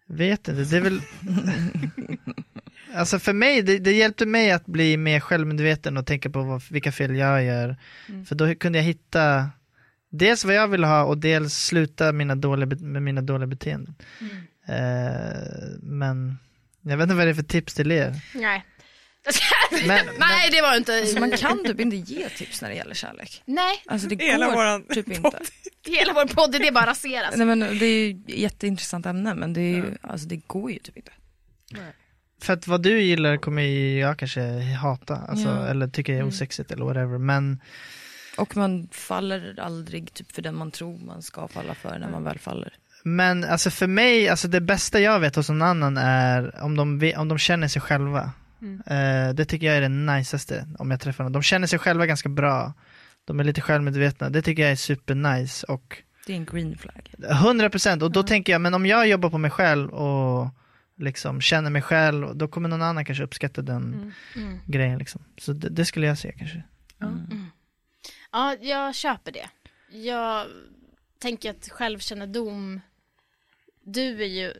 vet inte, det är väl... alltså för mig, det, det hjälpte mig att bli mer självmedveten och tänka på vad, vilka fel jag gör. För då kunde jag hitta dels vad jag ville ha och dels sluta mina dåliga, bet- med mina dåliga beteenden. Eh, men jag vet inte vad det är för tips till er.
Nej.
Men,
Nej, det var inte...
Alltså, man kan typ inte ge tips när det gäller kärlek.
Nej,
Alltså det går
Hela våran
typ inte.
podd.
hela vår podd, det bara raseras.
Nej, men det är ju ett jätteintressant ämne men det, är ju, alltså, det går ju typ inte.
För att vad du gillar kommer ju jag kanske hata, alltså,
Ja. Mm.
eller tycker är osexigt eller whatever. Men
Och man faller aldrig typ för den man tror man ska falla för när man väl faller.
Men alltså för mig, alltså det bästa jag vet hos någon annan är om de, ve- om de känner sig själva.
Mm.
Eh, det tycker jag är det najsaste om jag träffar någon. De känner sig själva ganska bra. De är lite självmedvetna. Det tycker jag är supernice. Och
Det är en green flag.
100 procent. Och då tänker jag, men om jag jobbar på mig själv och liksom känner mig själv, då kommer någon annan kanske uppskatta den
Mm.
grejen. Liksom. Så det, det skulle jag säga kanske.
Ja, jag köper det. Jag tänker att självkännedom, du är ju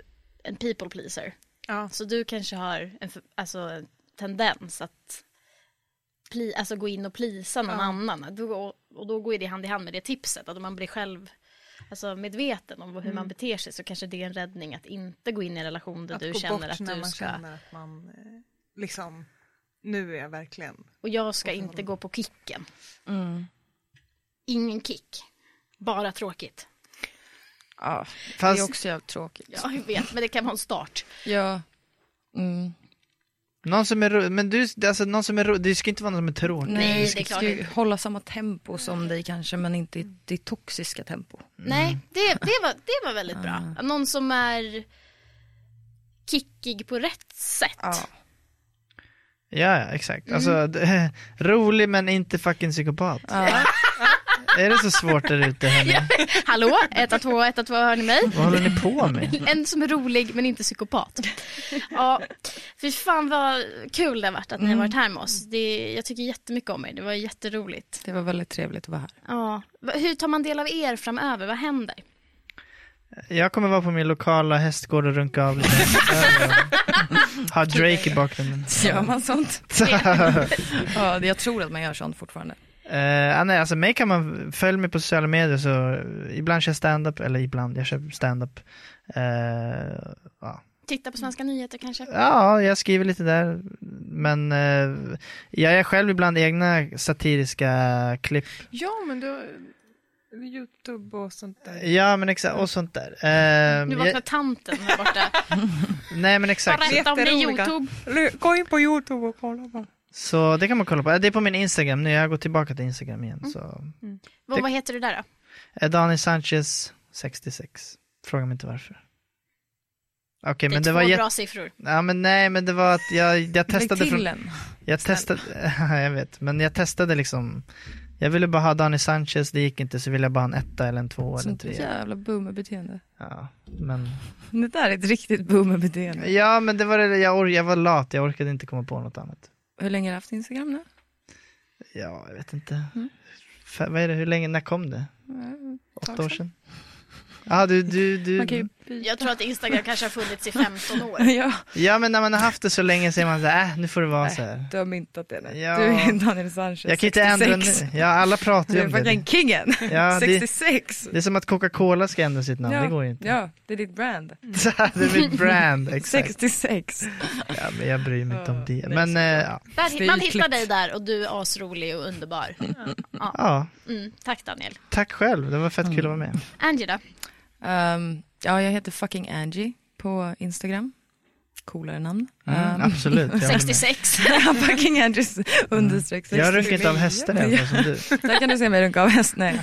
en people pleaser.
Ja.
Så du kanske har en, för- alltså, en tendens att pli, alltså, gå in och plisa någon
Ja.
annan. Du, och, och då går ju det hand i hand med det tipset. Att om man blir själv alltså, medveten om hur man beter sig så kanske det är en räddning att inte gå in i en relation där
Att
du
gå
känner
bort
Mm. att
när
du
man
ska...
känner att man eh, liksom, nu är jag verkligen...
Och jag ska inte gå på kicken.
Mm.
Ingen kick. Bara tråkigt.
Ja, det är
Fast
också jävligt tråkigt.
Ja, jag vet, men det kan vara en start.
Ja. Mm.
någon som är ro- men du, alltså någon som är ro- det ska inte vara någon som är tråkig.
Nej, det
du
är
ska,
klart
ska ju
inte.
hålla samma tempo som dig kanske men inte i ditt toxiska tempo.
Mm. Nej, det, det, var, det var väldigt bra. Någon som är kickig på rätt sätt.
Ja, ja, exakt. Alltså, d- rolig men inte fucking psykopat. Är det så svårt där ute hörni?
Hallå, etta två, etta två, hör ni mig?
Vad håller ni på med?
En som är rolig men inte psykopat. Ja, fy fan vad kul det har varit att ni har varit här med oss. Det, jag tycker jättemycket om er, det var jätteroligt.
Det var väldigt trevligt att vara här.
Ja. Va- Hur tar man del av er framöver, vad händer?
Jag kommer vara på min lokala hästgård och runka av lite. öl och Ha Drake i bakgrunden.
Gör man sånt? ja, jag tror att man gör sånt fortfarande.
Uh, nej, alltså mig kan man, följ mig på sociala medier så ibland kör jag stand-up, eller ibland, jag kör stand-up. Eh, ja.
Titta på Svenska nyheter kanske?
ja, jag skriver lite där, men eh, jag gör själv ibland egna satiriska klipp.
Ja, men du... Youtube och sånt där.
Ja, men exakt, och sånt där. Eh,
Nu
jag,
vaknar tanten här borta.
nej, men exakt.
Berätta om det i
Jätteroliga.
Youtube.
Eller, Gå in på Youtube och kolla bara.
Så det kan man kolla på. Eh, Det är på min Instagram nu, jag går tillbaka till Instagram igen.
Mm.
Så.
Vad, vad heter du där då?
Eh, Dani Sanchez, 66. Fråga mig inte varför. Okej,
Det är
men det
två
var jätte...
bra siffror.
Ja, men nej, men det var att jag, jag testade
Lägg
från...
till en.
Jag testade, jag vet, men jag testade liksom Jag ville bara ha Dani Sanchez, det gick inte, så ville jag bara ha en etta eller en tvåa eller en
Sånt
trea
jävla boomerbeteende.
ja, men,
Det där är ett riktigt boomerbeteende.
ja men det var det, jag, or- jag var lat, jag orkade inte komma på något annat
Hur länge har du haft Instagram nu?
Ja, jag vet inte
Mm.
F- Vad är det, hur länge, när kom det?
Eh,
Åtta år sedan? Ja, du, du,
Man kan
du,
ju
Jag tror att Instagram kanske har funnits i 15 år.
Ja,
ja men när man har haft det så länge säger man så här, äh, nu får det vara så här.
du har myntat det nu.
Ja.
Du är Daniel Sanchez,
Jag kan ju inte ändra nu, ja alla pratar
Du
ju
är
om det
fucking
det.
kingen.
Ja, det
66.
det är som att Coca-Cola ska ändra sitt namn, det går ju inte
Ja, det är ditt brand.
Det är mitt brand, exakt
66.
Ja, men jag bryr mig inte om det.
nej,
Men eh, ja.
Där, hit- man
Stilklipp.
hittar dig där och du är asrolig och underbar.
ja,
Mm, tack Daniel.
tack själv. Det var fett kul att vara med.
Angela,
Um, ja, jag heter fucking Angie på Instagram. Coolare namn.
Mm,
Um,
absolut. Jag, håller med.
66.
fucking Andrews understreck
jag runkar inte av hästar i alla fall som du.
Där kan du se mig runka av häst. Nej.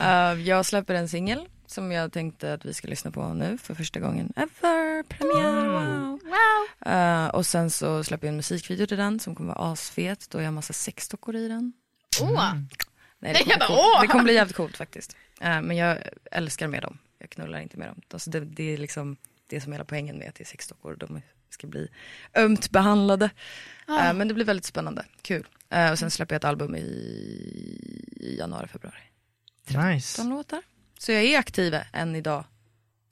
Uh, jag släpper en singel som jag tänkte att vi ska lyssna på nu för första gången ever. Premiär, wow. Uh, och sen så släpper jag en musikvideo till den som kommer vara asfet. Då är jag massa sexdockor i den.
Åh,
Nej, det,
Jag
kommer bli
bara, åh!
coolt. det kommer bli jävligt coolt faktiskt. Eh, men jag älskar med dem. Jag knullar inte med dem. Alltså det, det är liksom det som är hela poängen med att det är sexdockor. De ska bli ömt behandlade. Eh, men det blir väldigt spännande. Kul. Eh, och sen släpper jag ett album i januari, februari.
Nice.
15 låtar. Så jag är aktiv än idag.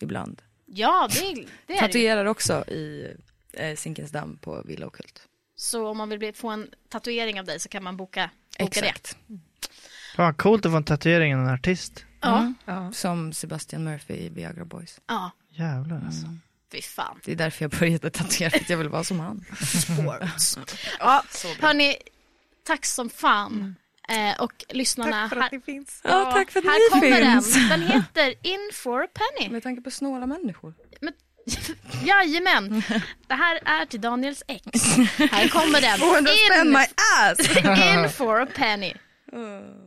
Ibland.
ja det, är- det är det ju.
Tatuerar också i eh, Zinkensdamm på Villa Ockult.
Så om man vill bli, få en tatuering av dig så kan man boka, boka det.
Fan, coolt att få en tatuering av en artist.
Ja,
Mm. Som Sebastian Murphy i Viagra Boys.
ja,
Jävlar alltså.
fy fan.
Det är därför jag började tatuera, för att jag vill vara som han.
Ja, hörni, tack som fan. Eh, och lyssnarna,
Tack för att
här,
ni finns.
Ja, tack för att
här
ni
kommer
finns.
den. Den heter In for a penny.
Med tanke på snåla människor.
Men, jajamän, det här är till Daniels ex. Här kommer den.
200 spänn
In,
my ass!
in for a penny.
oh